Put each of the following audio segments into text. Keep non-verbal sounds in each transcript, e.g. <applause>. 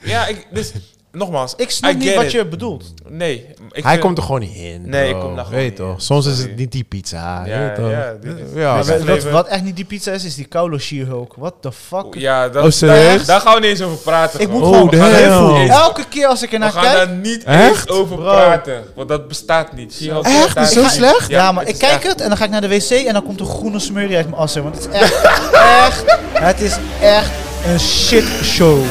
Ja, ik, dus nogmaals. Ik snap I niet get wat it. Oh, je bedoelt. Nee. Ik Hij vind- komt er gewoon niet in. Nee, bro. ik kom daar gewoon Weet niet toch? in. Soms is Sorry. het niet die pizza. Ja, weet toch? ja, dit is- ja. dit is- ja. Wat, Aflevering. wat echt niet die pizza is, is die koude She-Hulk. What the fuck? Ja, dat, Oh, daar, serieus? daar gaan we niet eens over praten. Ik moet gewoon. gewoon... Oh, damn. daar niet eens- Elke keer als ik we ernaar gaan kijk... daar niet Echt? eens over Bro. praten. Want dat bestaat niet. Zie je ook, Echt? bestaat Is zo niet. slecht? Ja, maar het ik is kijk echt- het en dan ga ik naar de wc en dan komt een groene smurrie uit mijn assen. Want het is <laughs> echt, echt, het is echt een shit show.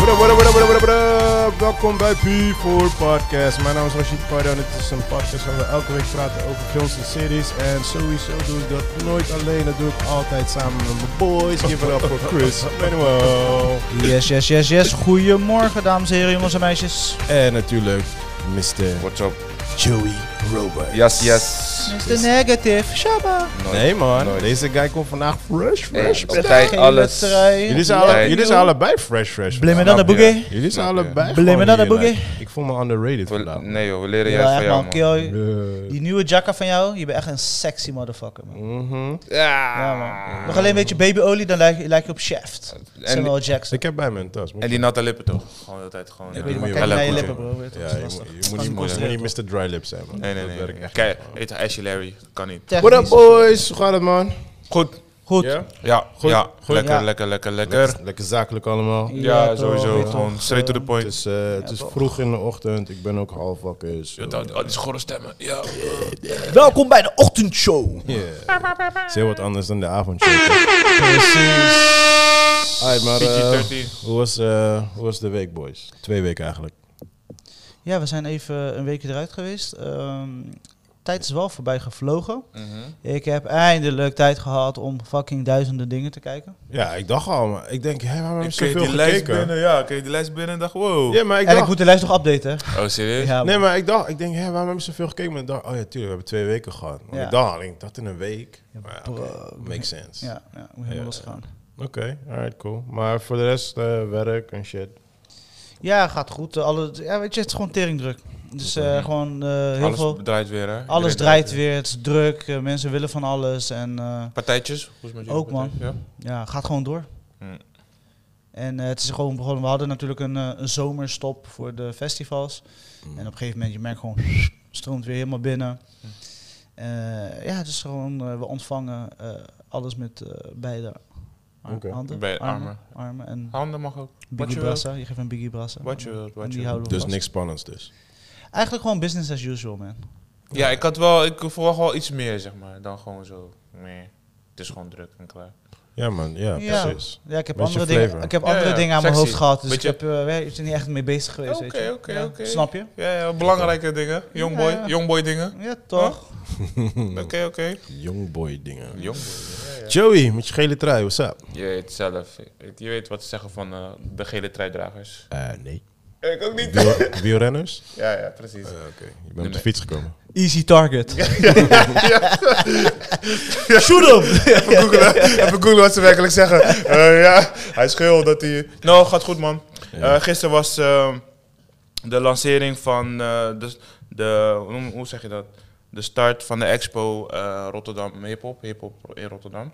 What up, what up, what up, what up, what up, what up? Welkom bij P4 Podcast. Mijn naam is Rashid Pardo en dit is een podcast waar we elke week praten over films en series. En sowieso doe ik dat nooit alleen, dat doe ik altijd samen met mijn boys. Give it up for Chris Manuel. Yes, yes, yes, yes. Goedemorgen, dames en heren, jongens en meisjes. En natuurlijk Mr. What's up? Joey Robert. Yes, yes. Mr. Negative, shabba. Nee man, Nooit. deze guy komt vandaag fresh, Hey, fresh. op tijd Geen alles. wedstrijd. Jullie zijn, Ja, alle- Hey. jullie zijn allebei fresh, fresh. Blimmen dan vandaag. de Snap je. boogie. Jullie zijn Snap je. allebei Blimmen dan gewoon de hier, boogie. like, Ik voel me underrated We- vandaag. Nou, eh, Nee joh, we leren juist Ja, van echt jou man, man. kill. Eh, Die nieuwe jacka van jou, je bent echt een sexy motherfucker, man. mhm. Ja, man. Nog alleen een beetje babyolie, dan lijk, lijk je op Shaft. Samuel Jackson. Ah. Ik heb bij me een tas. moet En die natte lippen toch? Gewoon altijd gewoon. Ik eh, weet niet, maar moet kijk je naar wel je goed lippen, bro. weet Ja, je, je dat is moet, lastig. je, moet Kan niet, niet je moet niet Mr. Dry Lip zijn, man. Nee, nee, Dat nee. werkt echt Kijk, eet Ashley Larry. Kan niet. niet. What up, Technisch. boys? Hoe gaat het, man? Goed. Goed. Ja? Ja, Goed. ja. Goed. Lekker, Ja. lekker, lekker, lekker. Lekker, lekker zakelijk allemaal. Ja, toch, sowieso. weet Gewoon toch, straight to the eh, Het point. is, eh, het is vroeg in de ochtend. Ik ben ook half wakker. dus, eh, so- Oh, die schorre stemmen. Ja. Welkom bij de ochtendshow. Yeah. Het is heel wat anders dan de avondshow. toch? Alright, maar eh, PG-13. hoe, was, eh, hoe was de week, boys? Twee weken eigenlijk. Ja, we zijn even een weekje eruit geweest. Ehm, tijd is wel voorbij gevlogen. Mhm. Ik heb eindelijk tijd gehad om fucking duizenden dingen te kijken. Ja, ik dacht al, maar ik denk, hé, waarom heb Ik ik kreeg zoveel die lijst gekeken? binnen, ja. Ik kreeg die lijst binnen en dacht, wow. Ja, maar ik en ik dacht, moet de lijst nog updaten. hè. Oh, serieus? Ja, nee, Ah, man. maar ik dacht, ik denk, hé, waarom hebben ze zoveel gekeken? Maar ik dacht, oh ja, tuurlijk, we hebben twee weken gehad. Maar Ja. ik dacht, al, ik dacht in een week. Maar ja, oké, bro. makes sense. ja, ja, ik moet helemaal Ja. losgaan. Oké, alright, cool. Maar voor de rest, eh, werk en shit. Ja, gaat goed. Eh, Alle, ja, weet je, het is gewoon teringdruk. Dus eh, Mhm. gewoon eh, heel Alles veel. draait weer, hè? Alles Iedereen draait weer, het is druk, eh, mensen willen van alles. En eh, Partijtjes? Hoe is het met jullie Ook, man. partijtjes? ja, gaat gewoon door. Hm. En eh, het is gewoon begonnen. We hadden natuurlijk een, eh, een zomerstop voor de festivals. Mm. En op een gegeven moment, je merkt gewoon, <sniffs> stroomt weer helemaal binnen. Eh, ja, het is gewoon, eh, we ontvangen eh, alles met eh, beide ar- Oké. handen. Beide armen. armen en Ja. Handen mag ook. Wat Biggie je wilt. Brassa. Je geeft een Biggie Brassa. Wat je wilt. En Wat je die wilt. houden we Dus vast. niks spannends dus. Eigenlijk gewoon business as usual, man. Ja, ik had wel... Ik verwacht wel iets meer, zeg maar. Dan gewoon zo... Nee. Het is gewoon druk en klaar. Ja, man, ja, Ja. precies. Ja, ik heb Beetje andere dingen, flavor. ik heb Ja, andere ja, dingen aan mijn sexy. hoofd gehad. Dus Beetje- ik heb, eh, ik ben niet echt mee bezig geweest. Oké, weet je. oké, Ja, oké. Snap je? Ja, ja. Belangrijke dingen. Youngboy. Ja, ja. Youngboy dingen. Ja, toch? Oké, oké. Youngboy dingen. Youngboy. Joey, met je gele trui, what's up? Je weet zelf. Je weet wat ze zeggen van eh, de gele truidragers. Eh, nee. Ik ook niet. <laughs> Wiel- Wielrenners? Ja, ja, precies. Eh, Oké, je bent Nee, op de nee. fiets gekomen. Easy target. Shoot him! Even <laughs> googlen, even googlen wat ze werkelijk zeggen. Eh, ja, hij schreeuwt dat hij... Nou, gaat goed man. Eh, gisteren was eh, de lancering van eh, de, de... Hoe noem- hoe zeg je dat? De start van de expo eh, Rotterdam Hip Hop. Hip Hop in Rotterdam.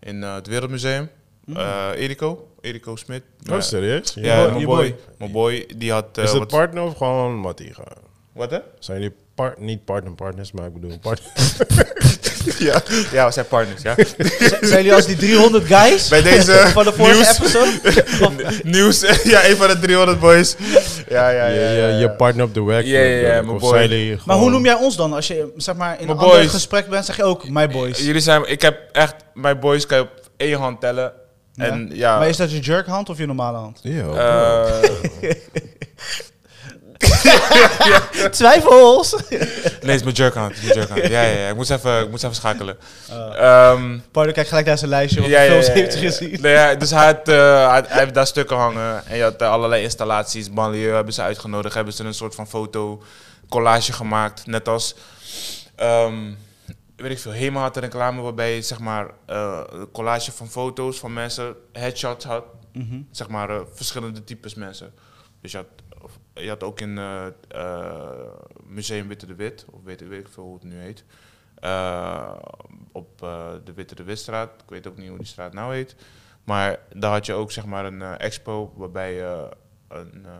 In eh, het Wereldmuseum. Eh Eriko. Eriko Smit. Eh, Oh, serieus? ja, Je mijn je boy. Mijn boy, die had... eh, Is het wat- partner of gewoon Mattie? gaan? wat hè? Zijn jullie part, niet partner partners, maar ik <laughs> bedoel partner. <laughs> Ja, ja, we zijn partners, <laughs> ja. <laughs> Zijn jullie als die 300 guys Bij deze <laughs> van de vorige nieuws. <laughs> episode? Nieuws, <laughs> ja, een van de 300 boys. Ja, ja, ja. je, je, je partner op de werk. Ja, ja, bedoel ja, ik. mijn Of boy. zijn jullie Maar gewoon- hoe noem jij ons dan? Als je zeg maar, in een Mijn ander boys. gesprek bent, zeg je ook my boys. Jullie zijn, ik heb echt, mijn boys kan je op één hand tellen. En ja, Maar is dat je jerkhand of je normale <laughs> hand? Ja, eh, bro. Twijfels! <laughs> nee, het is mijn jerk hand. het is mijn jerk <laughs> hand. Ja, ja, ja, ik moet even, ik moet even schakelen. Ehm, Pardon, kijk gelijk naar zijn lijstje, want ja, ja, films ja, heeft ja. hij gezien. Nee, ja, dus hij, had, eh, hij, hij heeft daar stukken hangen en je had eh, allerlei installaties. Banlieue hebben ze uitgenodigd, hebben ze een soort van foto collage gemaakt. Net als, ehm, weet ik veel, Hema had een reclame waarbij je zeg maar eh, een collage van foto's van mensen, headshots had. Mhm. zeg maar, eh, verschillende types mensen. Dus je had, of- je had ook in eh, eh, Museum Witte de Wit, of weet, weet ik veel hoe het nu heet, eh, op eh, de Witte de Witstraat, ik weet ook niet hoe die straat nou heet, maar daar had je ook zeg maar een eh, expo waarbij je een, eh,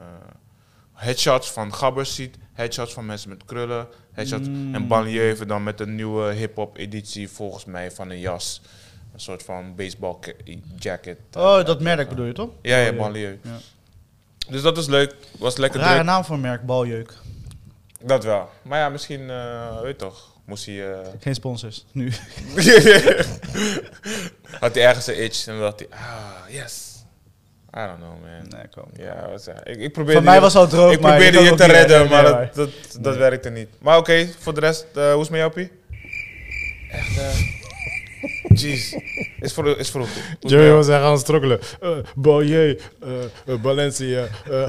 headshots van gabbers ziet, headshots van mensen met krullen, headshots Mm. en Banlieue even dan met een nieuwe hip-hop editie, volgens mij, van een jas. Een soort van baseball ca- jacket. Oh, dat merk bedoel je toch? Ja, ja, Banlieue. Ja. Dus dat is leuk. Was lekker Rare druk. naam voor een merk, baljeuk. Dat wel. Maar ja, misschien, eh, weet toch, moest hij... eh, Geen sponsors, nu. <laughs> had hij ergens een itch en dacht hij, ah, yes. I don't know, man. Nee, kom. Ja, wat zei- ik, ik probeerde Voor mij je- was al het rood, ik maar probeerde kan je ook te niet redden, redden, maar nee, dat, dat, dat werkte niet. Maar oké, voor de rest, eh, hoe is het met jou, Pie? Echt, eh, jeez. Is voor is vroeg. Hoe is het met Joey jou? was echt aan het strokkelen. Eh Ballet, eh, eh, Valencia. <laughs> eh.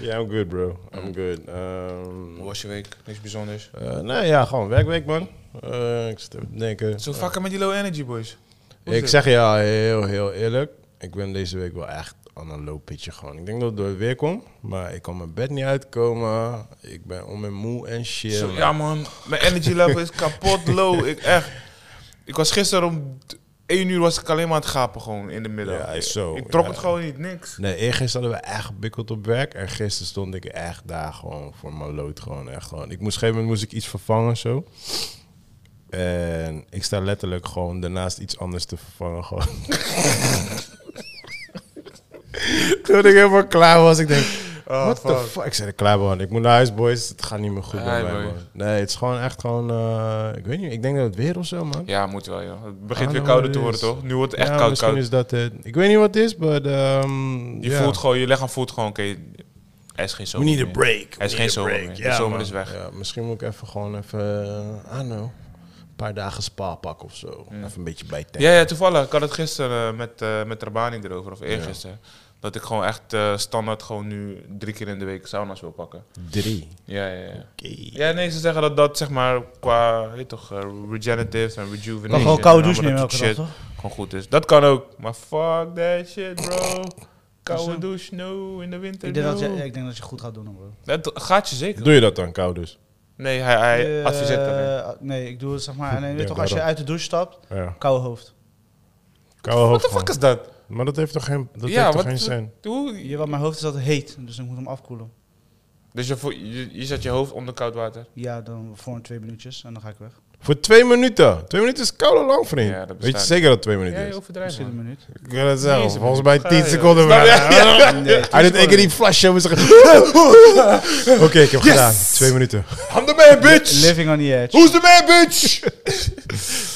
yeah, I'm good, bro. I'm good. Hoe Ehm was je week? Niks bijzonders. eh, nou ja, gewoon werkweek, man. Eh, ik zit even te denken. Zo vakken met die low energy, boys. Hoe is Ik dit? zeg ja, heel, heel eerlijk. Ik ben deze week wel echt aan een low pitje gewoon. Ik denk dat het door het weer komt, maar ik kan mijn bed niet uitkomen. Ik ben om en moe en shit. Zo, ja, man. Mijn energy level is kapot low. Ik echt. Ik was gisteren om 1 uur was ik alleen maar aan het gapen gewoon in de middag. Ja, is zo. Ik trok Ja. het gewoon niet, niks. Nee, eergisteren hadden we echt gebikkeld op werk. En gisteren stond ik echt daar gewoon voor mijn lood. Gewoon echt gewoon. Ik moest, op een gegeven moment moest ik iets vervangen zo. En ik sta letterlijk gewoon daarnaast iets anders te vervangen gewoon. <laughs> Toen ik helemaal klaar was, ik denk, Oh, what the fuck? Ik zei, ik klaar man, ik moet naar huis boys. Het gaat niet meer goed bij Hey, mij boy. man. Nee, het is gewoon echt gewoon, eh, ik weet niet, ik denk dat het weer of zo man. Ja, moet wel, ja. Het begint I weer know kouder what te it worden, is. toch? Nu wordt het Ja, echt koud, misschien koud. is dat het. Ik weet niet wat het is, maar... ehm, Je ja. voelt gewoon, je lichaam voelt gewoon, oké, er is geen We zomer need a meer. break. Er is We geen need a zomer break. meer. De Ja, zomer man. is weg. Ja, misschien moet ik even gewoon even, eh, I don't know, een paar dagen spa pakken of zo. Even een beetje bijtanken. Ja, ja, toevallig. Ik had het gisteren eh, met, eh met Rabani erover, of eergisteren. Dat ik gewoon echt eh, standaard gewoon nu drie keer in de week sauna's wil pakken. Drie. Ja, ja, ja. Oké. Ja, nee, ze zeggen dat dat zeg maar qua weet je toch, eh, regenerative en rejuvenation. Mag gewoon en koude allemaal douche dat nemen elke soort dag, shit toch? Gewoon goed is. Dat kan ook. Maar fuck that shit, bro. Hoezo? Koude douche, no, in de winter. Ik denk, dat je, no. ik denk dat je goed gaat doen, hoor, bro. Dat gaat je zeker. Doe je dat dan koud dus? Nee, hij, hij Eh, adviseert dat niet. eh, Nee, ik doe het zeg maar. Nee, weet Ja, toch, als je daarom. uit de douche stapt, Ja. koude hoofd. Koude What hoofd the fuck is dat? gewoon. Maar dat heeft toch geen, dat Ja, heeft toch wat- geen zin? Hoe? Ja, want mijn hoofd is altijd heet, dus ik moet hem afkoelen. Dus je, vo- je, je zet je hoofd onder koud water. Ja, dan voor een twee minuutjes en dan ga ik weg. Voor twee minuten. Twee minuten is koud en lang, vriend. Ja, dat weet je bestaat zeker dat het twee Ja, minuten je is? overdrijft, Misschien een man. minuut. Ik wil het zelf. Jezus, Volgens man. mij tien Ga je. seconden Snap je? maar. <laughs> Nee, Hij doet één keer die flash en we zeggen... <laughs> Oké, ik heb gedaan. Twee minuten. I'm the man, bitch! Living on the edge. Who's the man, <laughs> bitch?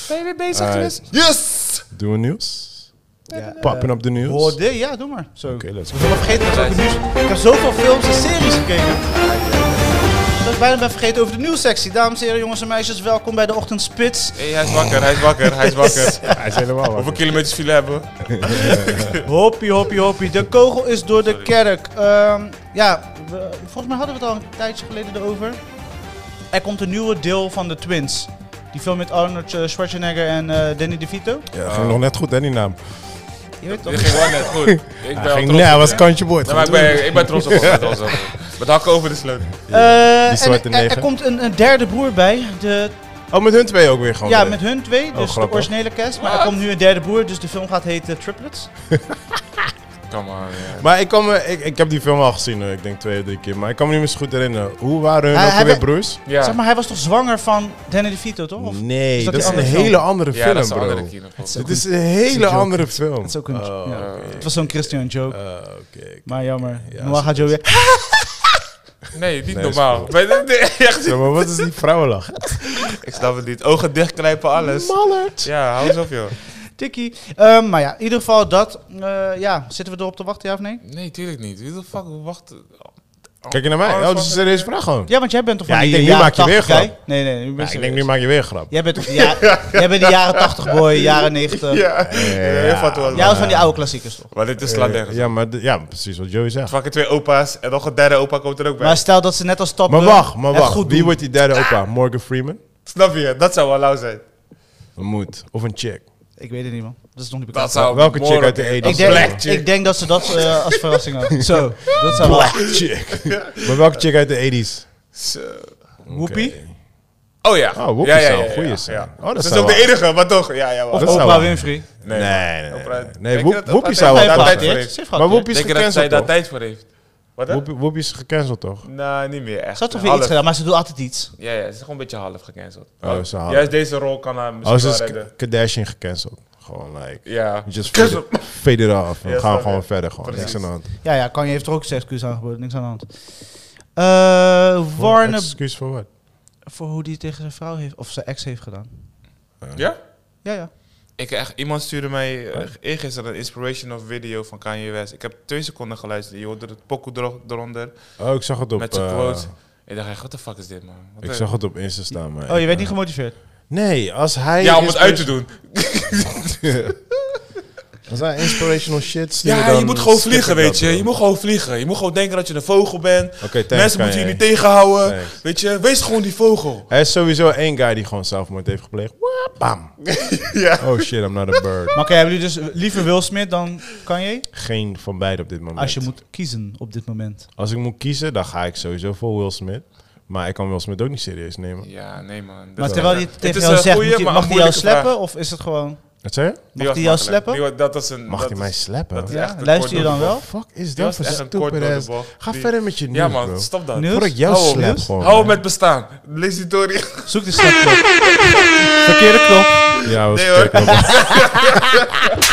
ben je weer bezig Alright. geweest? Yes! Doen we nieuws? Ja, eh, Popping up the news. Hoor dit? Ja, doe maar. Zo. Oké, let's Ik ben vergeten over het nieuws. Ik heb zoveel films en series gekeken. Dat ik bijna ben vergeten over de nieuwssectie. Dames en heren, jongens en meisjes, welkom bij de Ochtendspits. Hey, hij is wakker, hij is wakker, hij is wakker. <laughs> Ja, hij is helemaal Hoeveel wakker. kilometers file hebben we? Hoppie, hoppie, hoppie. De kogel is door de kerk. Ehm, ja, we- volgens mij hadden we het al een tijdje geleden erover. Er komt een nieuwe deel van de Twins. Die film met Arnold eh, Schwarzenegger en eh, Danny DeVito. Ja, ging nog net goed, hè, die naam. Je weet toch? Eh, Dit ging wel net <laughs> goed. Ik ben Hij al ging, trots nee, hij op was je. kantje boord. Nee, maar ik ben, ik ben trots op hem. ik ben trots op hem. Met hakken over de sleutel. Eh, Die zwarte en er- er, neger. er komt een, een derde broer bij. De, Oh, met hun twee ook weer gewoon. ja, erin. met hun twee. Dus de grappig. originele cast. Maar er komt nu een derde broer. Dus de film gaat heten Triplets. Kom maar. ja. Maar ik, kan me, ik, ik heb die film al gezien, eh, ik denk twee of drie keer. Maar ik kan me niet meer zo goed herinneren. Hoe waren hun Hij- ook hij weer werd- broers? Ja. Zeg maar, hij was toch zwanger van Danny DeVito, toch? Of- Nee, is dat, dat is die een andere film? hele andere ja, film, dat is een bro. andere kino. is Dit is een hele joke. andere film. Het is ook een- Oh, ja. oké. Het was zo'n Christian joke. Eh, oké, oké. maar jammer. Ja, Noah gaat Joe weer. Nee, niet Nee, is normaal. goed. Maar dit- <laughs> nee, echt. Zo, maar wat is die vrouwenlach? Ik snap het niet. Ogen dichtknijpen, alles. Mallert. Ja, hou eens op, joh. Tikkie. Ehm, maar ja, in ieder geval dat. eh, ja, zitten we erop te wachten, ja of nee? Nee, tuurlijk niet. Wie de fuck wacht? Kijk je naar mij? Oh, dat is een serieuze vraag gewoon. Ja, want jij bent toch Ja, van ik die denk, nu jaren maak je weer 80 guy? grap. Nee, nee, nee. Ja, ik denk, nu maak je weer een grap. Jij bent toch die ja, <laughs> jij bent de jaren 80 boy, jaren 90. Ja, heel vat wel. Jij was van die oude klassiekers toch? Maar dit is slaat Eh, nergens. ja, maar, d- ja, precies wat Joey zegt. Fucking twee opa's en nog een derde opa komt er ook bij. Maar stel dat ze net als stappen. Maar wacht, maar het wacht. Goed Wie doen. wordt die derde opa? Morgan Freeman? Snap je? Dat zou wel lauw zijn. Een moet. Of een chick. Ik weet het niet, man. Dat is nog niet bekend. Dat zou Welke chick morgen- uit de Eden? ik, denk, ik denk dat ze dat eh, <laughs> als verrassing hadden. Zo, dat zou wel. Black <laughs> chick. maar welke chick uit de 80s? Zo. Oké. Whoopi? Oh ja. Oh, Whoopi ja, ja, zou ja, een goeie ja, zijn. ja. Oh, dat dat is zou ook wel- de enige, maar toch. Ja, ja, wel. Of Dat zou Oprah wel. Winfrey. nee, Nee, nee, nee. Oprah- Nee, Denk Whoop- je dat Whoopi dat zou hij wel heeft passen. tijd voor heeft? Ze heeft Maar gehad, Whoopi is Denk je dat zij gecanceld, daar tijd toch? voor heeft? Wat hè? Whoopi- Whoopi is gecanceld, toch? Nee, Nou, niet meer echt. Ze had toch weer Ja, iets half. gedaan, maar ze doet altijd iets. Ja, ja, ze is gewoon een beetje half gecanceld. Oh, ze hadden- Juist deze rol kan haar Oh, ze misschien is wel redden. K- Kardashian gecanceld. Gewoon, like... Ja. Just fade it, fade it off. We Ja, gaan snap gewoon je. verder. Gewoon. Precies. Niks aan de hand. Ja, ja, Kanye heeft er ook zijn excuus aangeboden. Niks aan de hand. Eh Warner Excuus voor wat? voor hoe die tegen zijn vrouw heeft, of zijn ex heeft gedaan. Eh. Ja? Ja, ja. Ik, echt, iemand stuurde mij eh, eergisteren een inspirational video van Kanye West. Ik heb twee seconden geluisterd. Je hoorde het pokoe er- eronder. Oh, ik zag het op... met zijn eh, quotes. Ik dacht echt, what the fuck is dit man? Wat Ik een- zag het op Insta staan, maar... Oh, je ik, bent niet eh, gemotiveerd. Nee, als hij... ja, om het inspira- uit te doen. <laughs> Als hij inspirational shit stuurt, Ja, je dan moet gewoon skip ik vliegen, dat, weet je. bro. Je moet gewoon vliegen. Je moet gewoon denken dat je een vogel bent. Oké, thanks, Mensen moeten je Kanye. niet tegenhouden. Thanks. Weet je, wees gewoon die vogel. Er is sowieso één guy die gewoon zelfmoord heeft gepleegd. Wa- Bam. <laughs> Ja. Oh shit, I'm not a bird. Maar oké, hebben jullie dus liever Will Smith dan Kanye? Geen van beide op dit moment. Als je moet kiezen op dit moment. Als ik moet kiezen, dan ga ik sowieso voor Will Smith. Maar ik kan Will Smith ook niet serieus nemen. Ja, nee man. Dat Maar is terwijl echt- hij Het tegen is jou een zegt, goeie, moet hij- maar mag een hij jou moeilijke slappen? Of is het gewoon... Wat zei je? Die Mag was die jou makkelijk. slappen? Die wa- dat was een, Mag dat hij is- mij slappen? dat is Wat Ja, echt een luister je dan korte wel? bocht. fuck is Die dat was voor echt een kort stupid door de ass? bocht. Ga Die- verder met je nieuws, Ja man, bro. stop dat. Nu? Voordat ik jou Hou op. slap Oh, Nieuws? gewoon. Hou op man. met bestaan. Lees die door. Zoek de slapknop. Verkeerde <laughs> knop. Ja, was Nee, hoor. verkeerd, <laughs>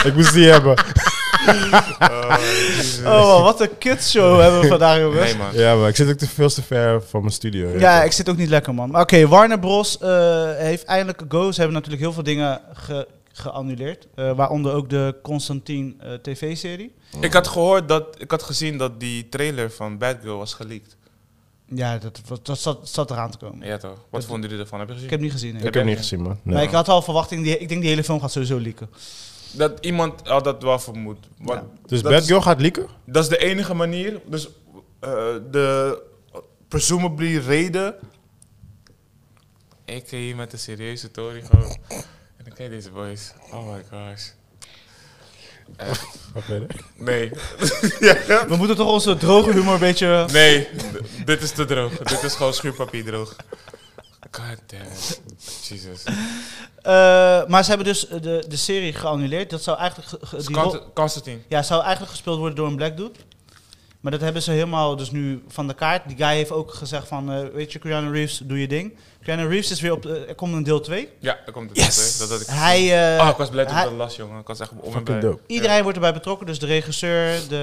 man. ik moest die hebben. Oh, man, wat een kutshow hebben we vandaag, jongens. Nee man. Ja, maar ik zit ook te veel te ver van mijn studio. weet Ja, je. ik zit ook niet lekker, man. Maar Oké, Warner Bros. eh, heeft eindelijk een go. Ze hebben natuurlijk heel veel dingen ge- geannuleerd. eh, waaronder ook de Constantine eh, TV-serie. Ik had gehoord dat, ik had gezien dat die trailer van Bad Girl was geleakt. Ja, dat, was- dat zat, zat eraan te komen. Ja toch? Wat vonden jullie ervan? Heb je Ik gezien? heb niet gezien. hè. Ik heb jij hem niet gezien? gezien, man. Maar Nee. ik had al verwachting, die, ik denk die hele film gaat sowieso leaken. Dat iemand had dat wel vermoed. Wat- Ja. Dus dat Bad is- Girl gaat leaken? Dat is de enige manier. Dus eh, de presumably reden. Ik hier met een serieuze Tory gewoon. En dan kijk deze boys. Oh my gosh. Ga verder. Nee. Ja. We moeten toch onze droge humor een beetje... Nee, d- dit is te droog. Dit is gewoon schuurpapier droog. God damn. Jesus. Eh, maar ze hebben dus eh, de, de serie geannuleerd. Dat zou eigenlijk... ge- ge- die rol- Const- Constantine. Ja, zou eigenlijk gespeeld worden door een black dude. Maar dat hebben ze helemaal dus nu van de kaart. Die guy heeft ook gezegd van, eh, weet je, Keanu Reeves, doe je ding. Keanu Reeves is weer op, eh, er komt een deel 2. Ja, daar komt het. Yes. Dat had ik Hij, eh, Ah, ik was blij dat ik hij- dat las, jongen. Ik was echt om en Fucking bij. dope. iedereen wordt erbij betrokken. Dus de regisseur, de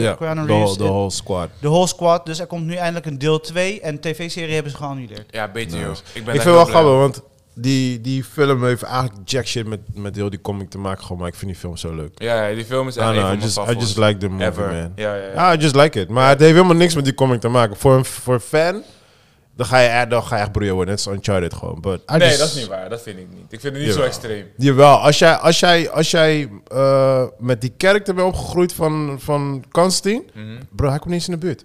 eh, eh, Keanu Reeves, de whole- de de whole, whole squad. squad. Dus er komt nu eindelijk een deel 2 en tv-serie hebben ze geannuleerd. Ja, beter joh. Nice. Ik, ben Ik echt vind het wel blij. grappig, want die, die film heeft eigenlijk jack shit met, met heel die comic te maken, gewoon, maar ik vind die film zo leuk. Ja, ja, die film is I echt don't know, een van I mijn just, I favorieten. just like the movie, Ever. man. Ja, ja, ja. Ja, I just like it. Maar het heeft helemaal niks met die comic te maken. Voor een voor een fan, dan ga je, dan ga je echt broeien worden. Net als Uncharted gewoon. But I nee, just- dat is niet waar. Dat vind ik niet. Ik vind het niet Jawel. zo extreem. Jawel, als jij, als jij, als jij eh, met die karakter bent opgegroeid van, van Constantine, Mhm. bro, hij komt niet eens in de buurt.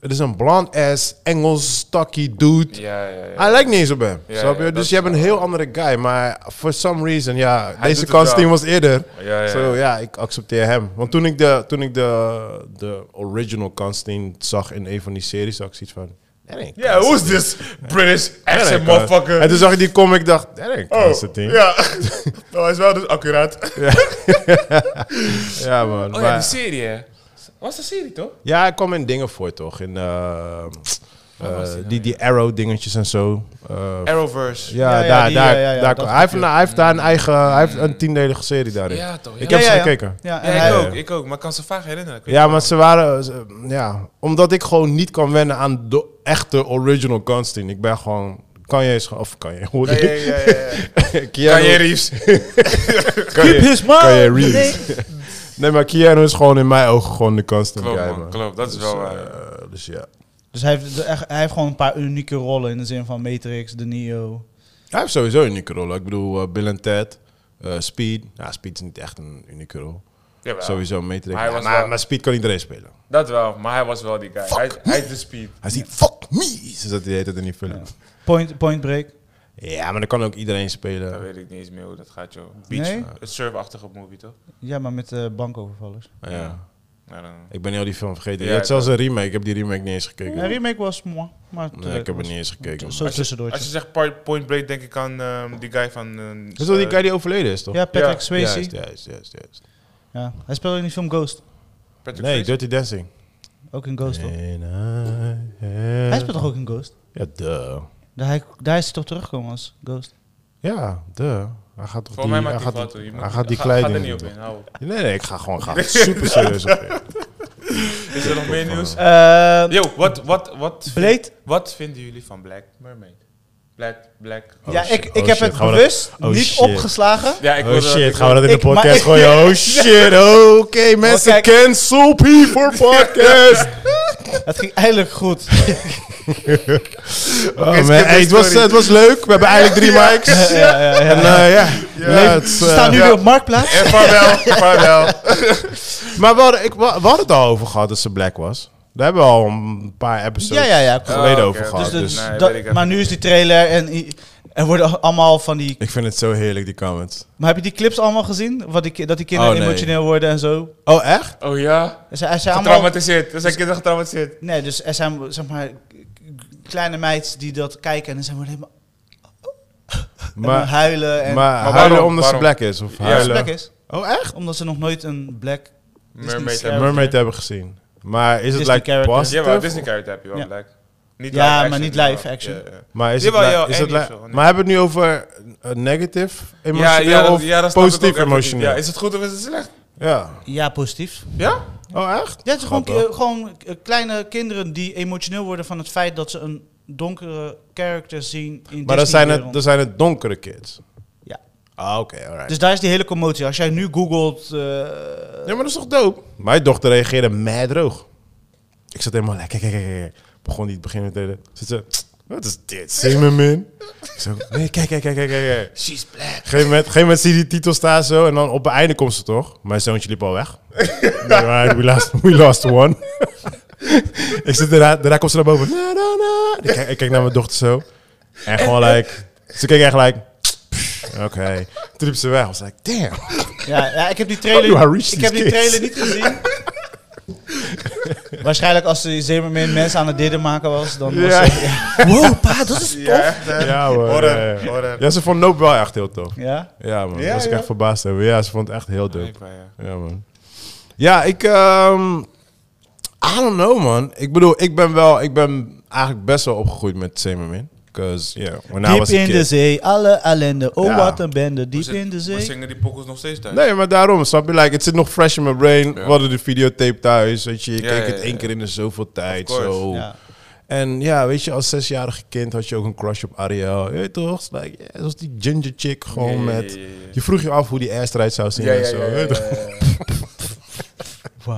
Het is een blond ass, Engels, stocky dude. Ja, ja, ja. Hij lijkt niet eens op hem. Ja, snap je? ja, dat dus is je hebt een waar. heel andere guy. Maar for some reason, ja, doet deze het Constantine wel. was eerder. Ja, ja, ja. Zo ja, ik accepteer hem. Want toen ik de, toen ik de, de original Constantine zag in een van die series, zag ik zoiets van. dat ain't Ja, hoe is this British Constantine. accent, Dat ain't motherfucker? Constantine. eh." En toen zag ik die comic, dacht, dat ain't oh, Constantine. <laughs> ja. nou, hij is wel dus accuraat. Ja, man. Oh ja, die maar, serie, hè? Was de serie, toch? ja, hij kwam in dingen voor, toch? In eh, eh, was die nou die, die arrow dingetjes en zo. Eh, Arrowverse. ja, Ja, ja, daar, die, daar, ja, ja, ja, daar dat hij, heeft, een- hij heeft daar een eigen, hij heeft een tiendelige serie daarin. Ja, toch? Ja. Ik heb Ja, ze ja, ja. gekeken. Ja, en Ja, hij- ik ja. ook, ik ook. Maar ik kan ze vaak herinneren. Ik weet Ja, niet maar ze waren... ze- ja, omdat ik gewoon niet kan wennen aan de echte original Constantine. Ik ben gewoon... Kan je eens... gewoon- Of kan je... Hoor waarom. Ja, ja, ja, ja, ja. <laughs> Kan je Reeves? kan je- His mom! kan je Reeves? Nee. Nee, maar Keanu is gewoon in mijn ogen gewoon de Constantine Klopt, guy, man. Klopt, dat is Dus, wel eh, waar. dus ja. Dus hij heeft, de- echt- hij heeft gewoon een paar unieke rollen in de zin van Matrix, De Neo. Hij heeft sowieso een unieke rol. Ik bedoel, eh, Bill en Ted, eh, Speed. Ja, Speed is niet echt een unieke rol. Jawel. Sowieso meetrek. Maar hij Maar, was maar, wel- maar Speed kan iedereen spelen. Dat wel, maar hij was wel die guy. Hij, hij is de speed. Hij ziet fuck me! Ze zat die hele tijd in die film. Point, point Break. Ja, Ja, maar dan kan ook iedereen spelen. Dat weet ik niet eens meer hoe dat gaat, joh. Beach, Nee? het surfachtige movie toch? Ja, maar met eh, bankovervallers. Ja. Ja, dan- Ik ben heel die film vergeten. Ja, je had ik zelfs een remake. Ik heb die remake niet eens gekeken. Ja, remake was mooi, maar... Nee, ik heb het niet eens gekeken. Zo tussendoortje. Als je zegt Point- Point Break, denk ik aan ehm, die guy van. ehm, Dat is wel die eh, guy die overleden is, toch? Ja, Patrick Ja, Swayze. Juist, juist, juist, juist. Ja. Hij speelde in die film Ghost. Patrick Nee, Swayze? Dirty Dancing. Ook in Ghost, toch? Hij Hij speelt toch ook in Ghost? Ja, duh. Daar, hij, daar is hij toch teruggekomen als Ghost? Ja, duh. Hij gaat toch Voor die, mij hij maakt die gaat, foto. Je moet- hij gaat die ga- kleiding... Ga er niet op in, hou op. Nee, nee, ik ga gewoon gaan. Super serieus op in. Is er nog meer nieuws? Eh Yo, wat, wat, wat, Blade? wat vinden jullie van Black Mermaid? Black, Black... Oh ja, shit, ik, ik oh heb shit, het gaan we bewust dat- oh niet shit. <laughs> opgeslagen. Ja, ik oh wilde- shit, ik gaan we dat in de ik- maar podcast ik- gooien? Oh shit, oké mensen, kijk- cancel people podcast. Het ging eindelijk goed. Oh skip man, this hey, het, was, story. het was leuk, we hebben eigenlijk drie mics. ja, ja, <laughs> ja. En eh, ja, ja, het is, We eh, staan nu ja. weer op Marktplaats. En vaarwel, vaarwel. <laughs> Maar we hadden, ik, we hadden het al over gehad dat ze black was. Daar hebben we al een paar episodes Ja, ja, ja. geleden Ah, oké. over gehad. Dus Dus de- nee, dat- weet ik even maar nu is die trailer en i- er worden allemaal van die... Ik vind het zo heerlijk, die comments. Maar heb je die clips allemaal gezien? Wat die, ki- dat die kinderen Oh, nee. emotioneel worden en zo? Oh, echt? Oh ja? Er zijn, er zijn allemaal... Getraumatiseerd. Er zijn kinderen getraumatiseerd. Nee, dus er zijn zeg maar kleine meids die dat kijken en dan zijn we helemaal maar, Maar, huilen. En maar, waarom? huilen omdat ze Waarom? black is? Of Ja, Ja, dat is huilen? black is. oh, echt? Omdat ze nog nooit een black Mermaid. Ja, en- Mermaid hebben gezien. Maar is het Disney like character. positive? Ja, maar Disney character heb je wel, Ja. Black. Niet Ja, live maar niet maar- live action. Ja, ja. Maar is Jawel, het, ja, li- is het Annie li- of zo, nee. Maar hebben we het nu over eh, negative Ja, emotioneel ja, dat- of ja, dat snap ik ook positief even niet. emotioneel? Ja, Ja, is het goed of is het slecht? ja positief. Ja? Oh, echt? Ja, het is gewoon, Grappig. eh, gewoon eh, kleine kinderen die emotioneel worden van het feit dat ze een donkere character zien in Maar Disney dat zijn, het, wereld. dat zijn het donkere kids. Ja. Ah, oké, alright. Dus daar is die hele commotie. Als jij nu googelt... eh, Ja, maar dat is toch dope? Mijn dochter reageerde mad droog. Ik zat helemaal lekker, kijk, kijk, kijk. kijk. Begon niet beginnen te delen. Zit eh, ze, wat is dit? Simon min. Ik zo, nee, kijk, kijk, kijk, kijk, kijk. She's black. Geen moment, gegeven moment zie je die titel staan zo en dan op het einde komt ze toch. Mijn zoontje liep al <laughs> weg. Nee, maar we, lost, we lost one. ik zit daarna, daarna komt ze naar boven. Na, na, na. Ik, kijk, ik kijk naar mijn dochter zo. En gewoon like, ze keek echt like, oké. Toen liep ze weg. I was like, damn. ja, ja, ik heb die How do I trailer, reach ik heb these die kids? trailer niet gezien. <laughs> Waarschijnlijk als ze Zemermin mensen aan het didden maken was, dan was Ja. ze- ja. <laughs> Wow, pa, dat is tof. Ja, echt, hè? <laughs> Ja hoor. Horror, ja, ja. horror. Ja, ze vond Nope wel echt heel tof. Ja? Ja man, Ja, was ik ja. echt verbaasd over. Ja, ze vond het echt heel dope. Ik ben, ja. Ja man. Ja, ik... ehm I don't know man. Ik bedoel, ik ben wel... Ik ben eigenlijk best wel opgegroeid met Semermin. Because, yeah, when I Diep Nou, was a in kid. de zee, alle ellende. Oh, Ja. wat een bende. We Diep zing- in de We zee. zingen die pokkels nog steeds thuis. Nee, maar daarom, snap je? Like, het zit nog fresh in mijn brain. Ja. We hadden de videotape thuis, weet je. Je Ja, keek ja, het ja, één ja. keer in de zoveel tijd, course. zo. Ja. En ja, weet je, als zesjarig kind had je ook een crush op Ariel. Je weet toch? Het is Like, ja, zoals die ginger chick, gewoon Ja, ja, ja, met... ja, ja. Je vroeg je af hoe die ass eruit zou zien Ja, en ja, zo. ja, ja, weet je toch? ja, ja, ja. Wauw.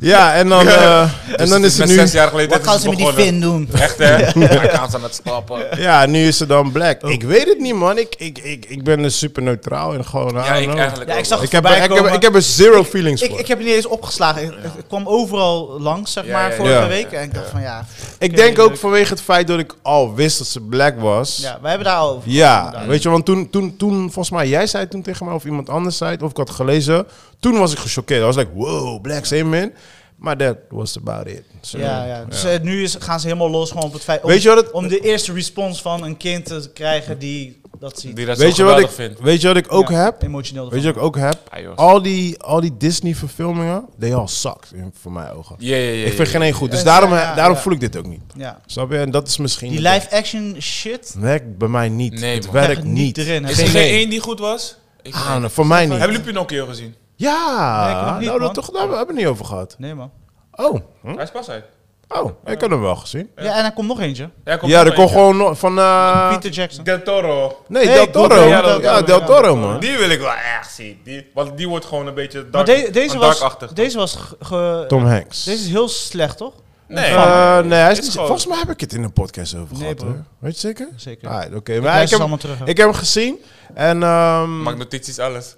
Ja, <laughs> en dan, eh, en dan Dus is Met het nu... zes jaar geleden Wat is gaan het ze met die begonnen. vin doen? Echt <laughs> hè? Hij gaat ze aan het stappen. Ja, nu is ze dan black. Oh. Ik weet het niet, man. Ik, ik, ik, ik ben er super neutraal en gewoon... I Ja, don't ik know. eigenlijk Ja, ook ik zag wel. Ik heb, er- voorbij ik, heb, komen. ik heb er zero feelings Ik, voor. ik heb het niet eens opgeslagen. Het- Het kwam overal langs, zeg Ja, maar, ja, ja. vorige Ja. week. En ik dacht van, ja... Ik denk ook vanwege het feit dat ik al wist dat ze black was. Ja, wij hebben daar al over. Ja, weet je, want toen, toen, toen, volgens mij, jij zei toen tegen mij of iemand anders zei het, of ik had gelezen. Toen was ik gechoqueerd. I was like, wow, black Semen. Maar that was about it. So, Ja, ja. Dus eh, nu is, gaan ze helemaal los gewoon op het feit... Om, Weet je wat het- om de eerste respons van een kind te krijgen die dat ziet. Die dat Weet, zo je wat geweldig ik, vindt. weet je wat ik ook Ja, heb? Emotioneel. Weet je wat ik ook heb? Ah, joh. Al die, al die Disney-verfilmingen, they all sucked, in, voor mijn ogen. Ja, ja, ja. ik vind ja. geen één goed, dus Ja, daarom, ja, ja, daarom ja. voel ik dit ook niet. ervan. Ja. Snap je? En dat is misschien... Die live-action shit... Werkt bij mij niet. Nee, het man. werkt krijgen niet. erin. hè. Is er geen Nee. één die goed was? Ik vind- Ah, voor mij niet. Hebben jullie Pinocchio gezien? Ja, Nee, ik ook niet, nou, man. dat toch, daar hebben we het niet over gehad. Nee, man. Oh, hm? Hij is pas uit. Oh, ik had hem wel gezien. Ja, en er komt nog eentje. Ja, komt Ja, nog er kon eentje. gewoon nog van... eh, Peter Jackson. Del Toro. nee, Nee, Del Toro. Toro, ja, Del Ja, Toro. Del Toro, man. Die wil ik wel echt zien. Die, want die wordt gewoon een beetje Maar dark, de- deze, was, darkachtig. deze was ge- ge- Tom Hanks. Deze is heel slecht, toch? nee, Eh, nee, hij is Dit niet- gewoon- volgens mij heb ik het in de podcast over Nee, gehad, bro. hoor. Weet je zeker? Zeker. Ah, Oké, ik maar ik luister heb, ze allemaal terug. hè. ik heb hem gezien. En ehm, maak notities, alles.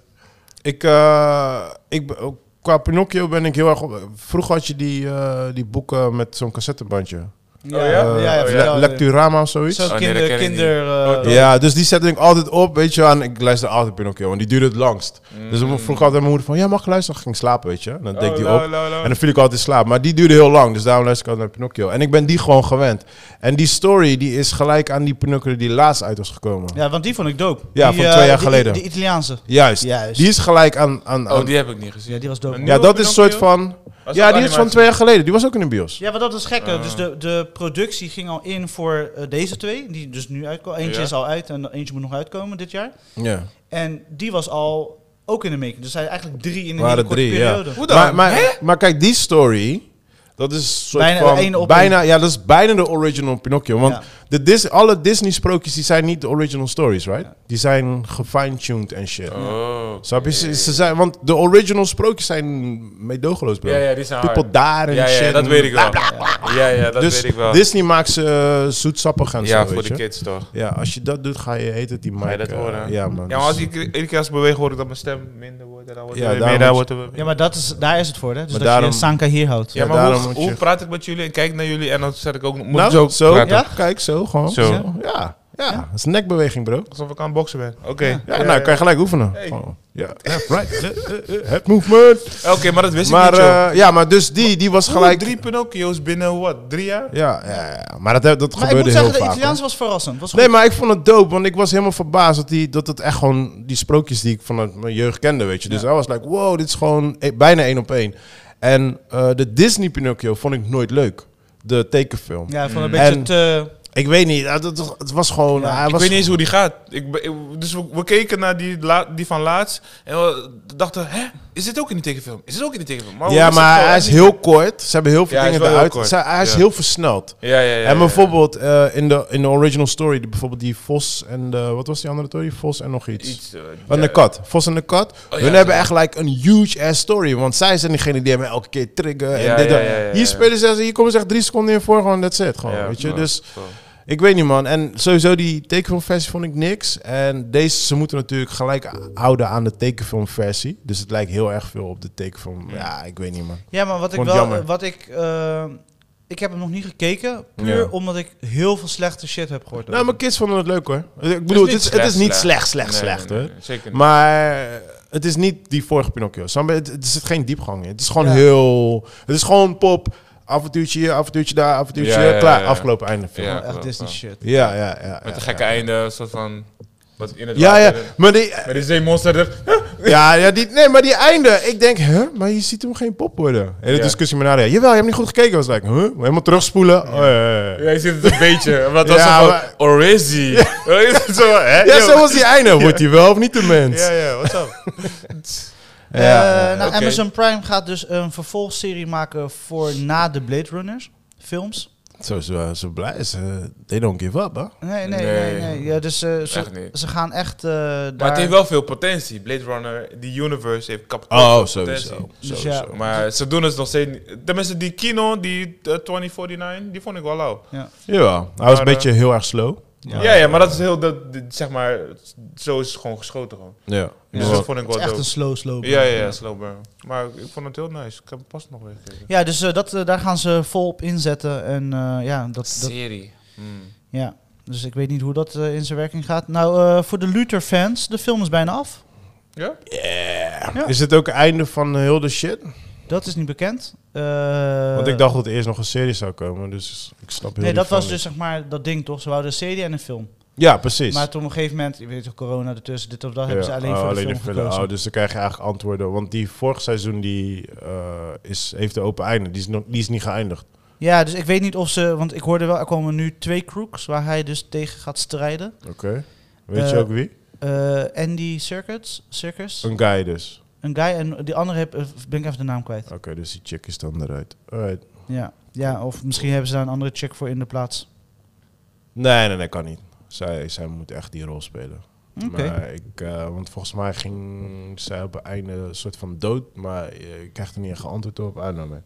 ik, eh, ik, be- qua Pinocchio ben ik heel erg... Op, vroeger had je die, eh, die boeken met zo'n cassettebandje. Ja, ja? ja, Eh, ja, Oh, Le- vertel. Lecturama of zoiets. Zo'n dat kinder, ken ik kinder... eh, Ja, dus die zette ik altijd op, weet je. En ik luister altijd Pinocchio, want die duurde het langst. Dus ik vroeg altijd aan mijn moeder van, ja, mag ik luisteren? Dan ging ik slapen, weet je. En dan deed ik Oh, die op. En dan viel ik altijd in slaap. Maar die duurde heel lang, dus daarom luister ik altijd naar Pinocchio. En ik ben die gewoon gewend. En die story, die is gelijk aan die Pinocchio die laatst uit was gekomen. Ja, want die vond ik dope. Ja, Die, van eh, twee jaar die- geleden. Die Italiaanse. Juist. Juist. Die is gelijk aan... aan, aan- Oh, die heb ik niet Dus Ja, gezien. die was dope. Een man. ja, dat is een soort Pinocchio? van... Ja, die is van twee jaar geleden. Die was ook in de bios. Ja, maar dat is gekke. Dus de, de productie ging al in voor eh, deze twee, die dus nu uitkomen. Eentje Ja. is al uit en eentje moet nog uitkomen dit jaar. Ja. En die was al ook in de making. Dus hij eigenlijk drie in een Waren hele korte drie, ja. periode. Hoe dan? Maar, maar, maar kijk, die story. Dat is een soort Bijna van, de ene op bijna, ja, dat is bijna de original Pinocchio. Want Ja. de Dis alle Disney-sprookjes die zijn niet de original stories, right? Die zijn gefine-tuned en shit. Oh. Snap je? Ze, ze zijn, want de original sprookjes zijn meedogeloos, bro. Ja, ja, die zijn hard. People daar en Ja, shit. ja, dat weet ik wel. Ja, ja, dat dus weet ik wel. Disney maakt ze eh, zoetsappig en Ja, zo, voor weet de je. kids toch. Ja, als je dat doet, ga je heet het die mic. je dat eh, horen? ja, man. dus- Ja, maar als ik iedere keer als ik beweeg hoor ik dat mijn stem minder wordt. En dan wordt Ja, het weer daarom meer, dan moet wordt het weer meer. Ja, maar dat is, daar is het voor, hè? Dus Maar dat daarom- je Sanka hier houdt. Ja, Ja, maar daarom hoe, moet je- hoe praat ik met jullie en kijk naar jullie en dan zet ik ook... Moet Nou, ik zo zo, praten? ja? kijk, zo gewoon. Zo. Ja, ja. dat is een nekbeweging, bro. Alsof ik aan het boksen ben. Oké. Ja, nou, kan je gelijk oefenen. Gewoon. Ja, ja, right. Eh, eh, eh, Het movement. Oké, maar dat wist Maar ik niet, joh. eh, ja, maar dus die, die was gelijk gelijk... drie Pinocchio's binnen wat? Drie jaar? Ja, ja, ja, maar dat, heb- dat maar ik gebeurde moet heel zeggen, de vaak. Italiaanse hoor. was verrassend. Was goed. Nee, maar ik vond het dope, want ik was helemaal verbaasd dat, die, dat het echt gewoon die sprookjes die ik vanuit mijn jeugd kende, weet je. Dus I was like, wow, dit is gewoon e- bijna één op één. En eh, de Disney Pinocchio vond ik nooit leuk. De tekenfilm. Ja, van een beetje En- te... Ik weet niet, eh, dat, het was gewoon... Ja, hij Ik was weet niet eens hoe die gaat. Ik, be- ik- dus we, we keken naar die, la- die van laatst en we dachten, hè, is dit ook in die tekenfilm? Is dit ook in die tekenfilm? Oh, we Ja, wisten het maar gewoon hij is niet. heel kort. Ze hebben heel veel Ja, hij is dingen wel heel eruit. kort. Ze- hij is Ja. heel versneld. Ja, ja, ja. en ja. bijvoorbeeld eh, in, de, in de original story, die, bijvoorbeeld die vos en de, wat was die andere story? Vos en nog iets. Iets, eh, Van de kat. Vos en de kat. ja, Hun ja. hebben echt like een huge ass story. Want zij zijn diegene die hem elke keer trigger. Ja, en dit, ja, dat. ja, ja, ja. Hier spelen ze, hier komen ze echt drie seconden in voor. Gewoon, that's it. Gewoon, Ja, weet je? ja. Dus Zo. ik weet niet, man. En sowieso die tekenfilmversie vond ik niks. En deze, ze moeten natuurlijk gelijk houden aan de tekenfilmversie. Dus het lijkt heel erg veel op de tekenfilm. Ja, ik weet niet, man. Ja, maar wat ik Vond wel... het jammer. Wat ik... eh, ik heb hem nog niet gekeken, puur Ja. omdat ik heel veel slechte shit heb gehoord. Nou, mijn kids vonden het leuk hoor. Ik bedoel, het is, het is niet slecht, slecht, Nee, slecht nee, hoor. nee, Zeker niet. Maar eh, het is niet die vorige Pinocchio. Snap je? Het, het zit geen diepgang in. Het is gewoon Ja. heel. Het is gewoon pop. Avontuurtje hier, avontuurtje daar, avontuurtje Ja, hier. ja, Klaar, ja, ja. afgelopen einde film. Ja, Ja, Echt wel, Disney wel. shit. ja, ja. ja, Met ja. een gekke einde, een soort van... Wat in het Ja, ja, water- maar die, eh, Met die zeemonster er... ja, ja, die, nee, maar die einde. Ik denk, huh? Maar je ziet hem geen pop worden. En de Ja. discussie met Nadia. Jawel, je hebt niet goed gekeken. was like, huh? Helemaal terugspoelen. Oh, ja, ja, ja. Ja, je ziet het <laughs> een beetje. Wat was Ja, ja, maar- Orizi. <laughs> zo, hè? Ja, Yo. zo was die einde. Wordt hij wel of niet de mens? Ja, ja, what's <laughs> up? Ja, Eh, nou, Oké. Amazon Prime gaat dus een vervolgserie maken voor na de Blade Runners films. Zo, zo, zo blij is. ze. they don't give up, hè? Nee, nee, nee. Nee. nee, Ja, dus eh, Echt ze, niet. ze gaan echt eh, Maar daar... het heeft wel veel potentie. Blade Runner, die universe heeft kapitaal. Oh, veel potentie. sowieso. Dus sowieso. ja. Maar ze doen het nog steeds niet. Tenminste, die kino, die eh, 2049, die vond ik wel lauw. Jawel. Hij was een Maar, eh, beetje heel erg slow. Ja. ja, maar dat is heel, dat, dit, zeg maar, zo is het gewoon geschoten gewoon. Ja. Dus Maar- dat vond ik Het wel is echt dope. een slow slow burn. Ja, ja, ja, slow burn. Maar ik vond het heel nice. Ik heb het pas nog weer gekeken. Ja, dus eh, dat, eh, daar gaan ze vol op inzetten. En eh, ja, dat, dat, Serie. ja, dus ik weet niet hoe dat eh, in zijn werking gaat. Nou, eh, voor de Luther-fans, de film is bijna af. Ja? Ja. Is dit ook het einde van eh, heel de shit? Dat is niet bekend. Eh, Want ik dacht dat er eerst nog een serie zou komen, dus ik snap heel Nee, die dat was van dus zeg maar dat ding toch? Ze wouden een serie en een film. niet. Ja, precies. Maar toen op een gegeven moment, je weet toch, corona ertussen, dit of dat, Ja. hebben ze alleen Oh, voor de alleen film de filler. gekozen. Oh, dus dan krijg je eigenlijk antwoorden. Want die vorig seizoen die, eh, is, heeft een open einde. Die is, nog, die is niet geëindigd. Ja, dus ik weet niet of ze, want ik hoorde wel, er komen nu twee crooks waar hij dus tegen gaat strijden. Oké. Weet je Eh, ook wie? Eh, Andy Circus, Circus, Een guy dus. een guy en die andere heb, eh, ben ik even de naam kwijt. Oké, dus die chick is dan eruit. Alright. Ja. ja, of misschien hebben ze daar een andere check voor in de plaats. Nee, nee, nee, kan niet. Zij, zij moet echt die rol spelen. Oké. Maar ik, eh, want volgens mij ging zij op het einde een soort van dood, maar eh, ik krijg er niet echt een antwoord op. I don't know, man.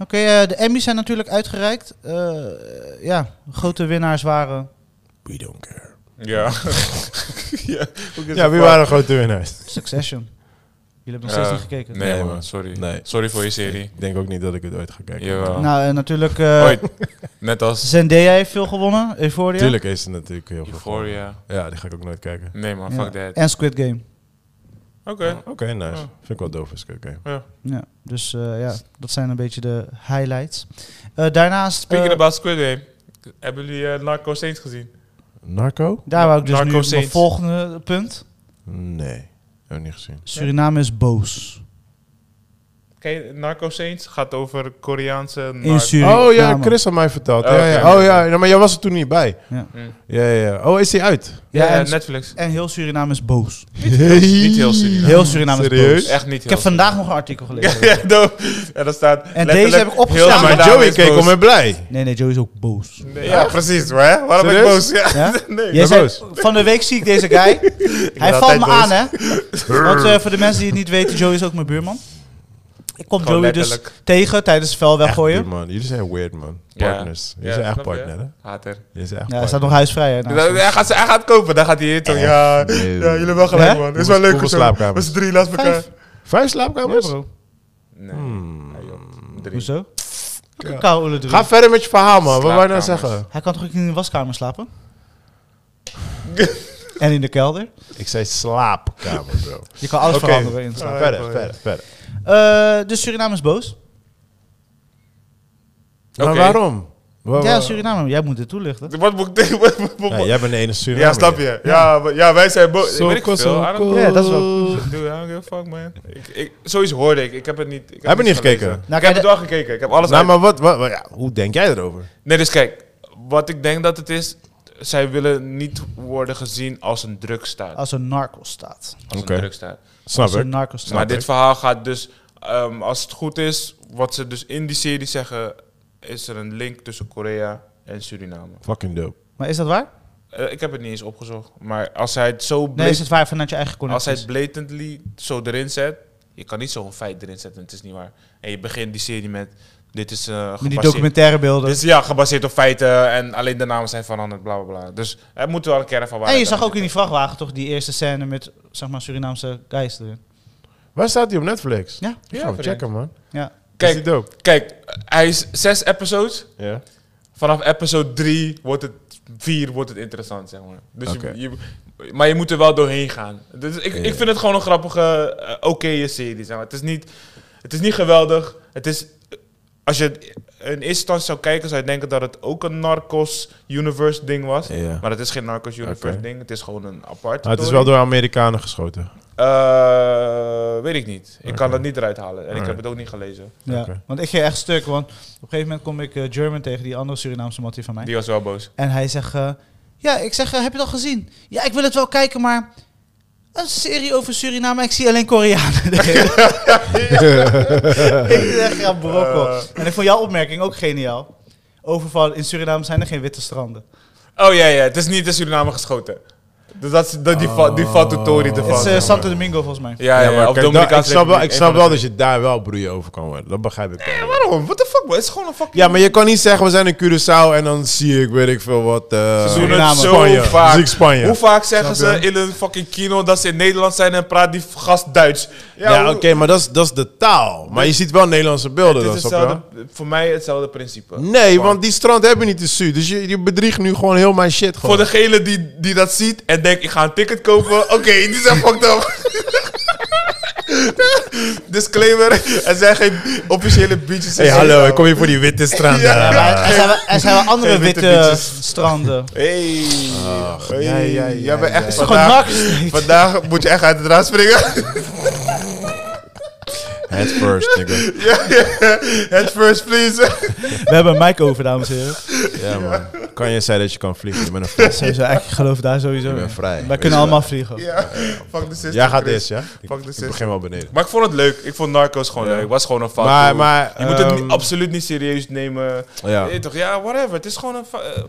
Oké, eh, de Emmys zijn natuurlijk uitgereikt. Eh, ja, grote winnaars waren. We don't care. Ja. Ja, wie waren de grote winnaars? Succession. Jullie hebben nog steeds Eh, niet gekeken. Nee, Nee, man, man. sorry. Nee. Sorry voor je serie. Ik denk ook niet dat ik het ooit ga kijken. Jawel. Nou, eh, natuurlijk, eh Ooit. Net als Zendaya heeft veel gewonnen, Euphoria. Tuurlijk is het natuurlijk heel veel. voor. Euphoria. Ja, die ga ik ook nooit kijken. Nee man, Ja. fuck that. En Squid Game. Oké. Oké, nice. Ja. Vind ik wel doof is oké. Ja, dus eh, ja, dat zijn een beetje de highlights. Eh, daarnaast, Speaking eh, about Squid Game. Hebben jullie eh, Narco Saints gezien? Narco? daar wou ik dus Narco nu op mijn Saints. volgende punt. Nee. Heb ik niet gezien. Suriname is boos. Ken je Narco Saints? Gaat over Koreaanse... In nar- Suriname. Oh ja, Chris had mij verteld. Oh, Ja, ja. oké. Oh ja, ja, maar jij was er toen niet bij. Hm. Ja, ja, ja. Oh, is die uit? Ja, Ja, en, Netflix. en heel Suriname is boos. Niet heel Suriname. Heel Suriname is Serieus? boos. Echt niet Ik heb heel <laughs> vandaag nog een artikel gelezen. Ja, dope. En dan staat... En letterlijk deze heb ik opgeslagen. Ja, heel mijn Maar dame Joey is keek boos. om en blij. Nee, nee, Joe is ook boos. Nee, Ja, precies. hoor, hè? Waarom ben ik Serieus? boos? Ja. Ja? Nee. Jij ben zei- <laughs> boos. van de week zie ik deze guy. Hij valt altijd me boos. aan, hè? Want eh, voor de mensen die het niet weten, Joey is ook mijn buurman. Ik kom Gewoon Joey dus letterlijk. tegen tijdens het vuil Echt, weggooien. die man. Jullie zijn weird, man. Ja. Partners. Jullie Ja, zijn echt snap je? partner, hè? Hater. Jullie zijn echt Ja, hij staat partner. nog huisvrij. hè, naast Dan- hem. Hij gaat, hij gaat kopen, dan gaat hij hier toch. Echt? Ja, ja, Nee, jullie man. hebben wel gelijk, Hè? man. Is Hoeveel- wel leuk. hoeveel zo. slaapkamers? Met z'n drie naast elkaar. Vijf. Vijf Ja, slaapkamers? bro. Nee, Hmm. drie. Hoezo? Koude drie. Ga verder met je verhaal, man. Wat wou je nou Slaapkamers. zeggen? Hij kan toch ook in de waskamer slapen? <laughs> en in de kelder? Ik zei slaapkamer, <laughs> bro. Je kan alles Oké. veranderen in slaap. Ah, verder, ja. verder, verder. Eh, dus Suriname is boos. Oké. Maar waarom? Wa- wa- Ja, Suriname, jij moet dit toelichten. Wat moet ik wat moet- wat Ja, moet- jij bent de enige Suriname. Ja, snap je? Ja, maar- ja wij zijn boos. Zo, Weet ik zo, veel. I don't- Ja, dat is wel- Dude, I don't give a fuck, man. Ik, ik, sowieso hoorde ik. Ik heb het niet... Ik Heb je niet gelezen. gekeken? Nou, ik heb kijk, het wel gekeken. Ik heb alles Nou, uit- maar wat, wat, wat- ja, hoe denk jij erover? Nee, dus kijk, wat ik denk dat het is, zij willen niet worden gezien als een drugstaat. Als, Als een narco staat. een Oké. drugstaat. Snap Als een ik. narco staat. Maar dit verhaal gaat dus, ehm, als het goed is, wat ze dus in die serie zeggen, is er een link tussen Korea en Suriname. Fucking dope. Maar is dat waar? Eh, ik heb het niet eens opgezocht, maar als hij het zo Nee, is blatant, het waar vanuit je eigen als hij connecties? het blatantly zo erin zet, je kan niet zo'n feit erin zetten, het is niet waar. En je begint die serie met, dit is eh Met die gebaseerd- documentaire beelden. Dus ja, gebaseerd op feiten en alleen de namen zijn veranderd, bla bla bla. Dus er moet wel een kern van en je waarheid zag aan ook in die vrachtwagen toch die eerste scène met zeg maar Surinaamse guys erin. Waar staat die op Netflix? Ja. Ik Ja, ga hem vriend. checken, man. Ja. Kijk. Is die dope? Kijk, hij is zes episodes. Ja. Vanaf episode 3 wordt het 4 wordt het interessant, zeg maar. Dus je- Oké. je, maar je moet er wel doorheen gaan. Dus ik, ik vind het gewoon een grappige, eh, oké serie. Zeg maar. het, is niet, het is niet geweldig. Het is, als je het in eerste instantie zou kijken, zou je denken dat het ook een Narcos-universe ding was. Ja. Maar het is geen Narcos-universe Oké. ding. Het is gewoon een apart. Maar Ah, het is wel door Amerikanen geschoten. Eh, weet ik niet. Ik kan Oké. dat niet eruit halen. En ik Alright. heb het ook niet gelezen. Ja, Oké. want ik ging echt stuk, want op een gegeven moment kom ik eh, German tegen, die andere Surinaamse mattie van mij. Die was wel boos. En hij zegt, eh, ja, ik zeg, eh, heb je dat gezien? Ja, ik wil het wel kijken, maar een serie over Suriname, ik zie alleen Koreanen. <laughs> ik zeg, ja, brokkel. En ik vond jouw opmerking ook geniaal. Over van, in Suriname zijn er geen witte stranden. Oh ja, ja. Het is niet in Suriname geschoten. Dus dat, is- dat, die, va- die valt de Tory te Oh. Het is vast. eh, Santo Domingo volgens mij. Oh, ja, maar ja, of kijk, daar- ik Dominicaanse snap wel, ik Republiek, snap een wel van de dat je daar wel broeien over kan worden. Dat begrijp ik. wel. twee. Waarom? What the fuck? man? Het is gewoon een fucking... eh, Ja, maar je kan niet zeggen, we zijn in Curaçao en dan zie ik, weet ik veel wat... eh, Ze doen het Suriname. zo Spanje. vaak. Zie ik Spanje. Hoe vaak zeggen Snap ze je? in een fucking kino dat ze in Nederland zijn en praat die gast Duits? Ja, hoe- oké, maar dat is, dat is de taal. Maar je ziet wel Nederlandse beelden Het dan, is snap je wel? hetzelfde, voor mij hetzelfde principe. Nee, want die strand heb je niet in Zuid. Dus je, je bedriegt nu gewoon heel mijn shit gewoon. Voor degene die, die dat ziet en denkt, ik ga een ticket kopen. <laughs> Oké, die zijn fucked up. <laughs> Disclaimer, er zijn geen officiële beaches. in hey, hallo, Suriname. ik kom hier voor die <laughs> witte strand. Ja, Maar er zijn wel, er zijn wel andere Geen witte witte beaches. stranden. Hey. hey. ja, ja, ja, Jij bent ja. echt Het Het is gewoon vandaag, narcos. vandaag moet je echt uit het raam springen. Head first, nigga. Head first, please. <laughs> We hebben een mic over, dames en heren. Ja, man. Kan je zeggen dat je kan vliegen? Je bent een <laughs> vlieg. Sowieso, ik geloof daar sowieso. Je in. bent vrij. Wij Weet je kunnen allemaal vliegen. ja. Fuck de sister. wel. Jij gaat Chris. eerst, ja? Ik, Fuck de ik sister. begin wel beneden. Maar ik vond het leuk. Ik vond Narcos gewoon Ja. leuk. Het was gewoon een fuck. Maar, hoe- maar... je moet het niet- Eh, ehm, absoluut niet serieus nemen. Ja. Nee, toch? Ja, whatever. Het is gewoon een... fa- eh,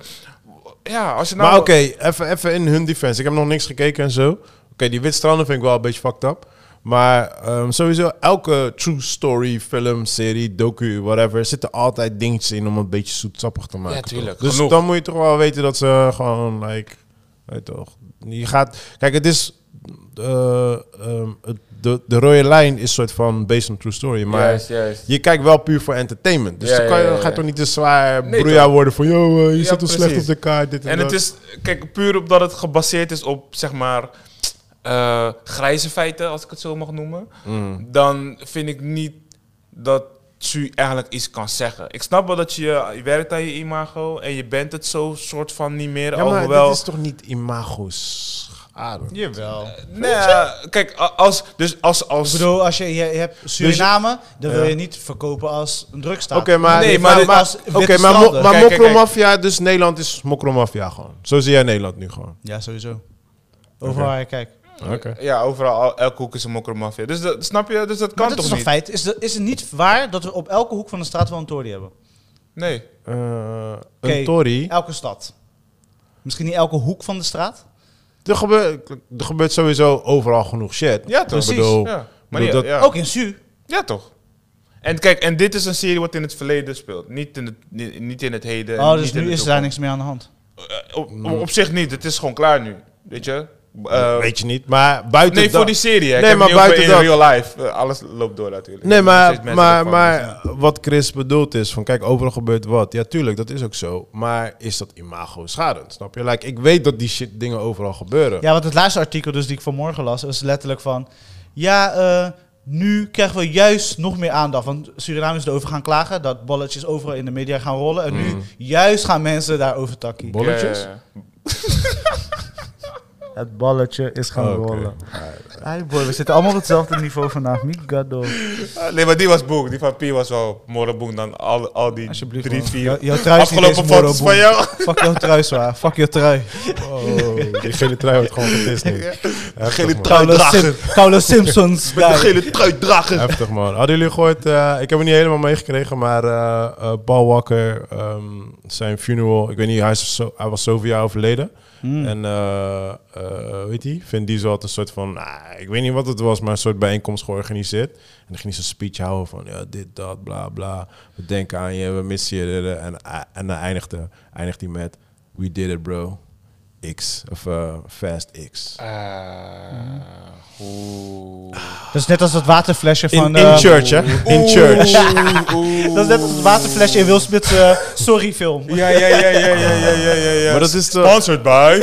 ja, als je nou... Maar oké, even, even in hun defense. Ik heb nog niks gekeken en zo. Oké, die witstranden vind ik wel een beetje fucked up. Maar ehm, sowieso, elke true story, film, serie, docu, whatever, zitten altijd dingetjes in om het een beetje zoetsappig te maken. Ja, tuurlijk. toch? Dus Genoeg. dan moet je toch wel weten dat ze gewoon, like, weet je toch. Je gaat, kijk, het is, eh, ehm, het de, de rode lijn is een soort van based on true story. Maar juist, juist. je kijkt wel puur voor entertainment. Dus Ja, dan, kan je, ja, ja, dan ga je ja. toch niet te zwaar Nee, broeia worden van... Yo, eh, je Ja, zit ons slecht op precies. de kaart, dit en, En dat. het is, kijk, puur omdat het gebaseerd is op, zeg maar, eh, grijze feiten, als ik het zo mag noemen. Mm. Dan vind ik niet dat Su eigenlijk iets kan zeggen. Ik snap wel dat je, je werkt aan je imago en je bent het zo soort van niet meer, Ja, maar alhoewel... dit is toch niet imago's Ah, adem? Jawel. Nee, ja, kijk, a- als, dus als, Ik als bedoel, als je, je hebt Dus- Suriname, dan wil je niet verkopen als een drugstaat. Oké, maar, Nee, maar, maar- maar, als witte oké, maar, mo- stranden. maar Kijk, kijk, kijk. mokromafia, dus Nederland is mokromafia gewoon. Zo zie jij Nederland nu gewoon. Ja, sowieso. Overal waar je kijkt. Oké. ja, overal, al- elke hoek is een mokromafia. Dus dat, snap je? Dus dat kan Maar dat toch is een niet? feit. Is, de- is het niet waar dat we op elke hoek van de straat wel een tory hebben? Nee. Eh, een Oké. Tory. Elke stad. Misschien niet elke hoek van de straat. Er, gebeurt, er gebeurt sowieso overal genoeg shit. Ja, toch? Ik bedoel, Ja. Maar bedoel ja, Oh, dat- ja. Ook in Su. Ja, toch? En kijk, en dit is een serie wat in het verleden speelt. Niet in het, ni- niet in het heden. en Oh, dus niet in nu de is daar toekomst. niks meer aan de hand. Eh, Op, op, op zich niet, het is gewoon klaar nu. Weet je? Eh, Nou. weet je niet. Maar buiten nee, dat- voor die serie. hè. Ik Nee, heb maar het niet over buiten in dat- real life. Eh, alles loopt door natuurlijk. Nee, Er zijn steeds maar, mensen maar, gevangen. maar wat Chris bedoelt is van kijk, overal gebeurt wat. Ja, tuurlijk, dat is ook zo. Maar is dat imago schadend? Snap je? Like, ik weet dat die shit dingen overal gebeuren. Ja, want het laatste artikel dus die ik vanmorgen las, was letterlijk van... Ja, eh, nu krijgen we juist nog meer aandacht. Want Surinamers erover gaan klagen, dat balletjes overal in de media gaan rollen. En Mhm. nu juist gaan mensen daarover takkie. Bolletjes? Ja, ja, ja. Het balletje is gaan Oh, oké. rollen. Hey boy, we zitten allemaal op hetzelfde niveau vandaag. Migado. Ah, Nee, maar die was boek. Die van P was wel more boek dan al, al die Alsjeblieft. drie, man. vier Jou- jouw trui is niet afgelopen eens foto's van moroboen. jou. Fuck jouw trui, zwaar. Fuck jouw trui. Oh, die gele trui wordt gewoon getist <laughs> nu. Heftig, Gele man. trui Carlos, dragen. Sim- Carlos Simpsons. Met de guy. gele trui dragen. Heftig man. Hadden jullie gehoord, eh, ik heb het niet helemaal meegekregen, maar eh eh, Paul Walker, ehm, zijn funeral, ik weet niet, hij, is zo, hij was zoveel jaar overleden. Hmm. En eh, eh, weet je, Vin Diesel had een soort van, ah, ik weet niet wat het was, maar een soort bijeenkomst georganiseerd. En dan ging hij zijn speech houden van, ja, dit, dat, bla, bla. We denken aan je, we missen je. dit, dit. En, eh, en dan eindigde, eindigt hij met, we did it bro. X, of eh, Fast X. Eh, Ah, oeh. Dat is net als dat waterflesje In, van... in eh, church, hè? In church. Ah, Dat is net als het waterflesje in Will Smith's eh, Sorry film. <laughs> Ja, ja, ja, ja, ja, ja, ja, ja, <laughs> ja. Maar dat is toch... Sponsored by.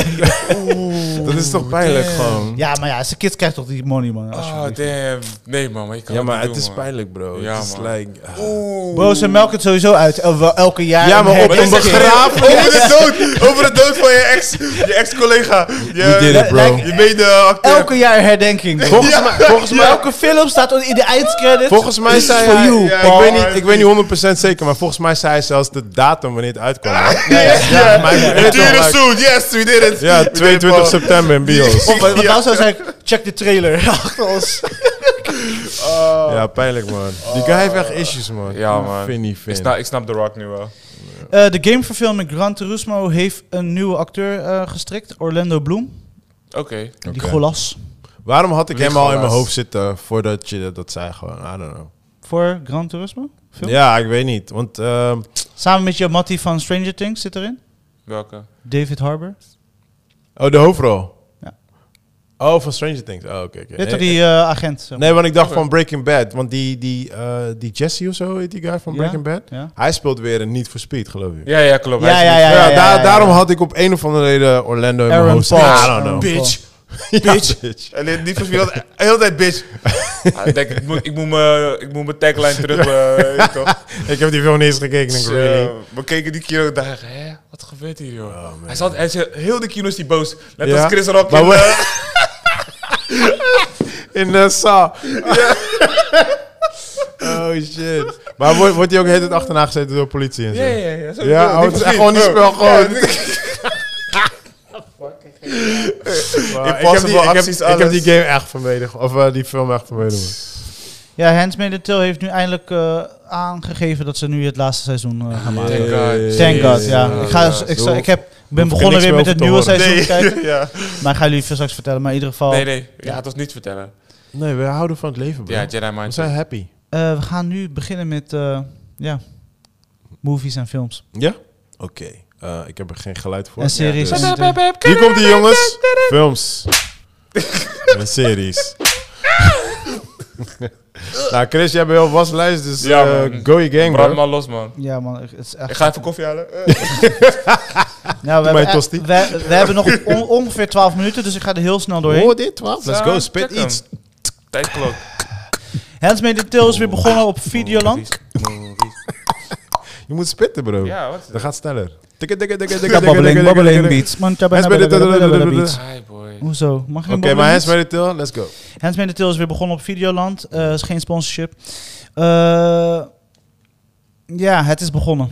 <laughs> Dat is toch pijnlijk gewoon. Ja, maar ja, zijn kids krijgt toch die money, man. Ah, Oh, alsjeblieft. damn. Nee, man, maar je kan Ja, maar niet het doen, is man. pijnlijk, bro. Ja, het is man. like, ah. Oeh. Bro, ze melken het sowieso uit. El- wel elke jaar. Ja, maar op Maar een dit een is echt begrafenis. Over de dood. Over de dood van je ex. Je ex-collega. We did Je, it, bro. je mede-acteur. Elke jaar herdenking. bro. Volgens mij, volgens Maar mij, elke film staat in de eindcredits. volgens mij This is zei for hij... you, ja, ik, Paul. weet niet, ik weet niet 100% zeker, maar volgens mij zei hij zelfs de datum wanneer het uitkwam. <laughs> Ja, ja, maar ik weet Het het wel, duurde maar- soon. Yes, we did it. Ja, We did it, 22 Paul. september in <laughs> bios. Oh Of wat wat nou zou zeggen, check de <laughs> trailer achter ons. Ja, pijnlijk, man. Die guy heeft echt issues, man. Ja, man. Vind niet, Ik vind. snap, ik snap The Rock nu wel. Eh, de gameverfilming Gran Turismo heeft een nieuwe acteur eh, gestrikt. Orlando Bloom. Oké. Die Oké. golas Waarom had ik hem al in mijn Lichtgelaas. hoofd zitten voordat je dat- dat zei? Gewoon, I don't know. voor Gran Turismo. Film? Ja, ik weet niet. Want ehm, Samen met Yamati van Stranger Things zit erin. Welke? David Harbour. Oh, de hoofdrol? Ja. Oh, van Stranger Things. Oh, oké. oké. Dit Nee, toch die eh, agent. zeg maar. nee, want ik dacht van Breaking Bad. Want die, die, eh, die Jesse of zo heet die guy van Ja? Breaking Bad. Ja. Hij speelt weer een Niet for Speed, geloof ik. Ja, ja, klopt. Ja, ja, ja. Ja, daar- ja, ja. Daarom had ik op een of andere reden Orlando in mijn Aaron hoofd. Paul. Ja, I Aaron don't know. Bitch. Ja, Bitch. Alleen die verspielt de hele tijd bitch. Ah, ik denk, ik moet, ik moet, mijn, ik moet mijn tagline terug. eh, toch? ik heb die film niet eens gekeken. Ik Dus, denk, really? eh, we keken die kino en dachten, hè, wat gebeurt hier, joh? hij, zat, hij is heel de kino is die boos. Net Ja? als Chris Rock. Maar in, we- <laughs> eh, In eh, de zaal. <laughs> oh, shit. Maar wordt, wordt hij ook de hele tijd achterna gezeten door politie en zo? Ja, ja, ja. zo Ja, bedoel, oh, die het is echt vriend. gewoon die Ja. spel gewoon. Ja, Maar ik, heb Impossible die, ik, heb, acties, ik heb die alles. game echt vermeden. ge- Of eh, die film echt vermeden. man. Ja, Handmaiden Tale heeft nu eindelijk eh, aangegeven dat ze nu het laatste seizoen eh, gaan maken. Thank God. Thank God, Jezus. ja. Ik, ga, ik, zal- ik heb, ik ben ik begonnen niks weer meer met over het te nieuwe horen. seizoen te kijken. ja. Maar ik ga jullie veel straks vertellen. Maar in ieder geval, Nee, nee. Je gaat ons niet vertellen. Nee, we houden van het leven, bro. Ja, Jedi we Mind. zijn happy. eh, we gaan nu beginnen met eh, ja, movies en films. Ja? Oké. Eh, ik heb er geen geluid voor. en series. Ja, dus- en- en- Hier komt die jongens. Films. en series. Nou, Chris, jij bent wel waslijst, dus Ja, eh, man. go your gang, Brand bro. maar los, man. Ja, man, het is echt... Ik ga even koffie halen. Eh. Nou, we, Doe hebben, mij tosti. we, we hebben nog on- ongeveer 12 minuten, dus ik ga er heel snel doorheen. Hoor dit, wat? Let's Ja, go, spit check hem. iets. Tijdklok. Handsmade Detail is weer begonnen op Videoland. Je moet spitten, bro. Ja, wat is Dat dat? gaat sneller. Tikke, tikke, tikke, tikke, tikke, Babbeling, tikke, babbeling tikke. beats. Man, Handsmade tjabba- Detail, babbeling beats. Hi, boy. Hoezo? Mag je Oké, maar hands bij de till, let's go. Handsmade Detail is weer begonnen op Videoland. Eh is geen sponsorship. Eh, ja, het is begonnen.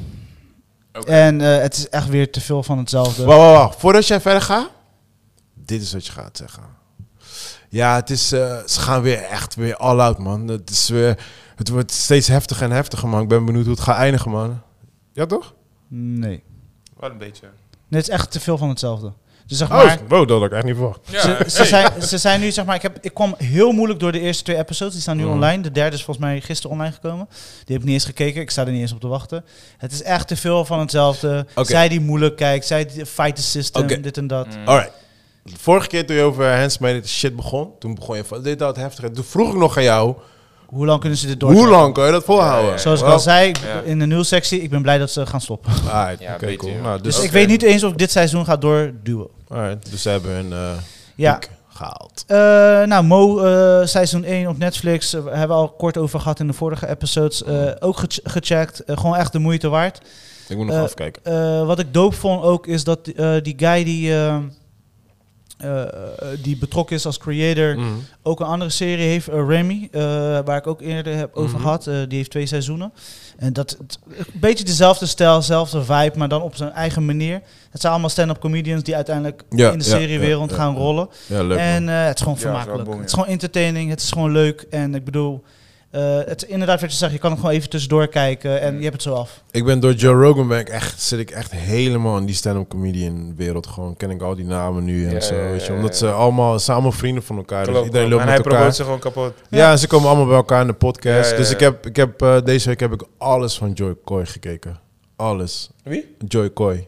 Oké. En eh, het is echt weer te veel van hetzelfde. Wacht, wacht, wacht. Voordat jij verder gaat, dit is wat je gaat zeggen. Ja, het is, eh, ze gaan weer echt weer all out, man. Het, is weer, het wordt steeds heftiger en heftiger, man. Ik ben benieuwd hoe het gaat eindigen, man. Ja, toch? Nee. Wat een beetje. Nee, het is echt te veel van hetzelfde. Dus zeg maar, Oh, wow, dat had ik echt niet verwacht. Ja, ze, ze, hey. zijn, ze zijn nu, zeg maar, ik, heb, ik kwam heel moeilijk door de eerste twee episodes. Die staan nu Mhm. online. De derde is volgens mij gisteren online gekomen. Die heb ik niet eens gekeken. Ik sta er niet eens op te wachten. Het is echt te veel van hetzelfde. Oké. Zij die moeilijk kijkt, zij die fight the system, Oké. dit en dat. Mm. Alright. Vorige keer toen je over handsmade shit begon, toen begon je van dit dat heftiger. Toen vroeg ik nog aan jou, Hoe lang kunnen ze dit door? hoe lang kan je dat volhouden? Ja, ja, Zoals ik Wel, al zei, ik- Ja. in de nieuwssectie, ik ben blij dat ze gaan stoppen. alright, Ja, oké, beetje, cool. ja. Nou, dus, Dus ik Oké. weet niet eens of ik dit seizoen gaat doorduwen. alright, dus ze hebben hun eh Ja. piek gehaald. Eh, nou, Mo, eh, seizoen 1 op Netflix. eh, we hebben we al kort over gehad in de vorige episodes. Eh, Oh. ook ge- gecheckt. Eh, gewoon echt de moeite waard. Ik moet nog Eh, afkijken. Eh, wat ik doop vond ook is dat eh, die guy die, eh, eh, die betrokken is als creator. Mhm. Ook een andere serie heeft, eh, Remy, eh, waar ik ook eerder heb over Mhm. gehad. Eh, die heeft twee seizoenen. En dat het- een beetje dezelfde stijl, dezelfde vibe, maar dan op zijn eigen manier. Het zijn allemaal stand-up comedians die uiteindelijk Ja, in de ja, seriewereld ja, ja, gaan ja. rollen. Ja, leuk. en eh, het is gewoon Ja, vermakelijk. het is wel boem, ja. Het is gewoon entertaining, het is gewoon leuk. En ik bedoel, eh, het, inderdaad wat je zegt, je kan het gewoon even tussendoor kijken en je hebt het zo af. Ik ben door Joe Rogan ben ik echt, zit ik echt helemaal in die stand-up comedian wereld. Gewoon ken ik al die namen nu en Ja, zo. ja, weet je, ja, omdat ja. ze allemaal, ze zijn allemaal vrienden van elkaar. dus Klopt, iedereen man. loopt en met hij probeert elkaar. ze gewoon kapot. Ja, en ze komen allemaal bij elkaar in de podcast. Ja, ja, Dus ja. ik heb, ik heb eh, deze week heb ik alles van Joy Coy gekeken. Alles. Wie? Joy Coy.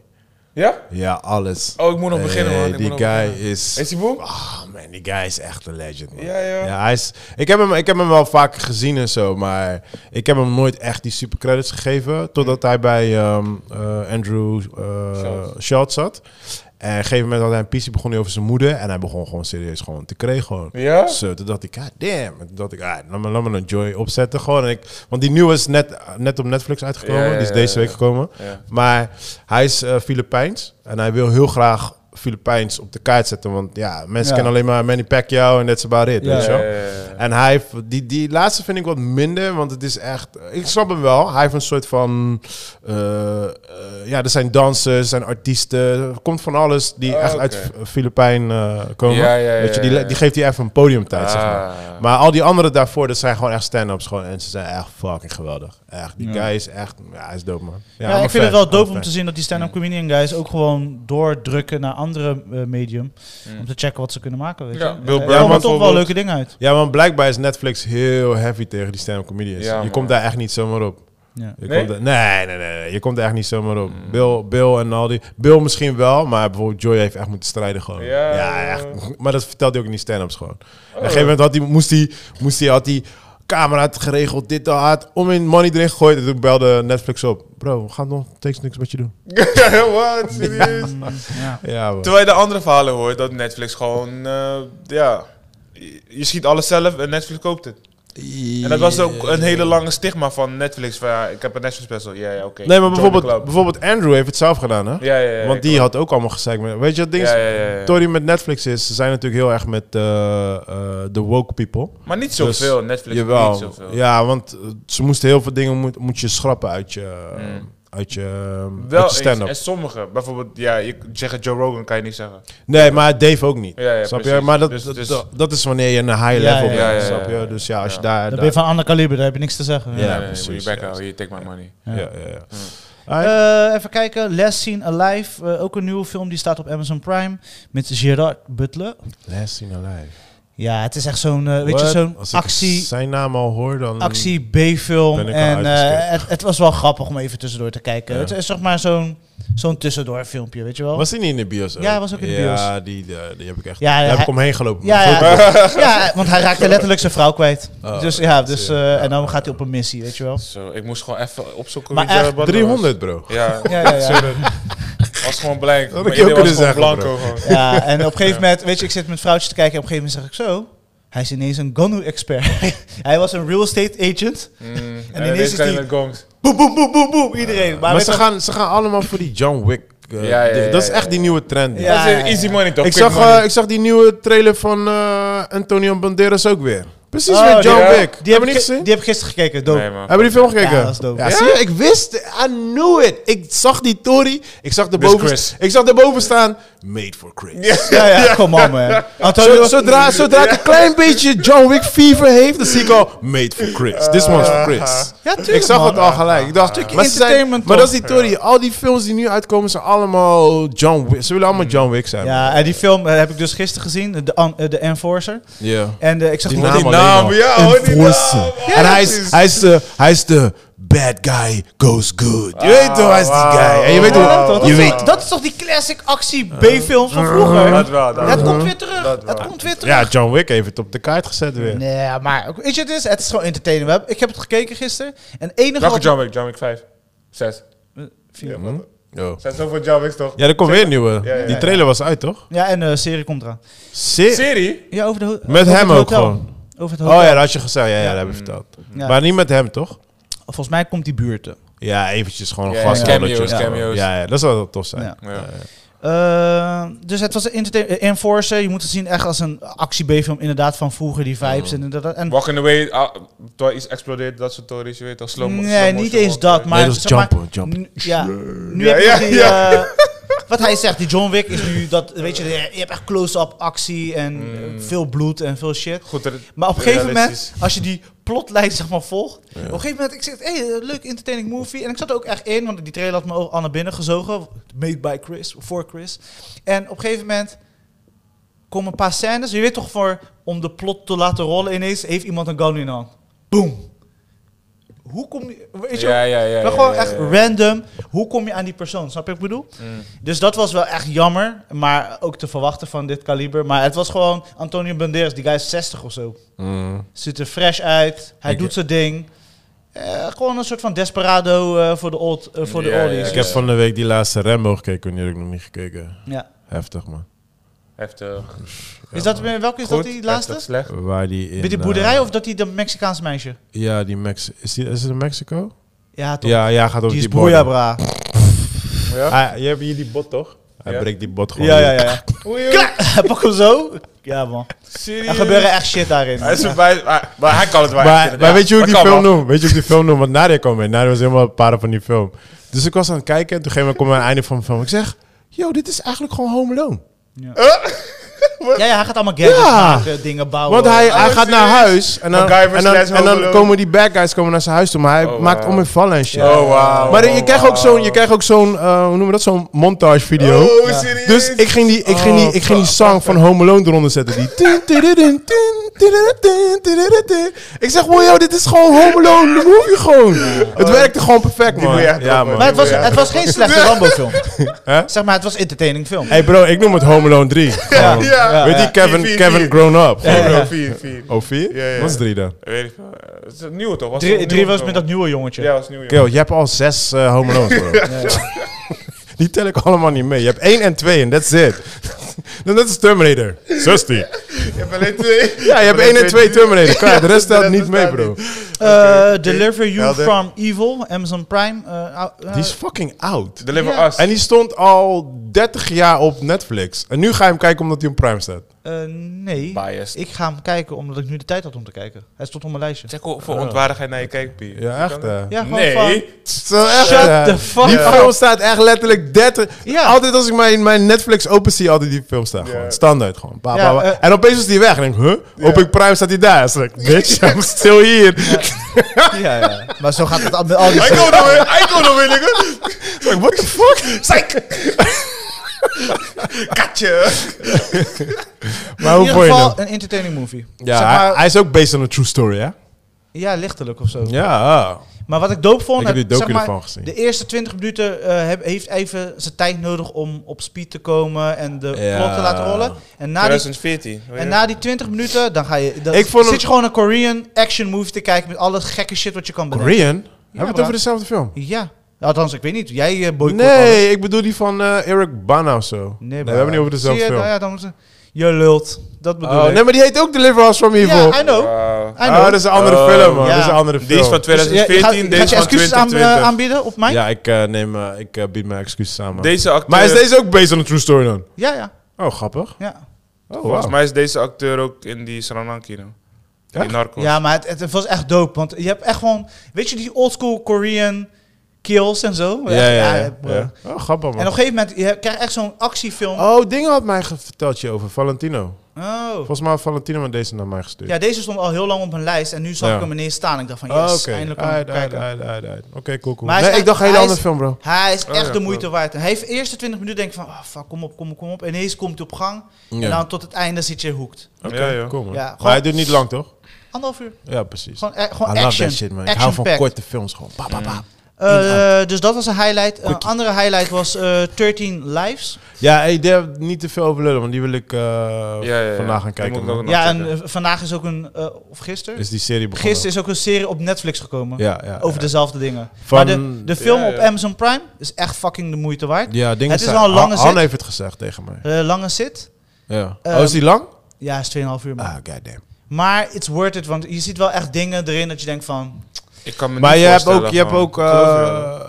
Ja? Ja, alles. Oh, ik moet nog beginnen, Hey, man. Ik Eh, die moet nog guy beginnen. is... Is die boem? Ah man, die guy is echt een legend, man. Ja, ja. hij is, ik, heb hem, ik heb hem wel vaker gezien en zo, maar ik heb hem nooit echt die supercredits gegeven. Totdat hij bij ehm, eh, Andrew eh Schultz. Schultz zat. En op een gegeven moment had hij een pissie, begon hij over zijn moeder. En hij begon gewoon serieus gewoon te kregen gewoon. Ja? Zo, toen dacht ik, ah, damn. En Toen dacht ik, ah, laat, me, laat me een Joy opzetten gewoon. En ik, want die nieuwe is net, net op Netflix uitgekomen. Ja, ja, die is ja, deze ja, week ja. gekomen. Ja. Maar hij is eh, Filipijns en hij wil heel graag Filipijns op de kaart zetten. Want ja, Ja. mensen kennen alleen maar Manny Pacquiao en that's about it, Ja. weet je wel. Ja, ja, <laughs> ja, ja. En hij heeft, die, die laatste vind ik wat minder, want het is echt... Ik snap hem wel. Hij heeft een soort van... eh, eh, ja, er zijn dansers, er zijn artiesten. Er komt van alles die Oh, echt oké. uit F- Filipijn eh, komen. Ja, ja, ja, weet je, die, ja, le- ja. die geeft hij even een podiumtijd, zeg maar. Ah. Maar al die anderen daarvoor, dat zijn gewoon echt stand-ups. Gewoon, en ze zijn echt fucking geweldig. Echt, die Ja. guy is echt... Ja, hij is dope, man. Ja, I'm ik a vind fan. het wel I'm a dope om fan. te zien dat die stand-up comedian guys ook gewoon doordrukken naar andere eh, medium. Om te checken wat ze kunnen maken, weet je. Ja, Eh, Bill er Burr komen toch wel bijvoorbeeld. leuke dingen uit. Ja, want blijkbaar is Netflix heel heavy tegen die stand-up comedians. Ja, je man. komt daar echt niet zomaar op. Ja. Je Nee? Mm. Komt daar- nee, nee, nee, nee. Je komt daar echt niet zomaar op. Bill, Bill en al die... Bill misschien wel, maar bijvoorbeeld Joy heeft echt moeten strijden gewoon. Ja. Oh. echt. Maar dat vertelde hij ook in die stand-ups gewoon. Op een gegeven moment had hij, moest hij, moest hij, had hij camera had geregeld, dit, dat, had om in money erin gegooid. En toen belde Netflix op. Bro, we gaan nog steeds niks met je doen. <laughs> Wat? Serieus? Ja. Ja, man. Terwijl je de andere verhalen hoort dat Netflix gewoon, eh, ja, je- je schiet alles zelf en Netflix koopt het. En dat was ook een hele lange stigma van Netflix. Van, ja, ik heb een Netflix special. Ja, ja, oké. Nee, maar Join the bijvoorbeeld, club. bijvoorbeeld Andrew heeft het zelf gedaan, hè? Ja, ja, ja. Want die had ook allemaal gezeik met... Weet je, dat ding is, Ja, ja, ja, ja. Tory met Netflix is, ze zijn natuurlijk heel erg met eh eh, de woke people. Maar niet zoveel. Netflix Dus Jawel. niet zoveel. Ja, want eh, ze moesten heel veel dingen moet, moet je schrappen uit je, Mm. uit je, ehm, uit Wel je eens. stand-up. En sommige. Bijvoorbeeld, ja, je kunt zeggen Joe Rogan kan je niet zeggen. Nee, maar Dave ook niet. Ja, ja, snap je? precies. Maar dat, Dus- dat- dus- dat, dat is wanneer je een high level ja, bent, ja, ja, snap ja, je? ja. Dus ja, als je Ja. daar... Dan daar ben je van een ander kaliber, daar heb je niks te zeggen. Ja, Nee, nee, precies, Moet je back ja. houden. Hier, take my money. ja, ja, ja. Alright. Eh, even kijken, Last Seen Alive, eh, ook een nieuwe film die staat op Amazon Prime met Gerard Butler. Last seen alive. Ja, het is echt zo'n, eh, weet je, What? zo'n Als ik actie, zijn naam al hoor, dan... actie B-film. Ben ik al En eh, uitgeskipt. het, het was wel grappig om even tussendoor te kijken. Ja. Het is zeg maar zo'n, zo'n tussendoor filmpje, weet je wel. Was hij niet in de bios? Ja, hij was ook in de Ja, die, eh, die, die heb ik echt... Ja, daar ja, heb ik hij- omheen gelopen. ja, maar goed. ja, <laughs> ja, want hij raakte letterlijk zijn vrouw kwijt. Oh, dus ja, dus, zie je. eh, en dan gaat hij op een missie, weet je <laughs> wel. Zo, ik moest gewoon even opzoeken Maar wie de echt bad was. 300, bro. Ja, Ja, ja, ja. sorry. was gewoon blank. had Mijn ik je ook idee was kunnen gewoon zeggen, blanco gewoon. <laughs> Ja, en op een gegeven moment, weet je, ik zit met vrouwtje te kijken en op een gegeven moment zeg ik zo. Hij is ineens een Ganu-expert. <laughs> hij was een real estate agent. Mm, En en ineens is ineens kan je die- met gongs. Boem, boem, boem, boem, boem, iedereen. maar Maar weet ze je- gaan, ze gaan allemaal voor die John Wick. eh, Ja, ja, ja, dat is ja, echt ja. die nieuwe trend. Ja, dat is een easy money toch? Ik, quick zag, money. eh, ik zag die nieuwe trailer van eh, Antonio Banderas ook weer. Precies Oh, met John die- Wick. Die heb, Hebben ik niet ge- gezien? die heb ik gisteren gekeken, dope. Nee, man. Hebben die film gekeken? Ja, dat is dope. Ja, zie je? Ik wist het. I knew it. Ik zag die Tory. Ik zag de This boven, Chris. ik zag erboven staan. Made for Chris. Ja, ja, kom op, man. Antonio, Zo- <laughs> zodra zodra ik een klein beetje John Wick fever heeft, dan zie ik al made for Chris. This one's for Chris. Ja, tuurlijk, ik zag man. het al gelijk. Ik dacht, maar, ze zijn, entertainment maar dat is toch? die theorie. Al die films die nu uitkomen zijn allemaal John Wick. Ze willen allemaal John Wick zijn. Mm. ja, en die film eh, heb ik dus gisteren gezien, de, An- eh, de Enforcer. Ja. En eh, ik zag Die gewoon- naam alleen naam, al. ja, hoor, die Enforcer. naam. Ja, en hij is, precies. hij, is de, hij is de bad guy goes good. Je weet toch, hij is die guy. En je weet Ja, hoe... toch? dat, je is weet, toch- dat is toch die classic actie B-films van vroeger? Dat wel, dat Dat wel. komt weer terug. Dat Dat wel. komt weer terug. ja, John Wick heeft het op de kaart gezet weer. Nee, maar ook- weet je, het is, het is gewoon entertainment. We hebben- Ik heb het gekeken gisteren. En het enige Welke wat- John Wick? John Wick 5? 6. Vier. Hm? Oh. Zijn zoveel John Wicks toch? Ja, er komt weer een nieuwe. Ja, ja, Die ja. trailer was uit, toch? Ja, en de serie komt eraan. Serie? Serie? Ja, over de ho- Met over hem het ook hotel. gewoon. Over het Oh hotel. ja, dat had je gezegd. Ja, ja, dat heb ik verteld. Ja. Maar niet met hem, toch? Volgens mij komt die buurten. Ja, eventjes gewoon een Ja, gast. cameo's, Ja, cameo's. Ja, ja, dat zou wel tof zijn. Ja. Ja. Eh, dus het was een entertain- eh, Enforcer. Je moet het zien echt als een actie-B-film. Inderdaad, van vroeger, die vibes. En, dat, en Walking away, ah, terwijl iets explodeert, dat soort tories, je weet toch? Slow mo- Nee, slow niet motion eens walking dat. away. Maar, Nee, dat is zeg maar, jumpen, jumpen. nu- Ja, nu Ja, heb je ja, die, ja. eh, wat hij zegt, die John Wick is nu dat, weet je, je hebt echt close-up actie en eh, veel bloed en veel shit. Goed, er- Maar op een gegeven moment, realistisch. als je die plotlijn zeg maar volgt, op een gegeven moment, ik zeg, hé, hey, eh, leuk entertaining movie. En ik zat er ook echt in, want die trailer had me ook al naar binnen gezogen. Made by Chris, voor Chris. En op een gegeven moment komen een paar scènes. Je weet toch, voor, om de plot te laten rollen ineens, heeft iemand een gun in de hand. Boom. Hoe kom je... Weet je Ja, ja, Eh, ja. maar ja, gewoon ja, echt ja. random. Hoe kom je aan die persoon? Snap je wat ik bedoel? Dus dat was wel echt jammer. Maar ook te verwachten van dit kaliber. Maar het was gewoon Antonio Banderas. Die guy is 60 of zo. Ziet er fresh uit. Hij Ik- doet zijn ding. Eh, gewoon een soort van desperado eh, voor de old, eh, voor Ja, de ja, oldies. ja. Ik heb Dus- van de week die laatste Rambo gekeken, wanneer heb ik nog niet gekeken. ja. Heftig, man. Heftig. Is dat, welke is dat die Goed, laatste? heftig, Slecht. Waar die in... Bij die eh, boerderij of dat die de Mexicaanse meisje? Ja, die Mex... Is, die, is het in Mexico? Ja, toch? Ja, ja, gaat over die die, is borden. broeia, bra. Hij- je Ah, hebt hier die bot, toch? Hij Ja. breekt die bot gewoon. Ja, ja, in. ja. Klaar! <laughs> Pak hem zo. Ja, man. Er gebeuren echt shit daarin. <laughs> Hij is voorbij, maar, maar hij kan het wel. Maar, maar weet je hoe ik die film noemt? noem? Weet je hoe ik die film noem? Want Nadia kwam mee. Nadia was helemaal para van die film. Dus ik was aan het kijken en toen gegeven moment kwam aan het einde van de film. Ik zeg, yo, dit is eigenlijk gewoon Home Alone. Ja, ja, hij gaat allemaal gadgets Ja. maken, dingen bouwen. Want hij, hij Oh, gaat naar serieus? huis en dan, MacGyver en dan, slash en Home dan Alone. komen die bad guys komen naar zijn huis toe, maar hij Oh, maakt wauw. om en vallen en shit. Oh, wauw. Maar je oh, krijgt ook wauw. zo'n, je krijgt ook zo'n, eh, hoe noemen we dat, zo'n montage video. Oh, serieus? Oh, Dus ik ging die, ik ging die, ik ging die song van Home Alone eronder zetten. Die. tin, tididin, tin, tididin, tididin. Ik zeg, wow, yo, dit is gewoon Home Alone, de movie gewoon. Het werkte gewoon perfect, man. Oh. moet je echt Ja, droppen. Maar man. het was, het was geen <laughs> slechte Rambo-film. Hè? Zeg maar, het was entertaining film. Hey bro, ik noem het Home Alone 3. Gewoon. Ja. Ja, Weet ja. je, Kevin, Vier, vier, Kevin vier. grown up. Ja, Gewoon. ja. 4, 4. Oh, vier? Ja, ja. Wat is drie dan? Weet ik veel. Eh, Het is een nieuwe toch? Was het Drie, een drie nieuwe was met dat film? nieuwe jongetje. Ja, was nieuw. ja. Yo, je hebt al zes eh Home <laughs> Alone's, bro. Die tel ik allemaal niet mee. Je hebt één en twee en that's it. Dat is Terminator. 16. Je hebt alleen twee. Ja, je hebt één en twee Terminator. Klaar, <laughs> de rest De telt rest niet mee, telt bro. Eh, Deliver You Helder. From Evil, Amazon Prime. eh, ou- eh, Die is fucking oud. Deliver Ja. Us. En die stond al 30 jaar op Netflix. En nu ga je hem kijken omdat hij op Prime staat. eh, nee, Biased. ik ga hem kijken omdat ik nu de tijd had om te kijken. Hij stond op mijn lijstje. Check hoe- voor ontwaardigheid naar je kijkt, Pie. Ja, echt hè. Ja, gewoon van- Nee. <laughs> Zo echt, Shut hè? the fuck Die up. film staat echt letterlijk 30. Ja. Altijd als ik mijn, mijn Netflix open zie, altijd die film staan. Gewoon. Ja. Standaard gewoon. Ba, ba, Ja, ba. eh. en opeens is die weg. En ik, huh? Op ik Prime staat hij daar. Dus ik, bitch, I'm still here. <laughs> Ja, ja. Maar zo gaat het al met al die Hij films. komt nog weer. Hij komt nog weer, nigga. Like, what the fuck? Psych. Katje! Maar In hoe ieder vond je hem? geval een entertaining movie. Ja, Zeg hij, maar- hij is ook based on a true story, hè? Ja, lichtelijk of zo. Ja. Maar wat ik dope vond... Ik heb die het- docu zeg maar, ervan gezien. De eerste 20 minuten eh, heb- heeft even zijn tijd nodig om op speed te komen en de Ja. plot te laten rollen. En na die 2014. En na die 20 minuten, dan ga je. Dan Ik vond zit hem- je gewoon een Korean action movie te kijken met alle gekke shit wat je kan bedenken. Korean? Hebben we het bro. over dezelfde film? Ja. Althans, ik weet niet. Jij eh boycott alles. Nee, ik bedoel die van eh, Eric Bana of zo. Nee, Nee, we hebben niet over dezelfde Zie je, film. nou ja, dan moeten- je lult. Dat bedoel Oh, ik. nee, maar die heet ook Deliver Us From Evil. ja, I know. Wow. I oh, know. dat is een andere Oh. film, man. Ja. Dat is een andere film. Die is van Dus je- je 2014, gaat- je deze gaat is je van excuses aan, eh, 2020. aanbieden op mij? Ja, Ja, ik, eh, neem, eh, ik eh, bied mijn excuses aan, man. Deze acteur, Maar is deze ook based on a true story dan? ja. ja, Oh, grappig. Oh, volgens wow. mij is deze acteur ook in die Saranaki. Echt? In Narcos. Ja, maar het, het, was echt dope. Want je hebt echt gewoon. Weet je die oldschool Korean kills en zo? Ja, ja, ja. bro. ja. Oh, grappig, En op een man. gegeven moment je krijgt echt zo'n actiefilm. Oh. Oh, dingen had mij ge- verteld je over Valentino. Volgens mij had Valentino me deze naar mij gestuurd. Ja, deze stond al heel lang op mijn lijst. En nu zag Ja. ik hem ineens staan. Ik dacht van, Oh, yes, oké. eindelijk kan ik Uit, hem uit, kijken. uit, uit, uit. Oké, cool, cool. Maar hij Nee, is echt- ik dacht een hele hij andere is- film, bro. Oh, Hij is echt ja, de klopt. moeite waard. En hij heeft de eerste 20 minuten denk ik van, ah, fuck, kom op, kom op, kom op. En ineens komt hij op gang. En dan tot het einde zit je hooked. Oké, Ja, ja. cool, man. Ja, Maar gewoon- hij duurt niet lang, toch? Anderhalf uur. Ja, precies. Gewoon, eh, gewoon I love action. that shit, man. Ik Action hou van packed. korte films gewoon. Ba, ba, ba. Eh, dus dat was een highlight. Een Quickie. andere highlight was eh 13 Lives. Ja, hey, daar heb ik niet te veel over lullen, want die wil ik eh, vandaag gaan kijken. man. nog Ja, en checken. eh, vandaag is ook een, eh, of gisteren? Is die serie begonnen? Gisteren is ook een serie op Netflix gekomen. Ja, ja. Over ja. dezelfde dingen. Van- maar de, de film Ja, op ja. Amazon Prime is echt fucking de moeite waard. Ja, dingen Het is zijn- wel een lange Han- zit. Han heeft het gezegd tegen mij. Eh, lange zit. Ja. Ehm, oh, is die lang? Ja, is 2,5 uur man. Ah, goddamn. Maar it's worth it, want je ziet wel echt dingen erin dat je denkt van... Ik kan me Maar niet je hebt voorstellen, ook, je hebt man. ook Ik geloof je wel. eh,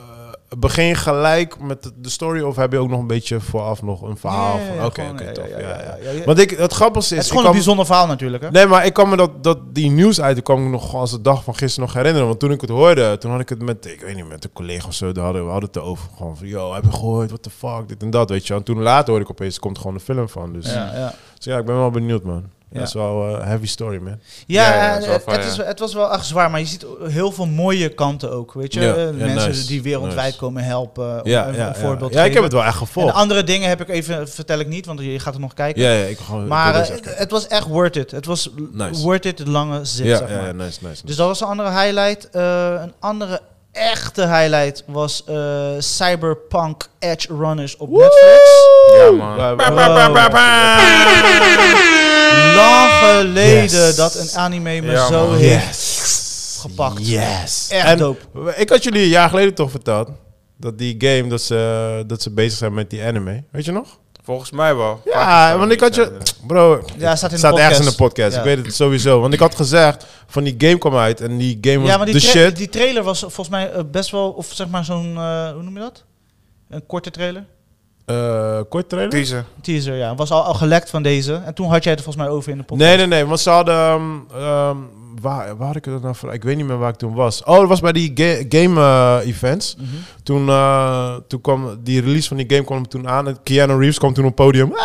begin gelijk met de- de story of heb je ook nog een beetje vooraf nog een verhaal? Ja, ja, van- ja, Oké, gewoon, oké, ja, tof. ja, Ja, ja, ja. ja, ja. Want ik, het grappige is... Het is ik gewoon kwam- een bijzonder verhaal natuurlijk, hè? Nee, maar ik kan me dat, dat die nieuws uit, ik kwam ik nog als de dag van gisteren nog herinneren. Want toen ik het hoorde, toen had ik het met, ik weet niet, met een collega of zo, daar hadden we hadden het over. Gewoon van, yo, heb je gehoord, what the fuck, dit en dat, weet je. wel. En toen later hoorde ik opeens, er komt gewoon een film van. Dus ja, Ja, ja. dus ja ik ben wel benieuwd, man. Ja. Dat is wel eh, een heavy story, man. ja, Ja, ja, en is wel het, van, het ja. is, het was wel echt zwaar, maar je ziet heel veel mooie kanten ook, weet je? Ja, Eh, ja, Mensen nice, die wereldwijd nice. komen helpen, om Ja, een, ja, een ja. voorbeeld te ja ik geven. heb het wel echt En gevolgd. andere dingen heb ik even, vertel ik niet, want je gaat er nog kijken. Ja, ja, ik gewoon. Maar ik wil eh, deze echt kijken. het was echt worth it. Het was Nice. worth it, de lange zit, ja, zeg maar. ja, ja, nice, nice. Dus dat was een andere highlight. Eh, een andere echte highlight was eh, Cyberpunk Edge Runners op Netflix. Ja, man. Ja, Pa, we- pa, pa, pa, pa. Lang geleden Yes. dat een anime me Ja, zo man. heeft Yes. Oh, gepakt. Yes. Echt en dope. we- Ik had jullie een jaar geleden toch verteld dat die game dat ze, dat ze bezig zijn met die anime. Weet je nog? Volgens mij wel. Ja, want ik had je bro, Ja, staat in de staat ergens in de podcast. podcast. Ja. Ik weet het sowieso, want ik had gezegd van die game kwam uit en die game was Ja, maar die, de tra- shit. die trailer was volgens mij eh, best wel, of zeg maar zo'n, eh, hoe noem je dat? Een korte trailer? Eh, kort trailer. Teaser. Teaser, ja. Was al, al gelekt van deze. En toen had jij het er volgens mij over in de podcast. Nee, nee, nee, want ze hadden ehm, ehm, waar, waar had ik het nou voor? Ik weet niet meer waar ik toen was. Oh, dat was bij die ga- game eh, events. Mhm. Toen, eh, toen kwam die release van die game kwam toen aan. En Keanu Reeves kwam toen op het podium. Ah!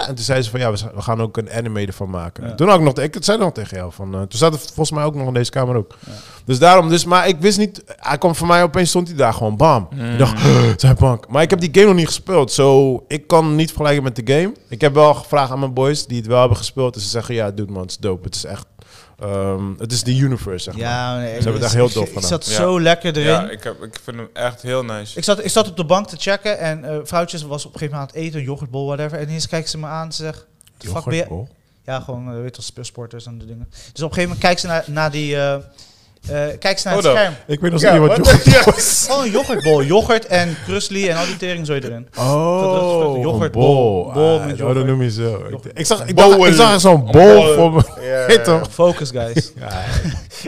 En toen zei ze van ja, we z- we gaan ook een anime ervan maken. Ja. Toen had ik nog, ik zei nog tegen jou van. eh, toen zat het volgens mij ook nog in deze kamer ook. Dus daarom, dus, maar ik wist niet. Hij kwam voor mij opeens stond hij daar gewoon bam. Mm. Ik dacht, zijn bank. Maar ik heb die game nog niet gespeeld. Zo, ik kan niet vergelijken met de game. Ik heb wel gevraagd aan mijn boys die het wel hebben gespeeld. En ze zeggen ja, dude man, het is dope. Het is echt. ehm, het is de universe, zeg maar. Ja, nee, ik- hebben het echt ik- heel ik- dope Ik gedaan. zat Ja. zo lekker erin. Ja, ik, ik, heb, ik vind hem echt heel nice. zat, ik zat op de bank te checken en eh vrouwtjes was op een gegeven moment aan het eten, een yoghurtbol, whatever. En ineens kijkt ze me aan en ze zegt, "The fuck ben je- Yoghurtbol. Ja, gewoon, eh, weet je wel, sporters en de dingen. Dus op een gegeven moment kijkt ze naar, naar die, eh eh, kijkt ze naar Hold het up. scherm. Ik weet nog Ja, niet wat what yoghurt the- was. Oh, een yoghurtbol. Yoghurt en krusli en al die tering zo erin. Oh, een een yoghurtbol. bol. Bol Ah, met Oh, dat yoghurt. noem je zo. Ik, ik zag, ik, Bol. dacht, ik zag echt zo'n bol Bol. voor me. <laughs> Ja, Weet toch? Focus, <laughs> guys. Ja,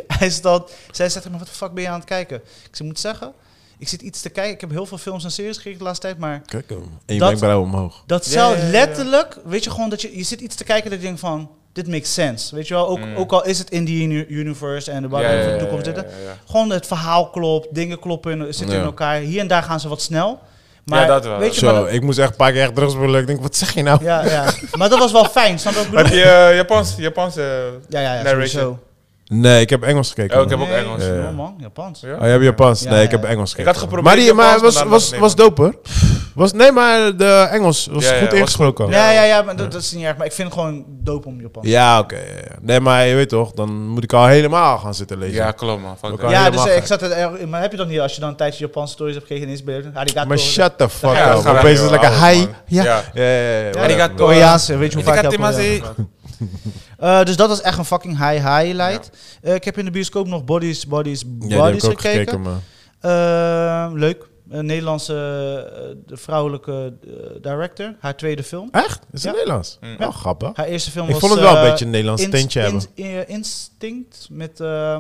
Hij is dan, zij zegt, maar wat de fuck ben je aan het kijken? Ik ze moet zeggen, ik zit iets te kijken. Ik heb heel veel films en series gekeken de laatste tijd, maar Kijk hem. En je Dat- wenkbrauw omhoog. dat Ja, zou ja, ja, ja. letterlijk, weet je gewoon, dat je, je zit iets te kijken dat je denkt van, dit makes sense. Weet je wel, ook, Mm. ook al is het in die uni- universe en de Ja, waar ja, de ja, toekomst ja, zitten. ja, ja. Gewoon het verhaal klopt, dingen kloppen, eh, zitten Ja. in elkaar. Hier en daar gaan ze wat snel. Maar Ja, dat wel, weet dat je, maar Zo, dat- ik moest echt een paar keer echt drugs worden. Ik denk, wat zeg je nou? ja, ja. maar dat was wel fijn, snap je wat ik Heb bedoel? je eh, Japans? Japans eh, Ja, ja, ja, Narration. sowieso. Nee, ik heb Engels gekeken. Oh, ik heb man. ook Engels. Ja. man, Japans. Ja? Oh, je hebt Japans? Ja, nee, ik ja. heb Engels gekeken. had geprobeerd Maar, die, maar Japans, was, maar was, dat was was, niks. doper. Was, nee, maar de Engels was Ja, ja, goed was ingesproken. goed, Ja, ja, ja, maar dat, dat is niet erg. Maar ik vind het gewoon dope om Japan. Ja, oké. ja, ja. Nee, maar je weet toch, dan moet ik al helemaal gaan zitten lezen. Ja, klopt man. Fuck Ook that. al- Ja, dus helemaal eh, gek. ik zat er erg in. Maar heb je dan niet, als je dan een tijdje Japanse stories hebt gekregen, ineens ben je... Arigato. maar shut the fuck Ja, dat up. gaat Opeens is wel het lekker oud, hi. man. Ja. Ja. Ja, ja, ja, ja. Arigato. Koreaanse, weet je hoe vaak ik dat Itakatemase. Eh, dus dat was echt een fucking high-high light. Eh, ik heb in de bioscoop nog Bodies, Bodies, Ja, die heb Bodies ik ook gekeken. gekeken, man. Eh, leuk. Een Nederlandse eh, de vrouwelijke eh, director. Haar tweede film. Echt? Is het Ja. Nederlands? Mm. Wel grappig. Haar eerste film Ik was... vond het wel een eh, beetje een Nederlands Inst- tintje hebben. Inst- eh, Instinct met eh,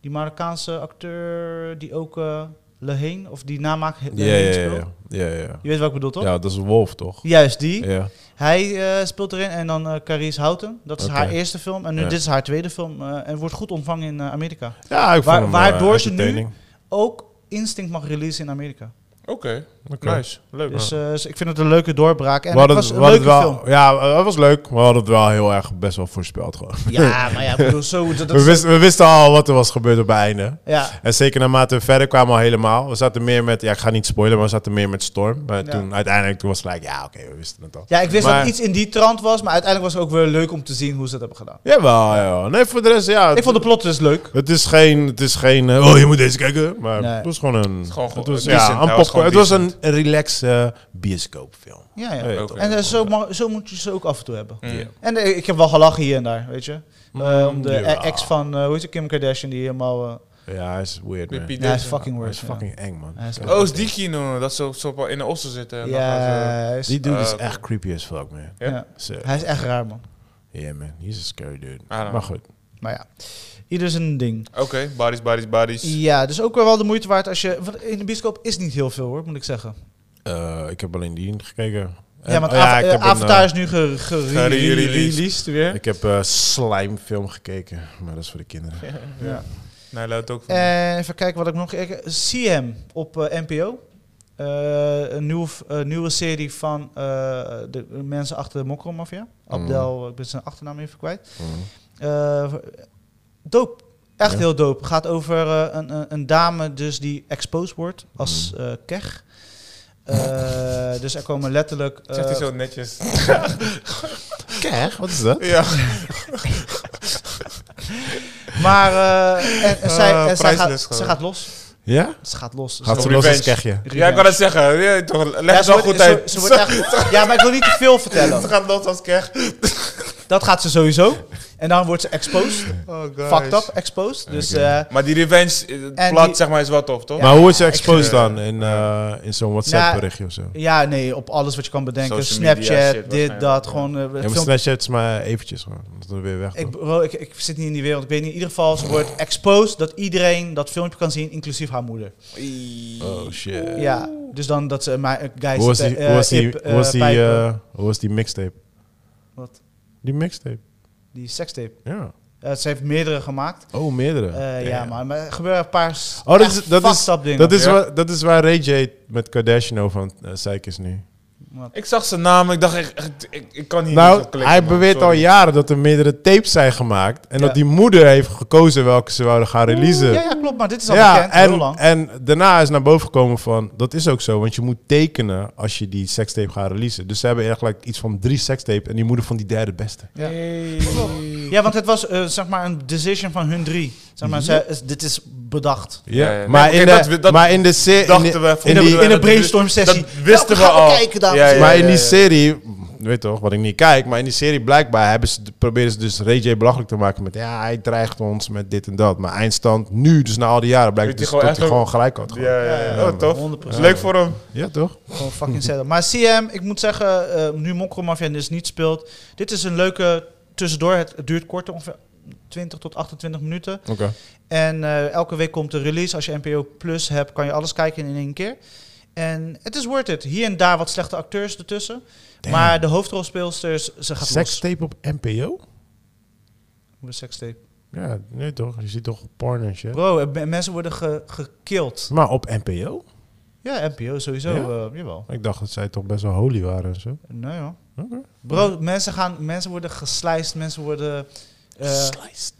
die Marokkaanse acteur die ook eh Leheen, of die namaak He- Ja, Leheen ja, speelt. ja. Ja, ja, ja. Je weet wat ik bedoel, toch? Ja, dat is een wolf, toch? Juist die. Ja. Hij eh, speelt erin en dan eh Carice Houten. Dat is Oké. haar eerste film. En nu Ja. dit is haar tweede film. eh, en wordt goed ontvangen in eh, Amerika. Ja, ik Waar- vond hem, waardoor eh, ze nu- entertaining. Ook Instinct mag releasen in Amerika. Oké, Oké. nice. Leuk man. Dus eh, dus ik vind het een leuke doorbraak. En het We hadden was het- een we hadden leuke het wel- film. Ja, eh, het was leuk. We hadden het wel heel erg best wel voorspeld gewoon. Ja, maar ja, ik bedoel, <laughs> zo... Dat, dat We is- wisten, we wisten al wat er was gebeurd op het einde. ja, En zeker naarmate we verder kwamen al helemaal. We zaten meer met, ja ik ga niet spoilen, maar we zaten meer met Storm. Maar Ja. toen uiteindelijk toen was het like, ja oké, we wisten het al. ja, ik wist Maar- dat iets in die trant was. Maar uiteindelijk was het ook weer leuk om te zien hoe ze dat hebben gedaan. Jawel, jawel. Nee, voor de rest, ja. Ik vond de plot dus leuk. het is geen, het is geen eh, oh je moet deze kijken. Maar Nee. het was gewoon een, gewoon het goed. was, Decent. ja, Hij een was popcorn. gewoon Het was een relaxed eh, bioscoopfilm. Ja, ja. Ja, Oké. En eh, zo, ma- zo moet je ze ook af en toe hebben. Mm. Ja. En eh, ik heb wel gelachen hier en daar, weet je. Eh, om de Mm, ja. ex van, eh, hoe is het, Kim Kardashian, die helemaal... eh, Ja, hij is weird man. Pipi ja, hij is deze. fucking Hij weird. is fucking eng man. Hij is Oh, is die kino dat ze zo in de ossen zitten. Ja, en dan gaan hij is- Die dude is Eh, echt creepy as fuck man. ja. ja. So, Hij is echt raar, man. yeah man, he's a scary dude. don't know. Maar goed. Maar ja, ieder zijn ding. ze- Oké, bodies, bodies, bodies. Ja, dus ook wel de moeite waard als je... want In de bioscoop is niet heel veel, hoor, moet ik zeggen. Eh, ik heb alleen die gekeken. Ja, want En- Ava- ik eh, heb een, Avatar eh, is nu ge- ge- gereleased weer. Ik heb eh slijmfilm gekeken, maar dat is voor de kinderen. Ja. Nee, laat het ook van. En even kijken wat ik nog... Ik, CM op eh, NPO. Eh, een nieuwe, f- eh, nieuwe serie van eh, de mensen achter de Mokromafia. Abdel, eh, ik ben zijn achternaam even kwijt. Mm. Eh, doop. Echt Ja. heel doop. Gaat over eh, een, een, een dame dus die exposed wordt als Hmm. eh keg. Eh, dus er komen letterlijk... eh, Zegt hij zo netjes. Kijk, wat is dat? ja, maar eh, <laughs> en, en zij, Eh, en zij, gaat, priceless ze gewoon. gaat los. Ja? Ze gaat los. Ze Gaat is ze een los als revenge. kegje? ja ik kan het zeggen. Ja, toch, leg Ja, het ze wel wordt- goed ze- uit. ze wordt <laughs> echt- ja, maar ik wil niet te veel Ze vertellen. gaat los als keg. Dat gaat ze sowieso. En dan wordt ze exposed. Oh god. Fucked up, exposed. Dus eh, Maar die revenge eh, En plot, die- zeg maar, is wel tof, toch? maar hoe is ze exposed ik- dan? In, eh, in Nou, zo'n WhatsApp berichtje of zo? ja, nee, op alles wat je kan bedenken. Social media Snapchat, shit dit, dat. waarschijnlijk. Gewoon eh, Ja, maar filmpjes. Snapchat is maar eventjes gewoon. Dat we weer weg. Ik, bro, ik, ik zit niet in die wereld. Ik weet niet. In ieder geval, ze wordt exposed dat iedereen dat filmpje kan zien, inclusief haar moeder. oh shit. Ja, dus dan dat ze maar eh, guys. Hoe was die, eh, hoe was die, ip, eh, hoe was die, pijpen. eh, hoe was die mixtape? Wat? Die mixtape, Die sekstape. ja. Eh, ze heeft meerdere gemaakt. Oh, meerdere. Eh, ja, Damn. maar, maar er gebeuren een paar. s- Oh, dat echt is, dat, is, fucked up dingen. dat, is Ja. waar, dat is waar Ray J met Kardashian over aan het eh, zeiken is nu. Wat? Ik zag zijn naam, ik dacht echt, echt, ik, ik kan hier niet Nou, op klikken, hij man, beweert al sorry. jaren dat er meerdere tapes zijn gemaakt. En Ja. dat die moeder heeft gekozen welke ze wilden gaan releasen. Ja, ja, klopt, maar dit is al Ja, bekend. heel en, lang. en daarna is naar boven gekomen van... Dat is ook zo, want je moet tekenen als je die sekstape gaat releasen. Dus ze hebben eigenlijk iets van drie sekstapes... en die moeder vond die derde beste. Ja. ja, want het was eh, zeg maar een decision van hun drie. Zeg maar, ze, is- dit is bedacht. Mhm. Ja, Ja, ja. Maar, Oké, in dat de, we- dat maar in de serie... dachten we van- in dat de, bedoel- In een dat- brainstorm sessie. dat wisten we gaan al. kijken, dames Ja, en ja. maar in die serie, weet toch, wat ik niet kijk, maar in die serie blijkbaar hebben ze, proberen ze dus Ray J belachelijk te maken met ja, hij dreigt ons met dit en dat. Maar eindstand nu, dus na al die jaren, blijkt Weet dus hij dat hij gewoon echt ook- gewoon gelijk had. gewoon. Ja. Ja, ja, ja. Ja, Oh, tof. 100%. Is leuk voor hem. toch? Gewoon Mhm. fucking setup. Maar CM, ik moet zeggen, eh nu Mokro Mafia dus niet speelt. Dit is een leuke tussendoor. Het, het duurt kort, ongeveer 20 tot 28 minuten. Oké. En eh, elke week komt de release. Als je NPO Plus hebt, kan je alles kijken in één keer. En het is worth it. Hier en daar wat slechte acteurs ertussen. Damn. Maar de hoofdrolspeelsters, ze gaat los. Sextape op NPO? Met sekstape. Ja, nee toch? Je ziet toch porn en shit. Bro, eh, me- mensen worden ge gekild. Maar op NPO? Ja, NPO sowieso. Ja? eh, jawel. Ik dacht dat zij toch best wel holy waren en zo. Nee hoor. Oké. Bro, mensen, gaan, mensen worden geslijst. Mensen worden... eh, Sliced.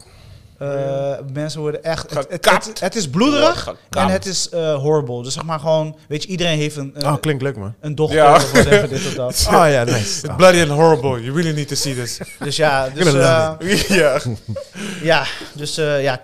Eh, Mensen worden echt... Het, het, Gekapt. het- het is bloederig Wordt gekapt. en het is eh, horrible. Dus zeg maar gewoon... Weet je, iedereen heeft een, een, Oh, klinkt leuk, <laughs> man. een dochter Ja. of whatever, dit of <laughs> dat. Oh ja, nice. It's bloody and horrible. You really need to see this. Dus ja, dus, Inderdaad. eh, <laughs> ja. Ja, dus eh, ja,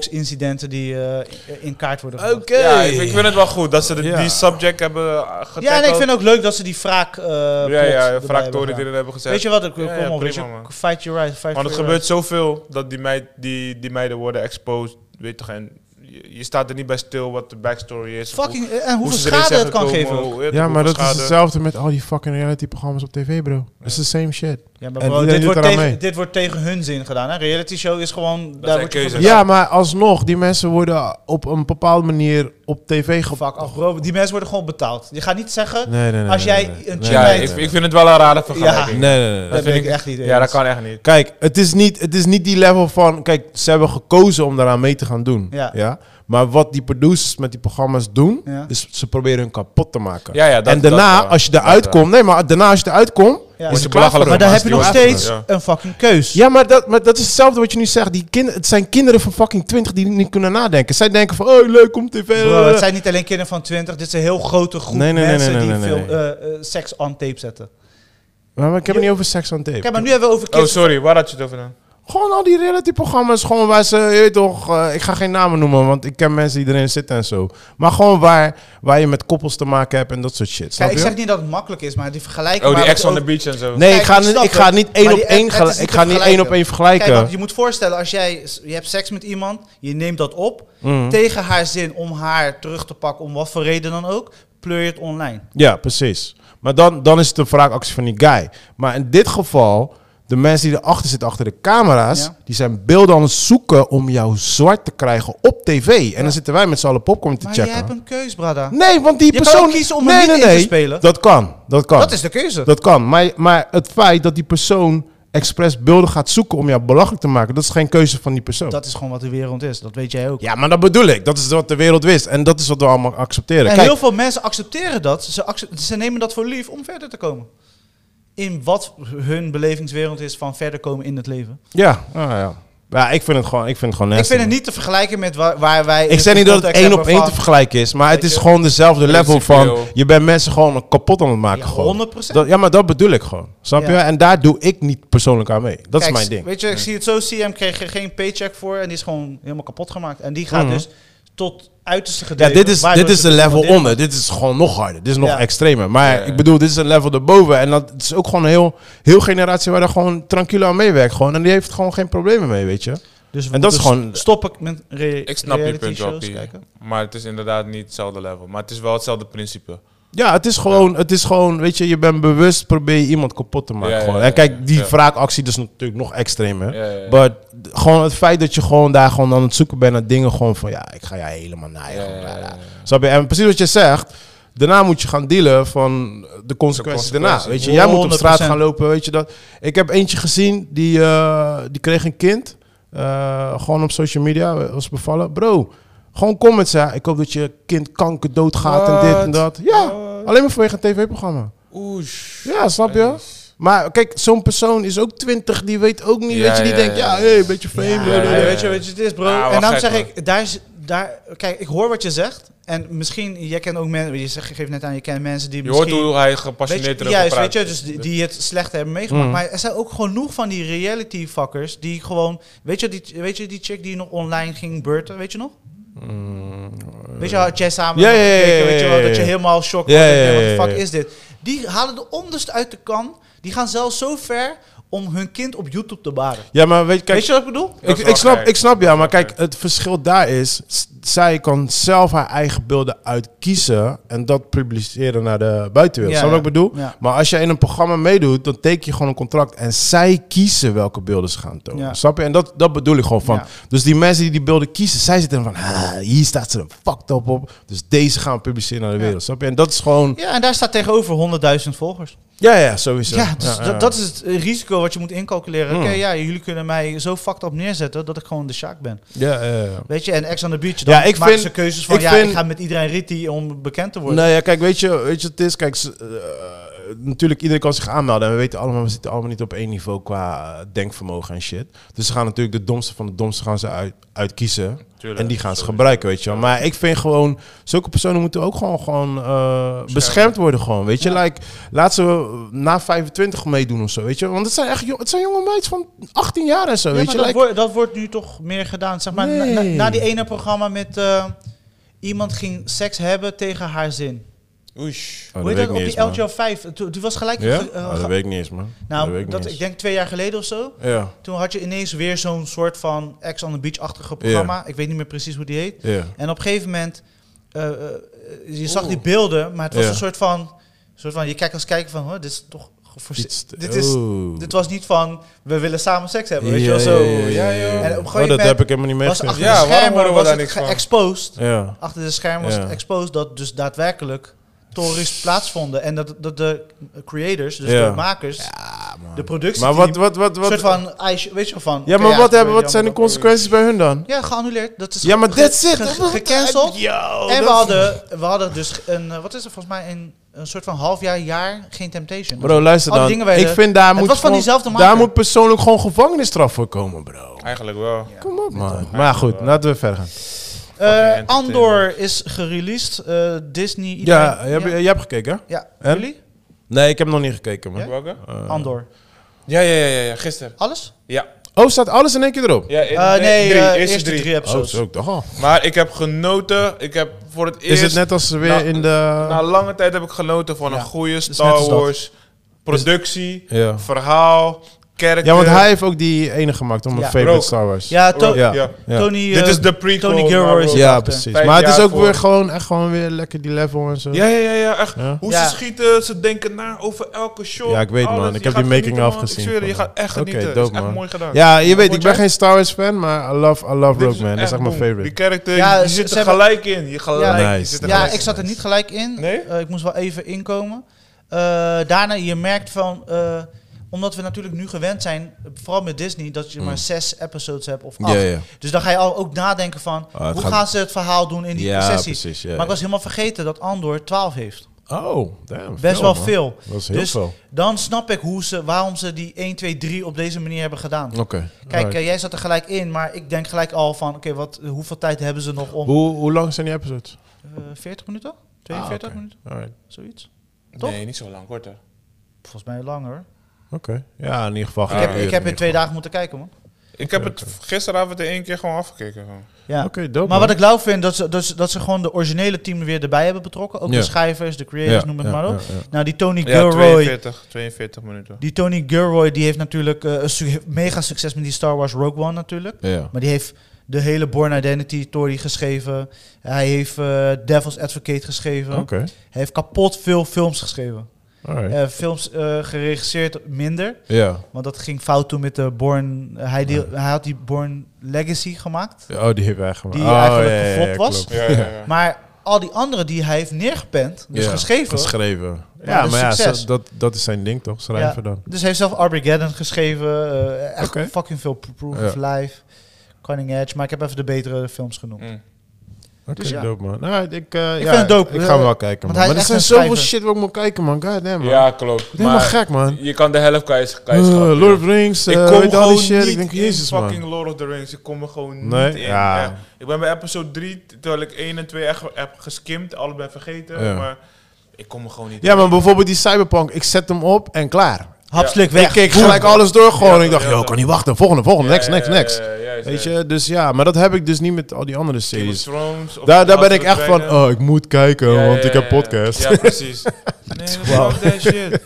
kelderbox-incidenten die eh, in kaart worden gebracht. ja ik, ik vind het wel goed dat ze de- Ja. die subject hebben eh, getackled. Ja, en ik vind ook leuk dat ze die wraak. eh plot Ja, ja, erbij hebben Fractoren die gedaan. erin hebben gezet. Weet je wat? Ik kom Ja, ja, op, weet prima, je, man. Fight your right. Fight Want het for your gebeurt zoveel dat die, meid, die, die meiden worden exposed. Weet toch, en je, je staat er niet bij stil wat de backstory is. right. of Fucking, eh, en hoe- hoe hoeveel ze erin schade zijn het kan gekomen, geven. ook. hoe- Ja, maar hoeveel dat is schade. hetzelfde met al die fucking reality-programma's op tv, bro. It's the same shit. Ja, maar En bro, die dit, doet wordt eraan tegen, mee. dit wordt tegen hun zin gedaan. Hè? Reality show is gewoon. zijn wordt je voor keuzes. betaald. Ja, maar alsnog, die mensen worden op een bepaalde manier op tv gepakt. Fuck, af, bro, die mensen worden gewoon betaald. Je gaat niet zeggen. Nee, nee, nee. Als nee, jij een nee, nee. chick Nee, Ja, nee, ik, nee. ik vind het wel een rare vergelijking. Nee, nee, nee. Dat vind vind ik ik- echt niet. Ja, eens. dat kan echt niet. Kijk, het is, niet, het is niet die level van... Kijk, ze hebben gekozen om daaraan mee te gaan doen. Ja. Maar wat die producers met die programma's doen... Ja. is ze proberen hun kapot te maken. Ja, ja, dat- en daarna, dat wel. als je Dat eruit wel. komt... Nee, maar daarna als je eruit komt... Ja. is Wordt je het belachelijk. belachelijk Maar daar heb je nog Master steeds Blaster. een fucking keus. Ja, maar dat, maar dat is hetzelfde wat je nu zegt. Die kind, het zijn kinderen van fucking 20 die niet kunnen nadenken. Zij denken van, oh leuk om tv. Bro, het zijn niet alleen kinderen van 20. Dit is een heel grote groep Nee, nee, nee, mensen nee, nee, die nee, veel nee. eh, eh, seks on tape zetten. maar, maar ik heb het niet over seks on tape. Kijk, maar nu hebben we over Oh, kids. sorry, waar had je het over dan? Gewoon al die reality-programma's, gewoon waar ze, je weet toch, eh, ik ga geen namen noemen, want ik ken mensen die erin zitten en zo. Maar gewoon waar, waar je met koppels te maken hebt en dat soort shit. Snap Kijk, ik je? zeg niet dat het makkelijk is, maar die vergelijking... Oh, die waar we ex het on the over- beach en zo. nee, Kijk, ik ga, ik niet- snap ik ga het, niet één maar op die- het één is gel- niet ik te ga niet één op één vergelijken. Kijk, want je moet voorstellen, als jij... Je hebt seks met iemand, je neemt dat op... Mm. tegen haar zin om haar terug te pakken, om wat voor reden dan ook... pleur je het online. Ja, precies. Maar dan, dan is het een wraakactie van die guy. Maar in dit geval, de mensen die erachter zitten, achter de camera's, Ja. die zijn beelden aan het zoeken om jou zwart te krijgen op tv. En dan zitten wij met z'n allen popcorn te Maar checken. jij hebt een keus, brada. Nee, want die Je kan persoon... ook kiezen om er niet in te spelen. Dat kan, dat kan. Dat is de keuze. Dat kan. Maar, maar het feit dat die persoon expres beelden gaat zoeken om jou belachelijk te maken, dat is geen keuze van die persoon. Dat is gewoon wat de wereld is. Dat weet jij ook. Ja, maar dat bedoel ik. Dat is wat de wereld wist. En dat is wat we allemaal accepteren. En Kijk, heel veel mensen accepteren dat. Ze, accep- ze nemen dat voor lief om verder te komen. In wat hun belevingswereld is van verder komen in het leven. ja, ah, ja. ja, ik vind het gewoon, ik vind het gewoon ik nasty, vind het man. niet te vergelijken met waar, waar wij... Ik zeg niet dat het één op één te vergelijken is, maar het Weet is je? gewoon dezelfde level van. Principieel. Je bent mensen gewoon kapot aan het maken. Ja, gewoon. 100%. Dat, ja, maar dat bedoel ik gewoon. Snap Ja. je? En daar doe ik niet persoonlijk aan mee. Dat Kijk, is mijn ding. Weet je, ik zie het zo. CM kreeg er geen paycheck voor en die is gewoon helemaal kapot gemaakt. En die gaat Mhm. dus tot uiterste Ja, gedeelte. dus dit is, dit is de een level onder. Dit is gewoon nog harder. Dit is nog Ja. extremer. Maar Ja, ja. ik bedoel, dit is een level erboven. En dat het is ook gewoon een heel, heel generatie waar er gewoon tranquilo aan meewerkt. Gewoon. En die heeft gewoon geen problemen mee, weet je. Dus we En dat is moeten gewoon- st- Stop ik met re Ik snap je reality punt wel, shows Pie. kijken. Maar het is inderdaad niet hetzelfde level. Maar het is wel hetzelfde principe. Ja, het is gewoon, het is gewoon weet je, je bent bewust, probeer je iemand kapot te maken. Ja, ja, gewoon. ja, En ja, kijk, die ja. wraakactie dat is natuurlijk nog extremer. Ja, ja, ja. Maar d- gewoon het feit dat je gewoon daar gewoon aan het zoeken bent naar dingen gewoon van, ja, ik ga jou helemaal naar Ja, ja, ja, ja. Snap je? En precies wat je zegt, daarna moet je gaan dealen van de consequenties daarna. consequenties. Weet je, jij moet op straat 100%. gaan lopen, weet je dat. Ik heb eentje gezien, die, eh, die kreeg een kind. Eh, gewoon op social media, was bevallen. Bro, gewoon comments, hè. Ik hoop dat je kind kanker doodgaat en dit en Wat? dat. Ja, Wat? alleen maar vanwege een tv-programma. Oeh. Ja, snap je? Maar kijk, zo'n persoon is ook twintig, die weet ook niet, Ja, weet je, die ja, denkt, ja, ja. hé, hey, een beetje fame. Ja, blablabla. ja, ja. Weet, je, weet je, het is bro. Ah, wel en dan gek, zeg man. ik, daar, is- daar, kijk, ik hoor wat je zegt. En misschien, jij kent ook mensen, je zegt- je geeft net aan, je kent mensen die Je hoort misschien... hoe hij weet je, gepassioneerd erover juist, weet praat. eh, je, dus die, die het slecht hebben meegemaakt. Mm. Maar er zijn ook genoeg van die reality fuckers die gewoon... Weet je, die, weet je die chick die nog online ging beurten, weet je nog? Weet je, had jij samen Mm. Ja, nog ja, ja, gekeken, ja, weet je ja, wel, ja, dat je ja. helemaal shock Ja, was. en dacht, ja, ja, Wat de ja, fuck ja. is dit? Die halen de onderste uit de kan. Die gaan zelfs zo ver om hun kind op YouTube te baren. Ja, maar weet je, kijk, weet je wat ik bedoel? Ik, Dat is wel ik, snap, gek. ik snap ja, maar Dat is kijk, het verschil daar is, s- zij kan zelf haar eigen beelden uitkiezen en dat publiceren naar de buitenwereld. Ja, snap je ja. wat ik bedoel? Ja. Maar als jij in een programma meedoet, dan teken je gewoon een contract en zij kiezen welke beelden ze gaan tonen. Ja. Snap je? En dat, dat bedoel ik gewoon van. Ja. Dus die mensen die die beelden kiezen, zij zitten van, "Ah, hier staat ze een fucked up op, dus deze gaan we publiceren naar de wereld. Snap je? En dat is gewoon, Ja, en daar staat tegenover 100.000 volgers. Ja, ja, sowieso. Ja, dus Ja, dat- ja. dat is het eh, risico wat je moet incalculeren. Hmm. Oké, ja, jullie kunnen mij zo fucked up neerzetten dat ik gewoon de Sjaak ben. Ja, ja, ja. Weet je, en ex on the beach, dan Ja, ik maken vind- ze keuzes van, ik ja, vind- ik ga met iedereen ritty om bekend te worden. Nou ja, kijk, weet je, weet je wat het is? Kijk, ze- eh, natuurlijk, iedereen kan zich aanmelden. En we weten allemaal, we zitten allemaal niet op één niveau qua eh, denkvermogen en shit. Dus ze gaan natuurlijk de domste van de domste gaan ze uit, uitkiezen. Tuurlijk, en die gaan ze sorry. gebruiken, weet je wel. Maar ik vind gewoon, zulke personen moeten ook gewoon, gewoon eh, beschermd worden gewoon, weet je. Like, laat ze na 25 meedoen of zo, weet je. Want het zijn echt jong, het zijn jonge meids van 18 jaar en zo, Ja, weet maar je. dat, Like, wordt, dat wordt nu toch meer gedaan. Zeg maar, na- na, Nee. na die ene programma met eh, iemand ging seks hebben tegen haar zin. Oesh. Oh, Hoe heet weet dat? ik Op niet die eens, man. LGL 5. Toen die was gelijk... Ja? ge- eh, Oh, dat ge- weet ik niet eens, man. dat weet nou, ik dat, niet ik denk twee jaar geleden of zo. eens. Ja, Toen had je ineens weer zo'n soort van Ex on the Beach-achtige programma. Ik weet niet meer precies hoe die heet. ja. En op een gegeven moment, eh, eh, je zag die beelden, maar het was Ja. een soort van, soort van, je kijkt als kijker van, hoor, dit is toch Iets geforceerd. te- Oh. Dit, is, Oeh. dit was niet van, we willen samen seks hebben, weet je wel, zo. ja, joh. En op een gegeven Oh, dat heb moment ik helemaal niet was achter meegekregen. Ja, de waarom schermen horen we was daar het niks van? geëxposed. Ja. Achter de schermen was Ja. het exposed dat dus daadwerkelijk torens plaatsvonden. En dat, dat de creators, dus Ja. de makers, de productie, Maar wat, wat, wat, een wat? soort van, ijsje- weet je wel, van... ja, oké, maar wat, hebben, weet je wat zijn de allemaal dat- consequenties bij hun dan? Ja, geannuleerd. Dat is Ja, maar ge- that's it. ge- ge- Gecanceld. Oh, Yo, En we dat- hadden, we hadden dus een, eh, wat is er volgens mij, een, een soort van half jaar, jaar geen Temptation. Bro, luister Alle dan. dingen werden- Ik vind daar Het moet was van gewoon- diezelfde maker. Daar moet persoonlijk gewoon gevangenisstraf voor komen, bro. Eigenlijk wel. Kom op, man. Maar goed, laten we verder gaan. Eh, entertainment. Andor is gereleased, eh, Disney. iedereen- Ja, je hebt, ja. je hebt gekeken, hè? Ja, En? jullie? Nee, ik heb nog niet gekeken, man. Ja? Welke? Eh, Andor. Ja, ja, ja, ja, ja, gisteren. Alles? Ja. oh, staat alles in één keer erop? ja in- Eh, nee, drie, eh, eerste eerste drie, drie. Oh, episodes. zo. ik dacht al. Maar ik heb genoten. Ik heb voor het eerst... Is het net als weer Nou, in de... Na lange tijd heb ik genoten van Ja. een goede is net als Star dat. Wars productie, Ja. verhaal, kerk. ja, want hij heeft ook die ene gemaakt om een Eh, Ja. favorite Rogue. Star Wars. Oh, Ja, to- Ja. ja. ja. Tony... Dit eh, is de prequel. Tony Gilroy is- naar- Ja, achter. precies. Vijf Maar het is jaar ook voor. weer gewoon, echt gewoon weer lekker die level en zo. Ja, ja, ja, ja, echt. Ja. Hoe Ja. ze schieten, ze denken na over elke shot. Ja, ik weet, man. alles. Ik Je heb gaat die making genieten, of man. gezien Ik zweer, je, je van- gaat Oké, echt genieten. Het dope, is echt man. mooi gedaan. Ja, je weet, ik Vond ben jij? geen Star Wars fan, maar I love, I love Dit Rogue Man. Dat is echt mijn boom. favorite. Die karakter, Ja, je ze- zit ze er hebben- gelijk in. Je gelijk, Ja. je Nice, zit er nice. Ja, gelijk ik zat er niet gelijk in. Nee? Eh, ik moest wel even inkomen. Eh, daarna, je merkt van... eh, omdat we natuurlijk nu gewend zijn, vooral met Disney, dat Mm. je maar zes episodes hebt of acht. Dus dan ga je al ook nadenken van, Ah, het hoe gaat- gaan ze het verhaal doen in die Ja, sessie? precies, ja, maar ik was helemaal vergeten dat Andor 12 heeft. Oh, damn. Best wel man. veel. Dat is heel Dus veel. dan snap ik hoe ze, waarom ze die 1, 2, 3 op deze manier hebben gedaan. Oké. Kijk, alright. eh, jij zat er gelijk in, maar ik denk gelijk al van, oké, wat, hoeveel tijd hebben ze nog om? hoe, hoe lang zijn die episodes? eh 40 minuten? 42 Ah, oké. minuten? Alright. Zoiets? Toch? Nee, niet zo lang, korter. Volgens mij langer. Oké. Ja, in ieder geval. ik heb, geen ik heb uur in twee dagen moeten kijken, man. Ik heb het gisteravond in één keer gewoon afgekeken. gewoon. Ja. Oké, dope. Maar wat man. ik lauw vind, dat ze, dat, ze, dat ze gewoon de originele team weer erbij hebben betrokken. Ook Ja. de schrijvers, de creators, Ja, noem het ja, maar op. ja, ja. Nou, die Tony Ja, Gilroy. 42, 42 minuten. die Tony Gilroy die heeft natuurlijk eh, een su- mega succes met die Star Wars Rogue One natuurlijk. Ja, ja. Maar die heeft de hele Born Identity Story geschreven. Hij heeft eh, Devil's Advocate geschreven. Oké. Hij heeft kapot veel films geschreven. Alright. Eh, films eh, geregisseerd minder. Ja. Want dat ging fout toen met de Born... hij, deel- hij had die Born Legacy gemaakt. Oh, die hebben wij gemaakt. Die oh, eigenlijk geflopt was. klopt. Ja, ja, ja. Maar al die andere die hij heeft neergepend, dus Ja, geschreven... Geschreven. Maar Ja, dus maar ja, succes. zo- dat, dat is zijn ding toch? Schrijven Ja. dan. Dus hij heeft zelf Armageddon geschreven. eh, echt Oké. fucking veel Proof Ja. of Life. Cutting Edge. Maar ik heb even de betere films genoemd. Mm. Oké, Dus ja. dope man. Nou, ik, eh, Ik ja, vind het dope. Ik ga hem wel kijken. Man. hij is Maar echt er zijn een zoveel schrijver. shit wat ik moet kijken man. God damn man. Ja, klopt. Ik ben helemaal Maar gek man. je kan de helft kwijt. Eh, kwijt schaffen, Lord joh. of the Rings. Ik eh, kom weet je al die gewoon shit. niet Ik denk, in jezus fucking man. Lord of the Rings. Ik kom er gewoon Nee? niet in. Ja. Echt. Ik ben bij episode 3, terwijl ik 1 en 2 echt heb geskimd, allebei vergeten. Ja. Maar ik kom er gewoon niet Ja, maar bijvoorbeeld die Cyberpunk. Ik zet hem op en klaar. Hapslik Ik weg. keek gelijk alles door gewoon. Ik dacht, ja, joh, ja. kan niet wachten. Volgende, volgende. Next, next, next. Weet Weet je, je, dus ja. Maar dat heb ik dus niet met al die andere Game of series. Thrones. of Daar, daar House ben ik of echt Dragon. van, oh, ik moet kijken, Ja, ja, want ik ja, heb ja. podcast. Ja, precies. Nee, fuck that shit.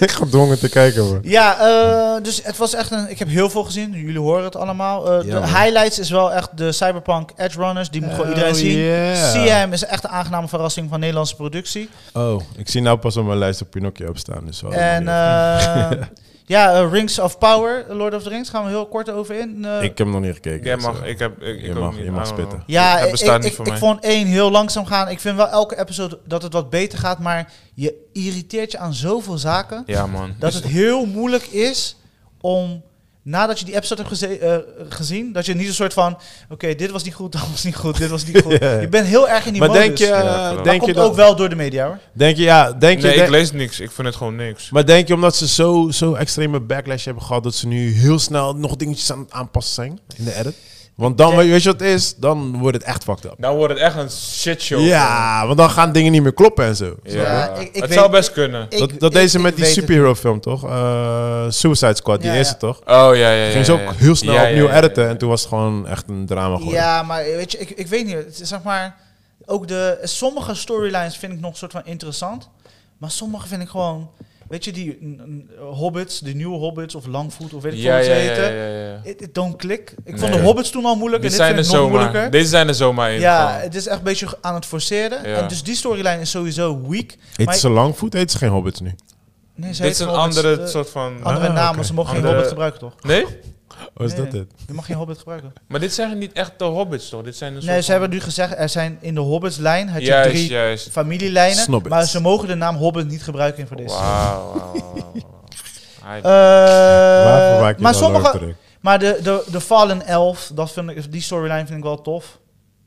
<laughs> ik gedwongen te kijken, man. <laughs> Ja, eh, dus het was echt een... Ik heb heel veel gezien. Jullie horen het allemaal. Eh, Ja, de man. highlights is wel echt de Cyberpunk Edge Runners. Die moet gewoon Oh, iedereen zien. yeah. CM is echt een aangename verrassing van Nederlandse productie. Oh, ik zie nou pas op mijn lijst op Pinocchio opstaan. Dus wel en <laughs> benieuwd. eh, Ja, eh, Rings of Power, Lord of the Rings, gaan we heel kort over in. Eh, Ik heb hem nog niet gekeken. Jij dus, mag, eh, ik heb, ik, ik je ook mag- niet, Oh. je mag I don't know. spitten. ja, het ik, bestaat ik, niet ik, voor ik mij. vond één heel langzaam gaan. Ik vind wel elke episode dat het wat beter gaat, maar je irriteert je aan zoveel zaken. <laughs> Ja, man. dat het heel moeilijk is om nadat je die episode hebt geze- eh, gezien, dat je niet een soort van, oké, dit was niet goed, <laughs> dat was niet goed, dit was niet goed. <laughs> Ja. Je bent heel erg in die Maar modus. denk je, Ja, klopt. eh, Maar dat denk je komt ook dat... wel door de media, hoor. Denk je, ja, denk je... Nee, ik denk- lees niks. Ik vind het gewoon niks. Maar denk je omdat ze zo, zo extreme backlash hebben gehad, dat ze nu heel snel nog dingetjes aan het aanpassen zijn in de edit? Want dan, weet je wat het is? Dan wordt het echt fucked up. Dan wordt het echt een shitshow. Ja, want dan gaan dingen niet meer kloppen en zo. Ja. Ja, ik- ik het weet- zou best kunnen. Ik- dat dat ik- deze ik met die weet het superhero film, toch? Eh, Suicide Squad, die Ja, eerste, ja. toch? Oh, ja, ja, ja. Ging ze ja, ook ja. heel snel Ja, ja, opnieuw ja, ja. editen en toen was het gewoon echt een drama niet. geworden. Ja, maar weet je, ik, ik weet niet, het is zeg maar, ook de, sommige storylines vind ik nog een soort van interessant, maar sommige vind ik gewoon, weet je, die mm, mm, hobbits, de nieuwe hobbits, of Langvoet, of weet ik veel Ja, hoe ja, ze ja, heten, ja, ja, ja. It, it don't click. Ik vond Nee. de hobbits toen al moeilijk Dit en dit zijn vind er ik nog moeilijker. zomaar. Deze zijn er zomaar in. Ja, gewoon. het is echt een beetje aan het forceren. Ja. En dus die storyline is sowieso weak. Heet Maar- ze Langvoet? Heet ze geen hobbits nu? Nee, ze Dit is heet een Hobbits, andere eh, soort van... andere Ah, naam, oké. ze mogen geen Andere- hobbit gebruiken, toch? Nee? Oh, is Nee. dat het? Je mag geen hobbit gebruiken. Maar dit zijn niet echt de hobbits, toch? Dit zijn een Nee, soort ze hebben nu gezegd, er zijn in de hobbitslijn had je Juist, drie juist. familielijnen. Snobbits. Maar ze mogen de naam hobbit niet gebruiken in voor deze. Wauw, <laughs> wauw, wauw, wauw. Hij- Eh, Waar verwijk je maar dan Lord sommige, terug? maar de, de, de Fallen Elf, dat vind ik, die storyline vind ik wel tof.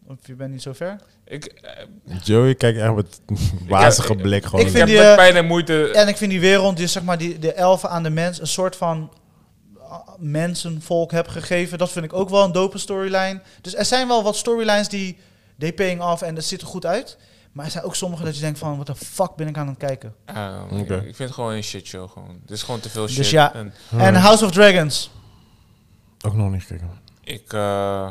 Of je bent niet zo ver. Ik, eh, Joey kijkt echt met <laughs> wazige ik- blik gewoon. ik ik vind die, heb met eh, pijn en moeite... En ik vind die wereld, die zeg maar die, de elfen aan de mens, een soort van ah, mensenvolk heb gegeven. Dat vind ik ook wel een dope storyline. Dus er zijn wel wat storylines die they paying off en dat ziet er goed uit. Maar er zijn ook sommige dat je denkt van, wat de fuck ben ik aan het kijken? Ah, Oké. Ik vind het gewoon een shitshow. Gewoon. Het is gewoon te veel Dus shit. ja. En Hmm. En House of Dragons. Ook nog niet gekeken. ik... eh,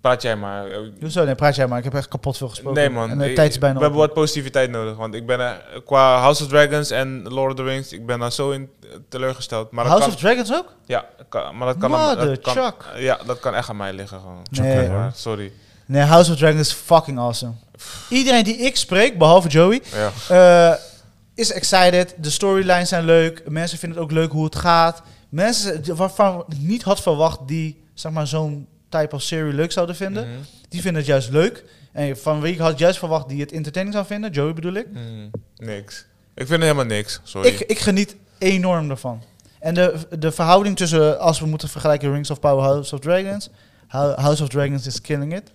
praat jij maar. Eh, Hoezo? Nee, praat jij maar. Ik heb echt kapot veel gesproken. Nee man, En de Ik- tijd is bijna we hebben op. wat positiviteit nodig. Want ik ben eh, qua House of Dragons en Lord of the Rings, ik ben daar zo in eh, teleurgesteld. Maar dat House kan, of Dragons ook? ja, kan- maar dat kan, aan- Mother dat kan- chuck. ja, dat kan echt aan mij liggen gewoon. Nee. Ja, sorry. Nee, House of Dragons is fucking awesome. Iedereen die ik spreek, behalve Joey, Ja. eh, is excited. De storylines zijn leuk. Mensen vinden het ook leuk hoe het gaat. Mensen waarvan ik niet had verwacht die zeg maar, zo'n type of serie leuk zouden vinden, Mhm. die vinden het juist leuk. En van wie ik had juist verwacht die het entertaining zou vinden, Joey bedoel ik. Mm, niks. Ik vind het helemaal niks. Sorry. Ik, ik geniet enorm daarvan. En de, de verhouding tussen, als we moeten vergelijken, Rings of Power, House of Dragons. Hou- House of Dragons is killing it.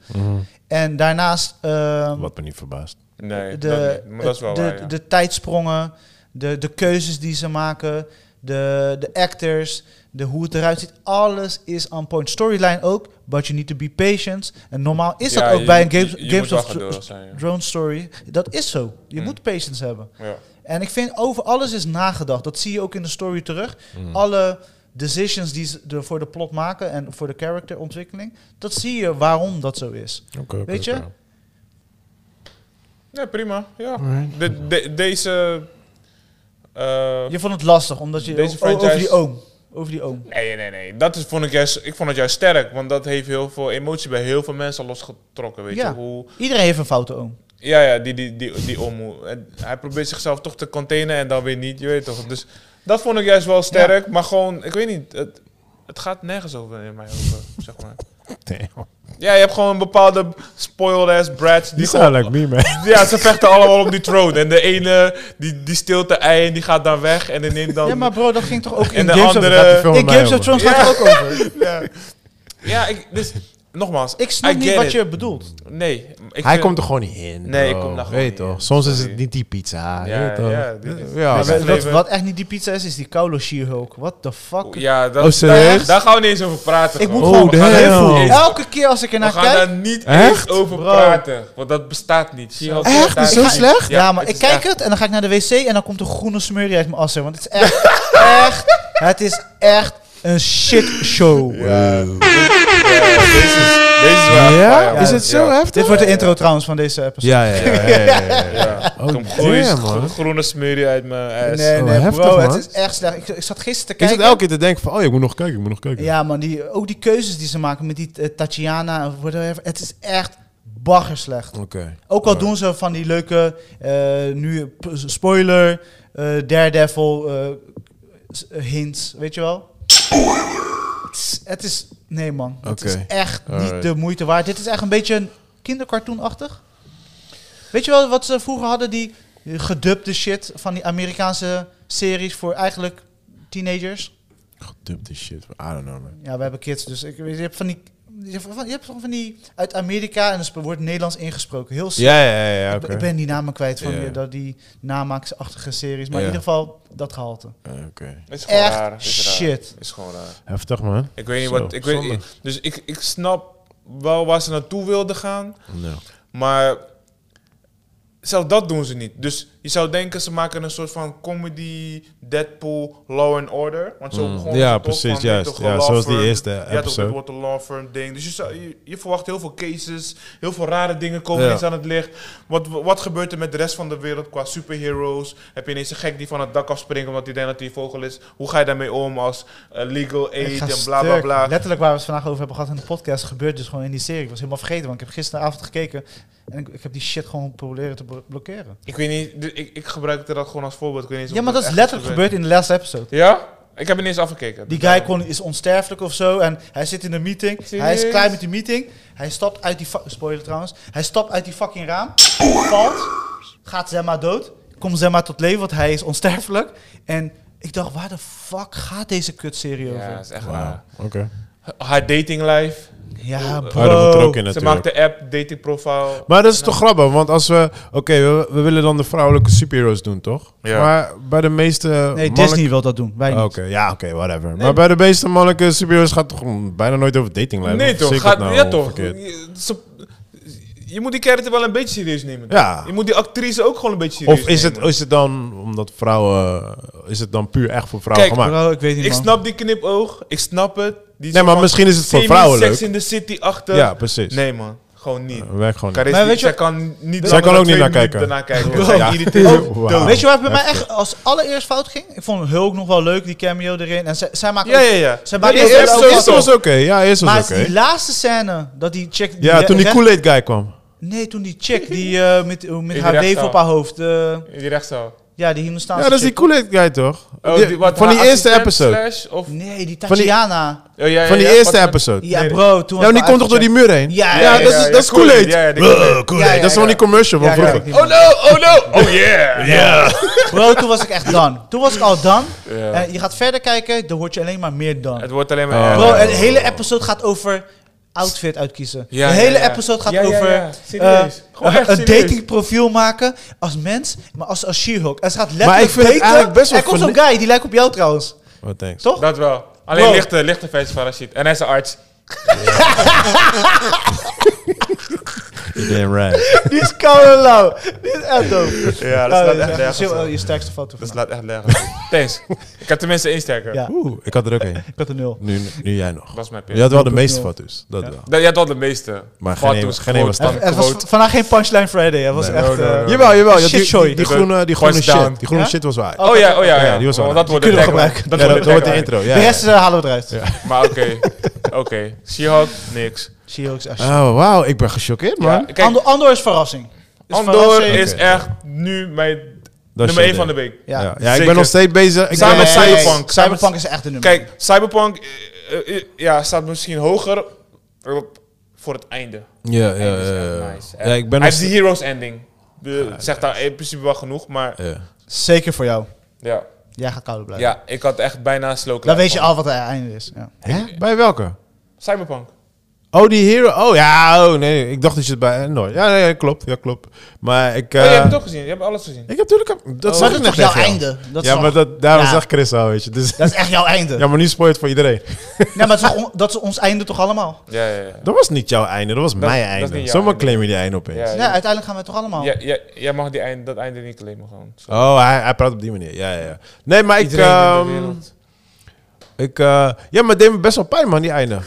En daarnaast... ehm, Mm. Wat me niet verbaast. nee, de, dat niet. Maar dat is wel de, waar, ja. de tijdsprongen, de, de keuzes die ze maken, de, de actors, de, hoe het eruit ziet. Alles is on point. Storyline ook, but you need to be patient. En normaal is dat Ja, ook je- bij een je- Games, je Games moet wel of Dro- geduldig zijn, ja. Mm. Drone Story. Dat is zo. Je moet patience hebben. Ja. En ik vind over alles is nagedacht. Dat zie je ook in de story terug. Mm. Alle decisions die ze er voor de plot maken en voor de characterontwikkeling. Dat zie je waarom dat zo is. Weet je? Ja, prima. Ja. De, de- deze... eh, Je vond het lastig, omdat je Deze o- o- over franchise- die oom. Over die oom. Nee, nee, nee. Dat is, vond ik, juist, ik vond het juist sterk. Want dat heeft heel veel emotie bij heel veel mensen losgetrokken. Weet Ja. je? Hoe, Iedereen heeft een foute oom. Ja, ja, die, die, die, die omhoe. En hij probeert zichzelf toch te containen en dan weer niet, je weet toch. Dus dat vond ik juist wel sterk, maar gewoon, ik weet niet, het, het gaat nergens over in mijn ogen, zeg maar. Ja, je hebt gewoon een bepaalde spoiled-ass brats die Die gewoon... Eh, sound like me, <laughs> man. Ja, ze vechten allemaal om die troon. En de ene, die, die steelt de ei en die gaat dan weg en die neemt dan... Ja, maar bro, dat ging toch ook in <laughs> en de Games andere... of... Laat die film In mij Games of over. Thrones gaat <laughs> het ook over. Ja, ik, dus, nogmaals, Ik snap I niet get wat it. je bedoelt. Nee. Ik Hij vind- komt er gewoon niet in. Nee, bro. ik kom daar gewoon Weet niet toch? in. Soms is het Sorry. niet die pizza. Ja, weet toch? ja, dit is- ja. dit is- maar- Maar dat- leven. wat echt niet die pizza is, is die koude She-Hulk. What the fuck? Ja, dat, Oh, serieus? Daar, daar gaan we niet eens over praten. Ik moet gewoon. gewoon Oh, damn. heel We voelen. gaan Elke keer als ik We ernaar gaan kijk... daar niet Echt? eens over Bro. praten. Want dat bestaat niet. Zie je wel, Echt? bestaat Zo niet. slecht? Ja, maar het ik is kijk echt- het en dan ga ik naar de wc en dan komt een groene smurrie uit mijn assen. Want het is echt, <laughs> echt, het is echt een shit show. Ja, deze is, deze is wel echt Ja? fire, Is man. het zo Ja. heftig? Dit wordt de intro trouwens van deze episode. Ja, ja, ja. ja, ja, ja, ja. Ja. Oh, Kom, gooi eens damn, man. gro- groene smurrie uit mijn ass. Nee, Oh, nee, heftig, bro, man. het is echt slecht. Ik, ik zat gisteren te Ik kijken. zit elke keer te denken van, oh, ik moet nog kijken, ik moet nog kijken. Ja, man, die, ook die keuzes die ze maken met die eh, Tatiana of whatever. Het is echt baggerslecht. Oké. Ook al doen ze van die leuke, eh, nu p- spoiler, eh Daredevil, eh, s- hints, weet je wel? Het is- Het is, nee man, het Oké. is echt niet Alright. de moeite waard. Dit is echt een beetje een kindercartoonachtig. Weet je wel wat ze vroeger hadden, die gedubde shit van die Amerikaanse series voor eigenlijk teenagers? Gedumpt is shit. I don't know, man. Ja, we hebben kids, dus ik, je hebt van die... Je hebt van, je hebt gewoon van die uit Amerika en dus wordt Nederlands ingesproken. Heel s- Ja, ja, ja, ja, ik oké. ben- Ik ben die namen kwijt van Ja. die, dat- die namaaksachtige series. Maar in Ja. ieder geval dat gehalte. Eh, oké. Is gewoon Echt raar. Is raar. shit. Is gewoon raar. Heftig, man. Ik weet niet Zo, wat. Ik weet, zonde. ik- dus ik, ik snap wel waar ze naartoe wilden gaan. Nou. Maar zelfs dat doen ze niet. Dus je zou denken, ze maken een soort van comedy, Deadpool, Law and Order. Want zo Mm. begon Ja, het toch precies, van, je hebt juist. toch een Ja, law zoals die firm, eerste Je hebt toch episode. dit wordt een law firm ding. Dus je, zou- je, je verwacht heel veel cases, heel veel rare dingen komen Ja. eens aan het licht. Wat, wat gebeurt er met de rest van de wereld qua superheroes? Heb je ineens een gek die van het dak afspringt omdat hij denkt dat hij een vogel is? Hoe ga je daarmee om als eh, legal aid Ik en ga bla bla stuk. bla? Letterlijk waar we het vandaag over hebben gehad in de podcast, gebeurt dus gewoon in die serie. Ik was helemaal vergeten, want ik heb gisteravond gekeken en ik, ik heb die shit gewoon proberen te blo- blokkeren. Ik weet niet, d- ik, ik gebruikte dat gewoon als voorbeeld. Ik weet niet eens Ja, of maar dat is echt letterlijk gebeurd. gebeurd in de laatste episode. Ja? Ik heb er niet eens afgekeken. Die guy kon, is onsterfelijk of zo en hij zit in een meeting. Hij is Serieus? klaar met die meeting. Hij stapt uit die... fa- Spoiler trouwens. Hij stapt uit die fucking raam. Valt. Gaat Zemma dood. Komt Zemma tot leven, want hij is onsterfelijk. En ik dacht, waar de fuck gaat deze kutserie Ja, over? dat is echt Wauw. waar. Oké. Haar dating life. Ja, Oh, bro. Oh, dat moet er ook in Ze natuurlijk. maakt de app, dating profile. Maar dat is toch grappig, want als we... Oké, we, we willen dan de vrouwelijke superheroes doen, toch? Ja. Maar bij de meeste Nee, mannelijke- Ah, Disney wil dat doen. Wij niet. Oké, ja, oké, whatever. Maar bij de meeste mannelijke superheroes gaat het toch bijna nooit over dating lijken. nee Of toch? zie ik Gaat, het nou ja toch? verkeerd? Je, ze- je moet die character wel een beetje serieus nemen. toch? Ja. Je moet die actrice ook gewoon een beetje serieus Of is het, nemen. is het dan, omdat vrouwen... Is het dan puur echt voor vrouwen Kijk, gemaakt? Bro, ik weet niet, Ik man. snap die knipoog. Ik snap het. Die nee, soort maar van misschien is het voor semi- vrouwen Sex leuk. in the City achter. Ja, precies. Nee man, gewoon niet. Werkt gewoon niet. Charis, Maar weet je zij wat- kan niet Zij kan ook niet naar kijken. Daarna kijken. Bro. <laughs> Zij Ja. irriteert ook Wauw. dood. Weet je waar het bij mij echt als allereerst fout ging? Ik vond Hulk nog wel leuk, die cameo erin. En zij, zij maken Ja, ook- ja, ja. Ze Maar maken die ook eerste wel- eerste was oké. Ja, eerst Maar was het oké. is die laatste scène, dat die chick... die Ja, re- toen die recht- Kool-Aid guy kwam. Nee, toen die chick, die eh, met, met die haar rechtszaal. weef op haar hoofd. eh, In Die rechtszaal. ja, die Hindoestaanse Ja, dat is die chick. Kool-Aid guy toch? Oh, Die- die- wat, van die haar eerste assistent episode. slash of- Oh, Nee, die die- Tatiana. Ja, ja, ja, Van die ja, eerste wat- episode. Ja, Nee, bro. Toen Ja, maar die komt toch door die muur heen? Ja, Ja, ja, dat ja, is, ja, dat is Kool-Aid. Kool-Aid. Ja, ja, die Bruh, Kool-Aid. Kool-Aid. Ja, ja, dat is ja. van die commercial van Ja, ja, vroeger. die- Oh no, oh no, oh yeah. Bro, toen was ik echt dan. Toen was ik al dan. Ja. En je gaat verder kijken, dan word je alleen maar meer dan. Het wordt alleen maar Oh. erger. Bro, een hele episode gaat over outfit uitkiezen. Ja, een ja, hele ja. episode gaat Ja, ja, over ja. Serieus. eh, Gewoon een- echt een serieus. datingprofiel maken als mens, maar als, als She-Hulk. En ze gaat letterlijk Maar ik vind het daten. eigenlijk best wel Er komt zo'n verli- guy, die lijkt op jou trouwens. Oh, thanks. Toch? Dat wel. Alleen Bro. lichte, lichte versie van Rashid. En hij is een arts. Damn right. Die is koud en lauw. Die is echt dope. Ja, Oh, staat dat is echt heel- je sterkste foto van mij. slaat echt nergens. Thanks. Ik heb tenminste één sterker. Ja. Oeh, ik had er ook één. Ik had een nul. Nu, nu jij nog. Dat was mijn Je pin. had wel de meeste foto's. Dat wel. Dat- Jij had wel de meeste. Maar geen Foto's, een- geen een was quotes, Het was quotes. vandaag geen Punchline Friday. Het was Nee. echt... No, no, eh, no. Jawel, jawel. ja, die, Shitshow. die, die groene, die groene Punch down. shit. Die groene Ja? shit was waar. Oh ja, oh ja, Ja, ja. die was wel Want leuk. dat wordt de Die kunnen we tagline. gebruiken. Dat ja, wordt dat wordt de tagline. intro. Ja, De ja. rest eh, halen we eruit. <laughs> Maar oké. Oké. She-Hulk, niks. She-Hulk is echt... Oh, wauw. Ik ben gechoqueerd, Ja, man. Eh, kijk, Andor, Andor is verrassing. Is Andor verrassing. is Oké. echt nu mijn Dat is nummer shit, 1 van hè. de week. Ja. Ja, ja ik Zeker. ben nog steeds bezig. Ik Samen ben nog met steeds- Cyberpunk. Cyberpunk is echt een nummer. Kijk, Cyberpunk eh, eh, eh, ja, staat misschien hoger eh, voor het einde. Ja, ja, is ja, echt ja. dus, eh, nice. Ja, ik ben Hij nog heeft de steeds... Heroes Ending. De, zegt daar eh, in principe wel genoeg, maar Ja. Zeker voor jou. ja. Jij gaat kouder blijven. ja, ik had echt bijna een slow Dan clap weet je van. al wat het einde is. Ja. Hè? Bij welke? Cyberpunk. Oh, die hero. Oh ja, oh nee. Ik dacht dat je het bij Andor. Ja, nee, klopt. Ja, klopt. Maar ik. eh, oh, je hebt het ook gezien, je hebt alles gezien. Ik heb natuurlijk. Dat Oh, Dat zag is ik toch net jouw tegen jou. einde? Dat is ja, toch- maar dat, daarom Ja. zag Chris al, weet je. <laughs> Dus, Dat is echt jouw einde. ja, maar nu spoilt voor iedereen. Nee, maar het is, toch on- dat is ons einde toch allemaal? Ja, ja, ja. Dat was niet jouw einde, dat was mijn dat is niet einde. jouw Zomaar einde. claim je die einde opeens. Ja, Ja, ja. uiteindelijk gaan we toch allemaal. Ja, ja, jij mag die eind, dat einde niet claimen gewoon. Zo. Oh, hij, hij praat op die manier. Ja, ja, ja. Nee, maar ik. Iedereen in de ehm, wereld. ik eh, ja, maar het deed me best wel pijn, man, die einde.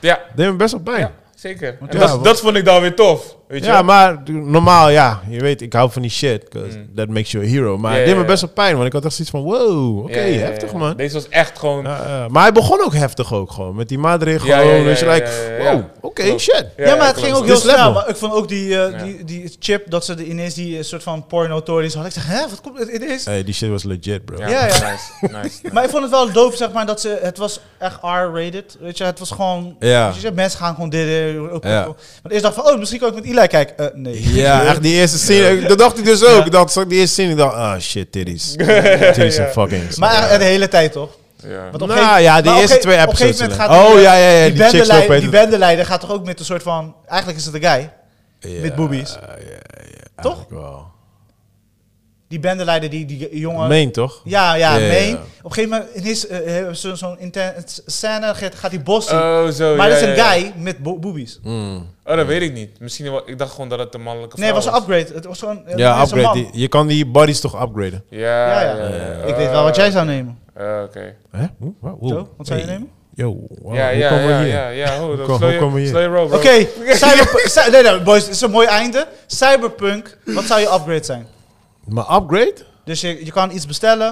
Ja, Het deed me best wel pijn. ja, zeker. En ja, dat, want- dat vond ik dan weer tof. Weet je Ja, wel? Hmm. maar normaal, ja. Je weet, ik hou van die shit. 'cause That makes you a hero. Maar Ja, het ja, deed me ja. best wel pijn, want ik had echt zoiets van... Wow, oké, Ja, ja, ja, heftig ja. man. Deze was echt gewoon... Ja, ja. maar hij begon ook heftig ook gewoon. Met die maatregelen. Ja, ja, gewoon, ja, weet je, ja, like, ja, ja, ja. wow, oké, Klopt. shit. Ja, maar het ging ook heel Dit snel. level. Maar ik vond ook die, eh, Ja. die, die chip dat ze de, ineens die eh, soort van porno tories hadden. Ik dacht, hè, wat komt het ineens? Hey, die shit was legit, bro. Ja, ja. Nice, <laughs> nice. Maar ik vond het wel doof, zeg maar, dat ze... Het was echt R-rated, weet je. Het was gewoon... Ja. weet je, mensen gaan gewoon dit... eh, ook- Ja. Want eerst dacht ik van, oh, misschien kan ik met Eli kijken. Eh, nee. <laughs> Ja, echt die eerste scene. Dat dacht ik dus ook. Ik dacht, zag ik die eerste scene. Ik dacht, ah shit, <laughs> titties. Titties zijn fucking. Maar echt de hele tijd, toch? Ja. Want Nou gegeven- ja, die maar op eerste ge- op twee een gegeven episodes moment alleen. gaat Oh, die- ja, ja, ja, Die die chicks lopen bendeleider, die heet het. bendeleider gaat toch ook met een soort van... Eigenlijk is het de guy, met boobies. Toch? Die bendeleider, die, die jongen... Meen toch? Ja, ja, Ja, ja, Maine. ja. Op een gegeven moment ineens, eh, hebben ze zo'n intense scène, gaat, gaat die bos zien. Oh, zo. maar ja, dat is een ja, ja. guy met bo- boobies. Oh, dat weet ik niet. Misschien wel, ik dacht gewoon dat het een mannelijke Nee, vrouw het was een was. upgrade. Het was gewoon eh, Ja, het is een upgrade. man. Die- je kan die bodies toch upgraden? Ja, Ja, ja, ja. ja, ja. Ik weet wel wat jij zou nemen. Eh, Oké. Hè? Oeh, wow, oeh. Zo, wat zou je Hey. nemen? Yo, wow, Ja, Oh, hoe ja, komen we ja, hier? ja, ja. Hoe kom- hoe komen we hier? Slow your roll, bro. <laughs> Oké, cyber- cy- nee, nee, boys, het is een mooi einde. Cyberpunk, wat zou je upgrade zijn? Maar upgrade? Dus je, je kan iets bestellen,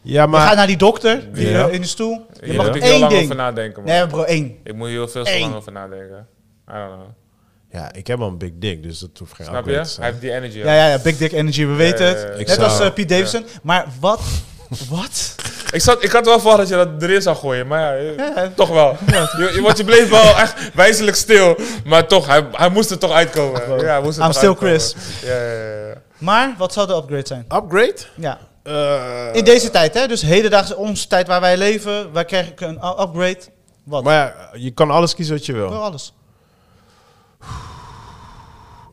Ja, je gaat maar... naar die dokter die, Ja. eh, in de stoel. Je Hier mag moet ik heel één lang over ding. nadenken, man. Nee, bro, één. Ik moet hier heel veel te Eén. lang over nadenken. I don't know. Ja, ik heb al een big dick, dus dat hoeft geen Snap upgrade te je? Hij zijn. heeft die energy. Ja, ja, ja, Big Dick Energy, we weten ja, ja. het. Ik Net als zou- eh, Pete Davidson. Maar wat? <laughs> Wat? Ik, zat, ik had wel verwacht dat je dat erin zou gooien, maar ja, eh, <laughs> Ja. toch wel. Je, je- want je bleef wel echt wijzelijk stil, maar toch, hij, hij moest er toch uitkomen. Ja, hij moest er I'm toch still uitkomen. Chris. Ja, ja, ja, ja. Maar wat zou de upgrade zijn? Upgrade? Ja. Eh, In deze tijd, hè? Dus hedendaagse onze tijd waar wij leven, wij krijgen een u- upgrade. Wat? Maar ja, je kan alles kiezen wat je wil. Door alles.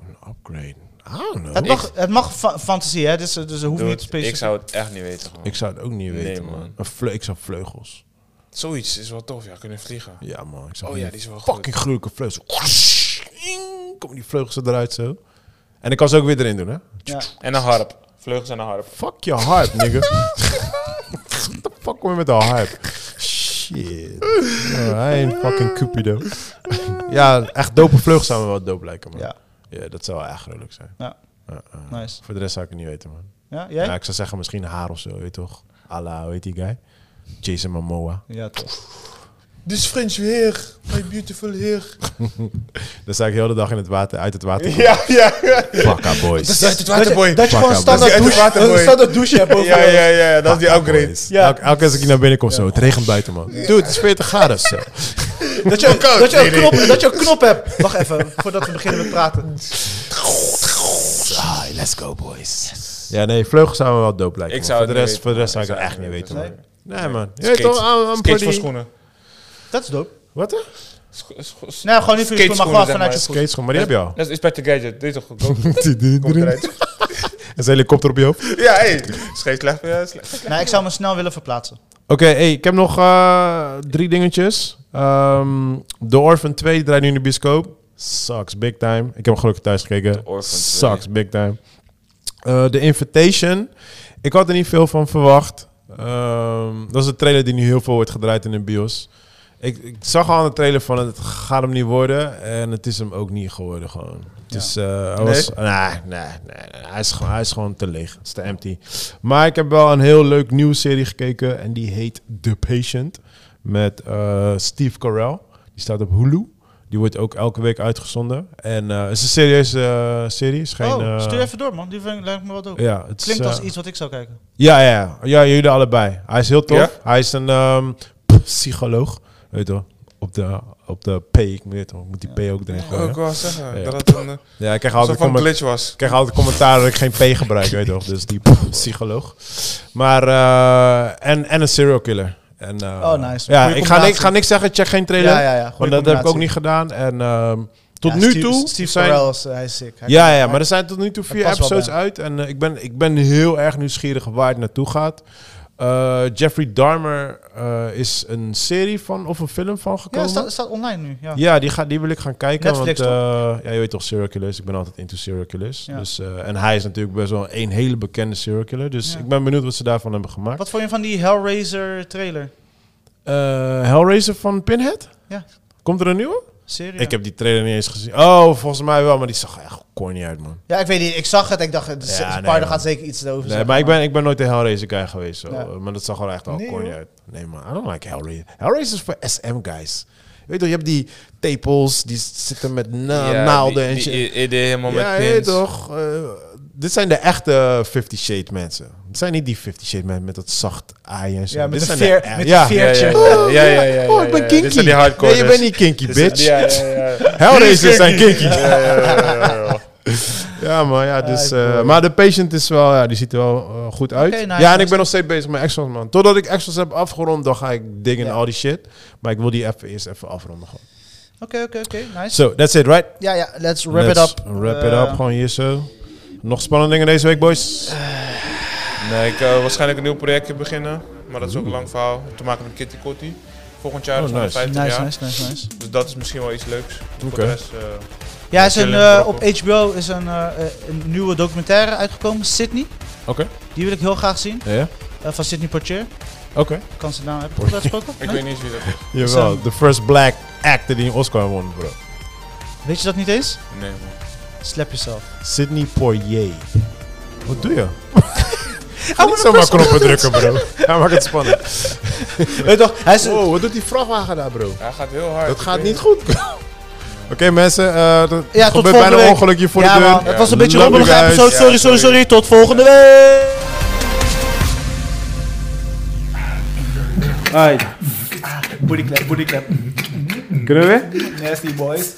Een upgrade? I don't know. Het mag, het mag fa- fantasie, hè? Dus, dus het hoeft Dude, niet specifiek. ik zou het echt niet weten. gewoon. Ik zou het ook niet Nee, weten, man. man. Een vle- ik zou vleugels. Zoiets is wel tof, ja, kunnen vliegen. Ja, man. Ik zou Oh van ja, die is wel fucking gruwelijke vleugels. Komen die vleugels eruit zo. En ik kan ze ook weer erin doen, hè? Ja. En een harp. Vleugels en een harp. Fuck je harp, <laughs> nigga. What the fuck kom je met een harp? Shit. Oh, Hij een fucking cupido. <laughs> ja, echt dope vleugels zou me wel dope lijken, man. Ja. Ja. dat zou wel echt gruwelijk zijn. Ja. Eh, eh. Nice. Voor de rest zou ik het niet weten, man. Ja, jij? Ja, Ja, ik zou zeggen misschien haar of zo, weet je toch? Ala, hoe heet die guy? Jason Momoa. toch. This French hair, my beautiful hair. Dan sta ik heel de dag in het water, uit het water. Ja, <laughs> ja, ja. Fucka boys. Dat is het Dat je, dat je gewoon Fuck, standaard dat is echt douche, waterboy. een standaard douche hebt boven Ja, je- ja, ja, dat is Ah, die upgrade. Boys. Ja. Elke, elke keer als ik hier naar binnen kom, zo, het regent buiten, man. Dude, het is 40 graden. Zo. Dat je, dat, je een knop, dat je een knop hebt. Wacht even, voordat we beginnen met praten. Ah, let's go, boys. Ja, nee, vleugels zouden me wel dope lijken. Ik man. zou voor, het de niet rest, weten, voor de rest man. zou ik het echt niet weten, Nee. man. Nee, man. Je weet Skates, toch, I'm, I'm skates voor pretty... schoenen. Dat is dope. Wat, hè? Sk- sk- sk- Nee, Nou, gewoon niet voor je Skateschoenen, schoen, maar gewoon zeg vanuit je maar. voet. Skates, gewoon, maar die heb je <laughs> al. Dat is Inspector Gadget. Dit is toch goedkoop? Komt eruit. Dat is <laughs> een helikopter op je hoofd. <laughs> Ja, hé. Scheef slecht. Ja, slecht. Nee, ik zou me snel willen verplaatsen. Oké, hey, ik heb nog eh, drie dingetjes. Ehm The Orphan 2 draait nu in de bioscoop. Sucks big time. Ik heb hem gelukkig thuis gekeken. Orphan 2. Sucks big time. Eh The Invitation. Ik had er niet veel van verwacht. Ehm, dat is een trailer die nu heel veel wordt gedraaid in de bios. Ik, ik zag al aan de trailer van het gaat hem niet worden. En het is hem ook niet geworden gewoon. Het is, eh, hij Nee? was, nee, nee, nee, nee. Hij, is, gewoon- hij is gewoon te leeg. Het is te empty. Maar ik heb wel een heel leuk nieuwe serie gekeken. En die heet The Patient. Met eh, Steve Carell. Die staat op Hulu. Die wordt ook elke week uitgezonden. En eh, het is een serieuze eh, serie. Het Is geen, oh, eh, stuur even door, man. Die vind, ik- lijkt me wel dope. ja, het is, Klinkt als eh, iets wat ik zou kijken. ja, ja, ja. ja, jullie allebei. Hij is heel tof. Ja? Hij is een ehm, psycholoog. Weet je wel, op de, op de P. Ik weet wel, ik moet die P ook erin Oh, gooien. ik wou zeggen Ja. dat het een eh, Ja, ik krijg soort altijd, van comment, glitch was. ik krijg altijd commentaar dat ik geen P gebruik, weet je wel. Dus die psycholoog. Maar, eh, en, en een serial killer. En, eh, Oh, nice. Ja, Goeie ik ga, ni- ik combinatie. ga niks zeggen, check geen trailer. Ja, ja, ja. Goeie want dat heb ik ook combinatie. niet gedaan. En ehm, tot Ja, nu Steve- toe Steve zijn- Carell is, eh, hij is sick. Hij ja, kan- ja, maar er zijn tot nu toe vier past wel episodes bij uit. En eh, ik, ben, ik ben heel erg nieuwsgierig waar het naartoe gaat. Eh, Jeffrey Dahmer eh, is een serie van of een film van Ja, gekomen. het Ja, staat, staat online nu. Ja. die, ga, die wil ik gaan kijken. Netflix, want eh, ja, je weet toch, serial killers. Ik ben altijd into serial killers. Ja. Dus, eh, en hij is natuurlijk best wel een hele bekende serial killer. Dus Ja. ik ben benieuwd wat ze daarvan hebben gemaakt. Wat vond je van die Hellraiser trailer? Eh, Hellraiser van Pinhead? Ja. Komt er een nieuwe? Serie. Ik heb die trailer niet eens gezien. Oh, volgens mij wel, maar die zag echt corny uit, man. Ja, ik weet niet. Ik zag het en ik dacht, de Ja, ja, nee, man. gaat zeker iets over Nee, maar ik ben, ik ben nooit een Hellraiser guy geweest. Zo. Ja. Maar dat zag er echt wel Nee, corny joh. uit. Nee, man. I don't like Hellraiser. Hellraiser is voor SM guys. Je Weet toch, je hebt die tepels, die zitten met na- Ja, naalden die- en die shit. i- idee helemaal ja, met je weet pins. toch. eh, dit zijn de echte Fifty Shade mensen. Het zijn niet die Fifty Shade mensen met dat zacht ei en zo. Ja, met Dit een zijn de veer- e- met ja. een veer- Ja, ja, ja, ja, ja, ja, Oh, ja, ik ja. ben Dit kinky. zijn die hardcore. nee, je bent niet kinky, bitch. Ja, ja, ja, ja. Hellraiser Die zijn kinky. Ja, ja, ja, ja, ja. Ja, maar ja, dus. Ah, ik eh, hoor je. maar de patient is wel, ja, die ziet er wel eh, goed uit. Oké, nice, ja, en ik nice. ben nog steeds bezig met extras, man. Totdat ik extras heb afgerond, dan ga ik dingen en Ja. al die shit. Maar ik wil die even eerst even afronden. gewoon. Oké, oké, oké. Nice. Zo, that's it, right? Ja, ja. Let's wrap Let's it up. Wrap Eh, it up, gewoon hier zo. Nog spannende dingen deze week, boys. Nee, ik eh, waarschijnlijk een nieuw projectje beginnen. Maar dat is ook een lang verhaal. Te maken met Kitty Kotti. Volgend jaar Oh, is het nice. 50 Nice, jaar. nice, nice, nice. Dus dat is misschien wel iets leuks. Voor Oké. de rest, eh, Ja, is een, Chillen, eh, op brokken. HBO is een, eh, eh, een nieuwe documentaire uitgekomen, Sydney. Oké. Die wil ik heel graag zien, Ja? eh, van Sydney Poitier. Oké. Kan ze nou, heb ik het goed uitgesproken? ik Nee? weet niet eens wie dat is. Jawel, Sam. the first black actor die een Oscar won, bro. Weet je dat niet eens? Nee, man. Slap jezelf. Sidney Poitier. Wat doe je? Oh, Niet zomaar knoppen drukken, bro. Hij maakt het spannend. <laughs> Weet je toch, hij is... Wow, wat doet die vrachtwagen daar, bro? Hij gaat heel hard. Dat gaat Ik weet niet goed. Oké mensen, eh dat Ja, tot gebeurt bijna volgende een week. ongelukje voor ja, de deur. man, het was een Ja. beetje een Love you rommelige guys. episode. Sorry, Ja, sorry, sorry. sorry. Tot volgende week. Alright. Booty clap, booty clap. Kunnen we weer? Nasty boys.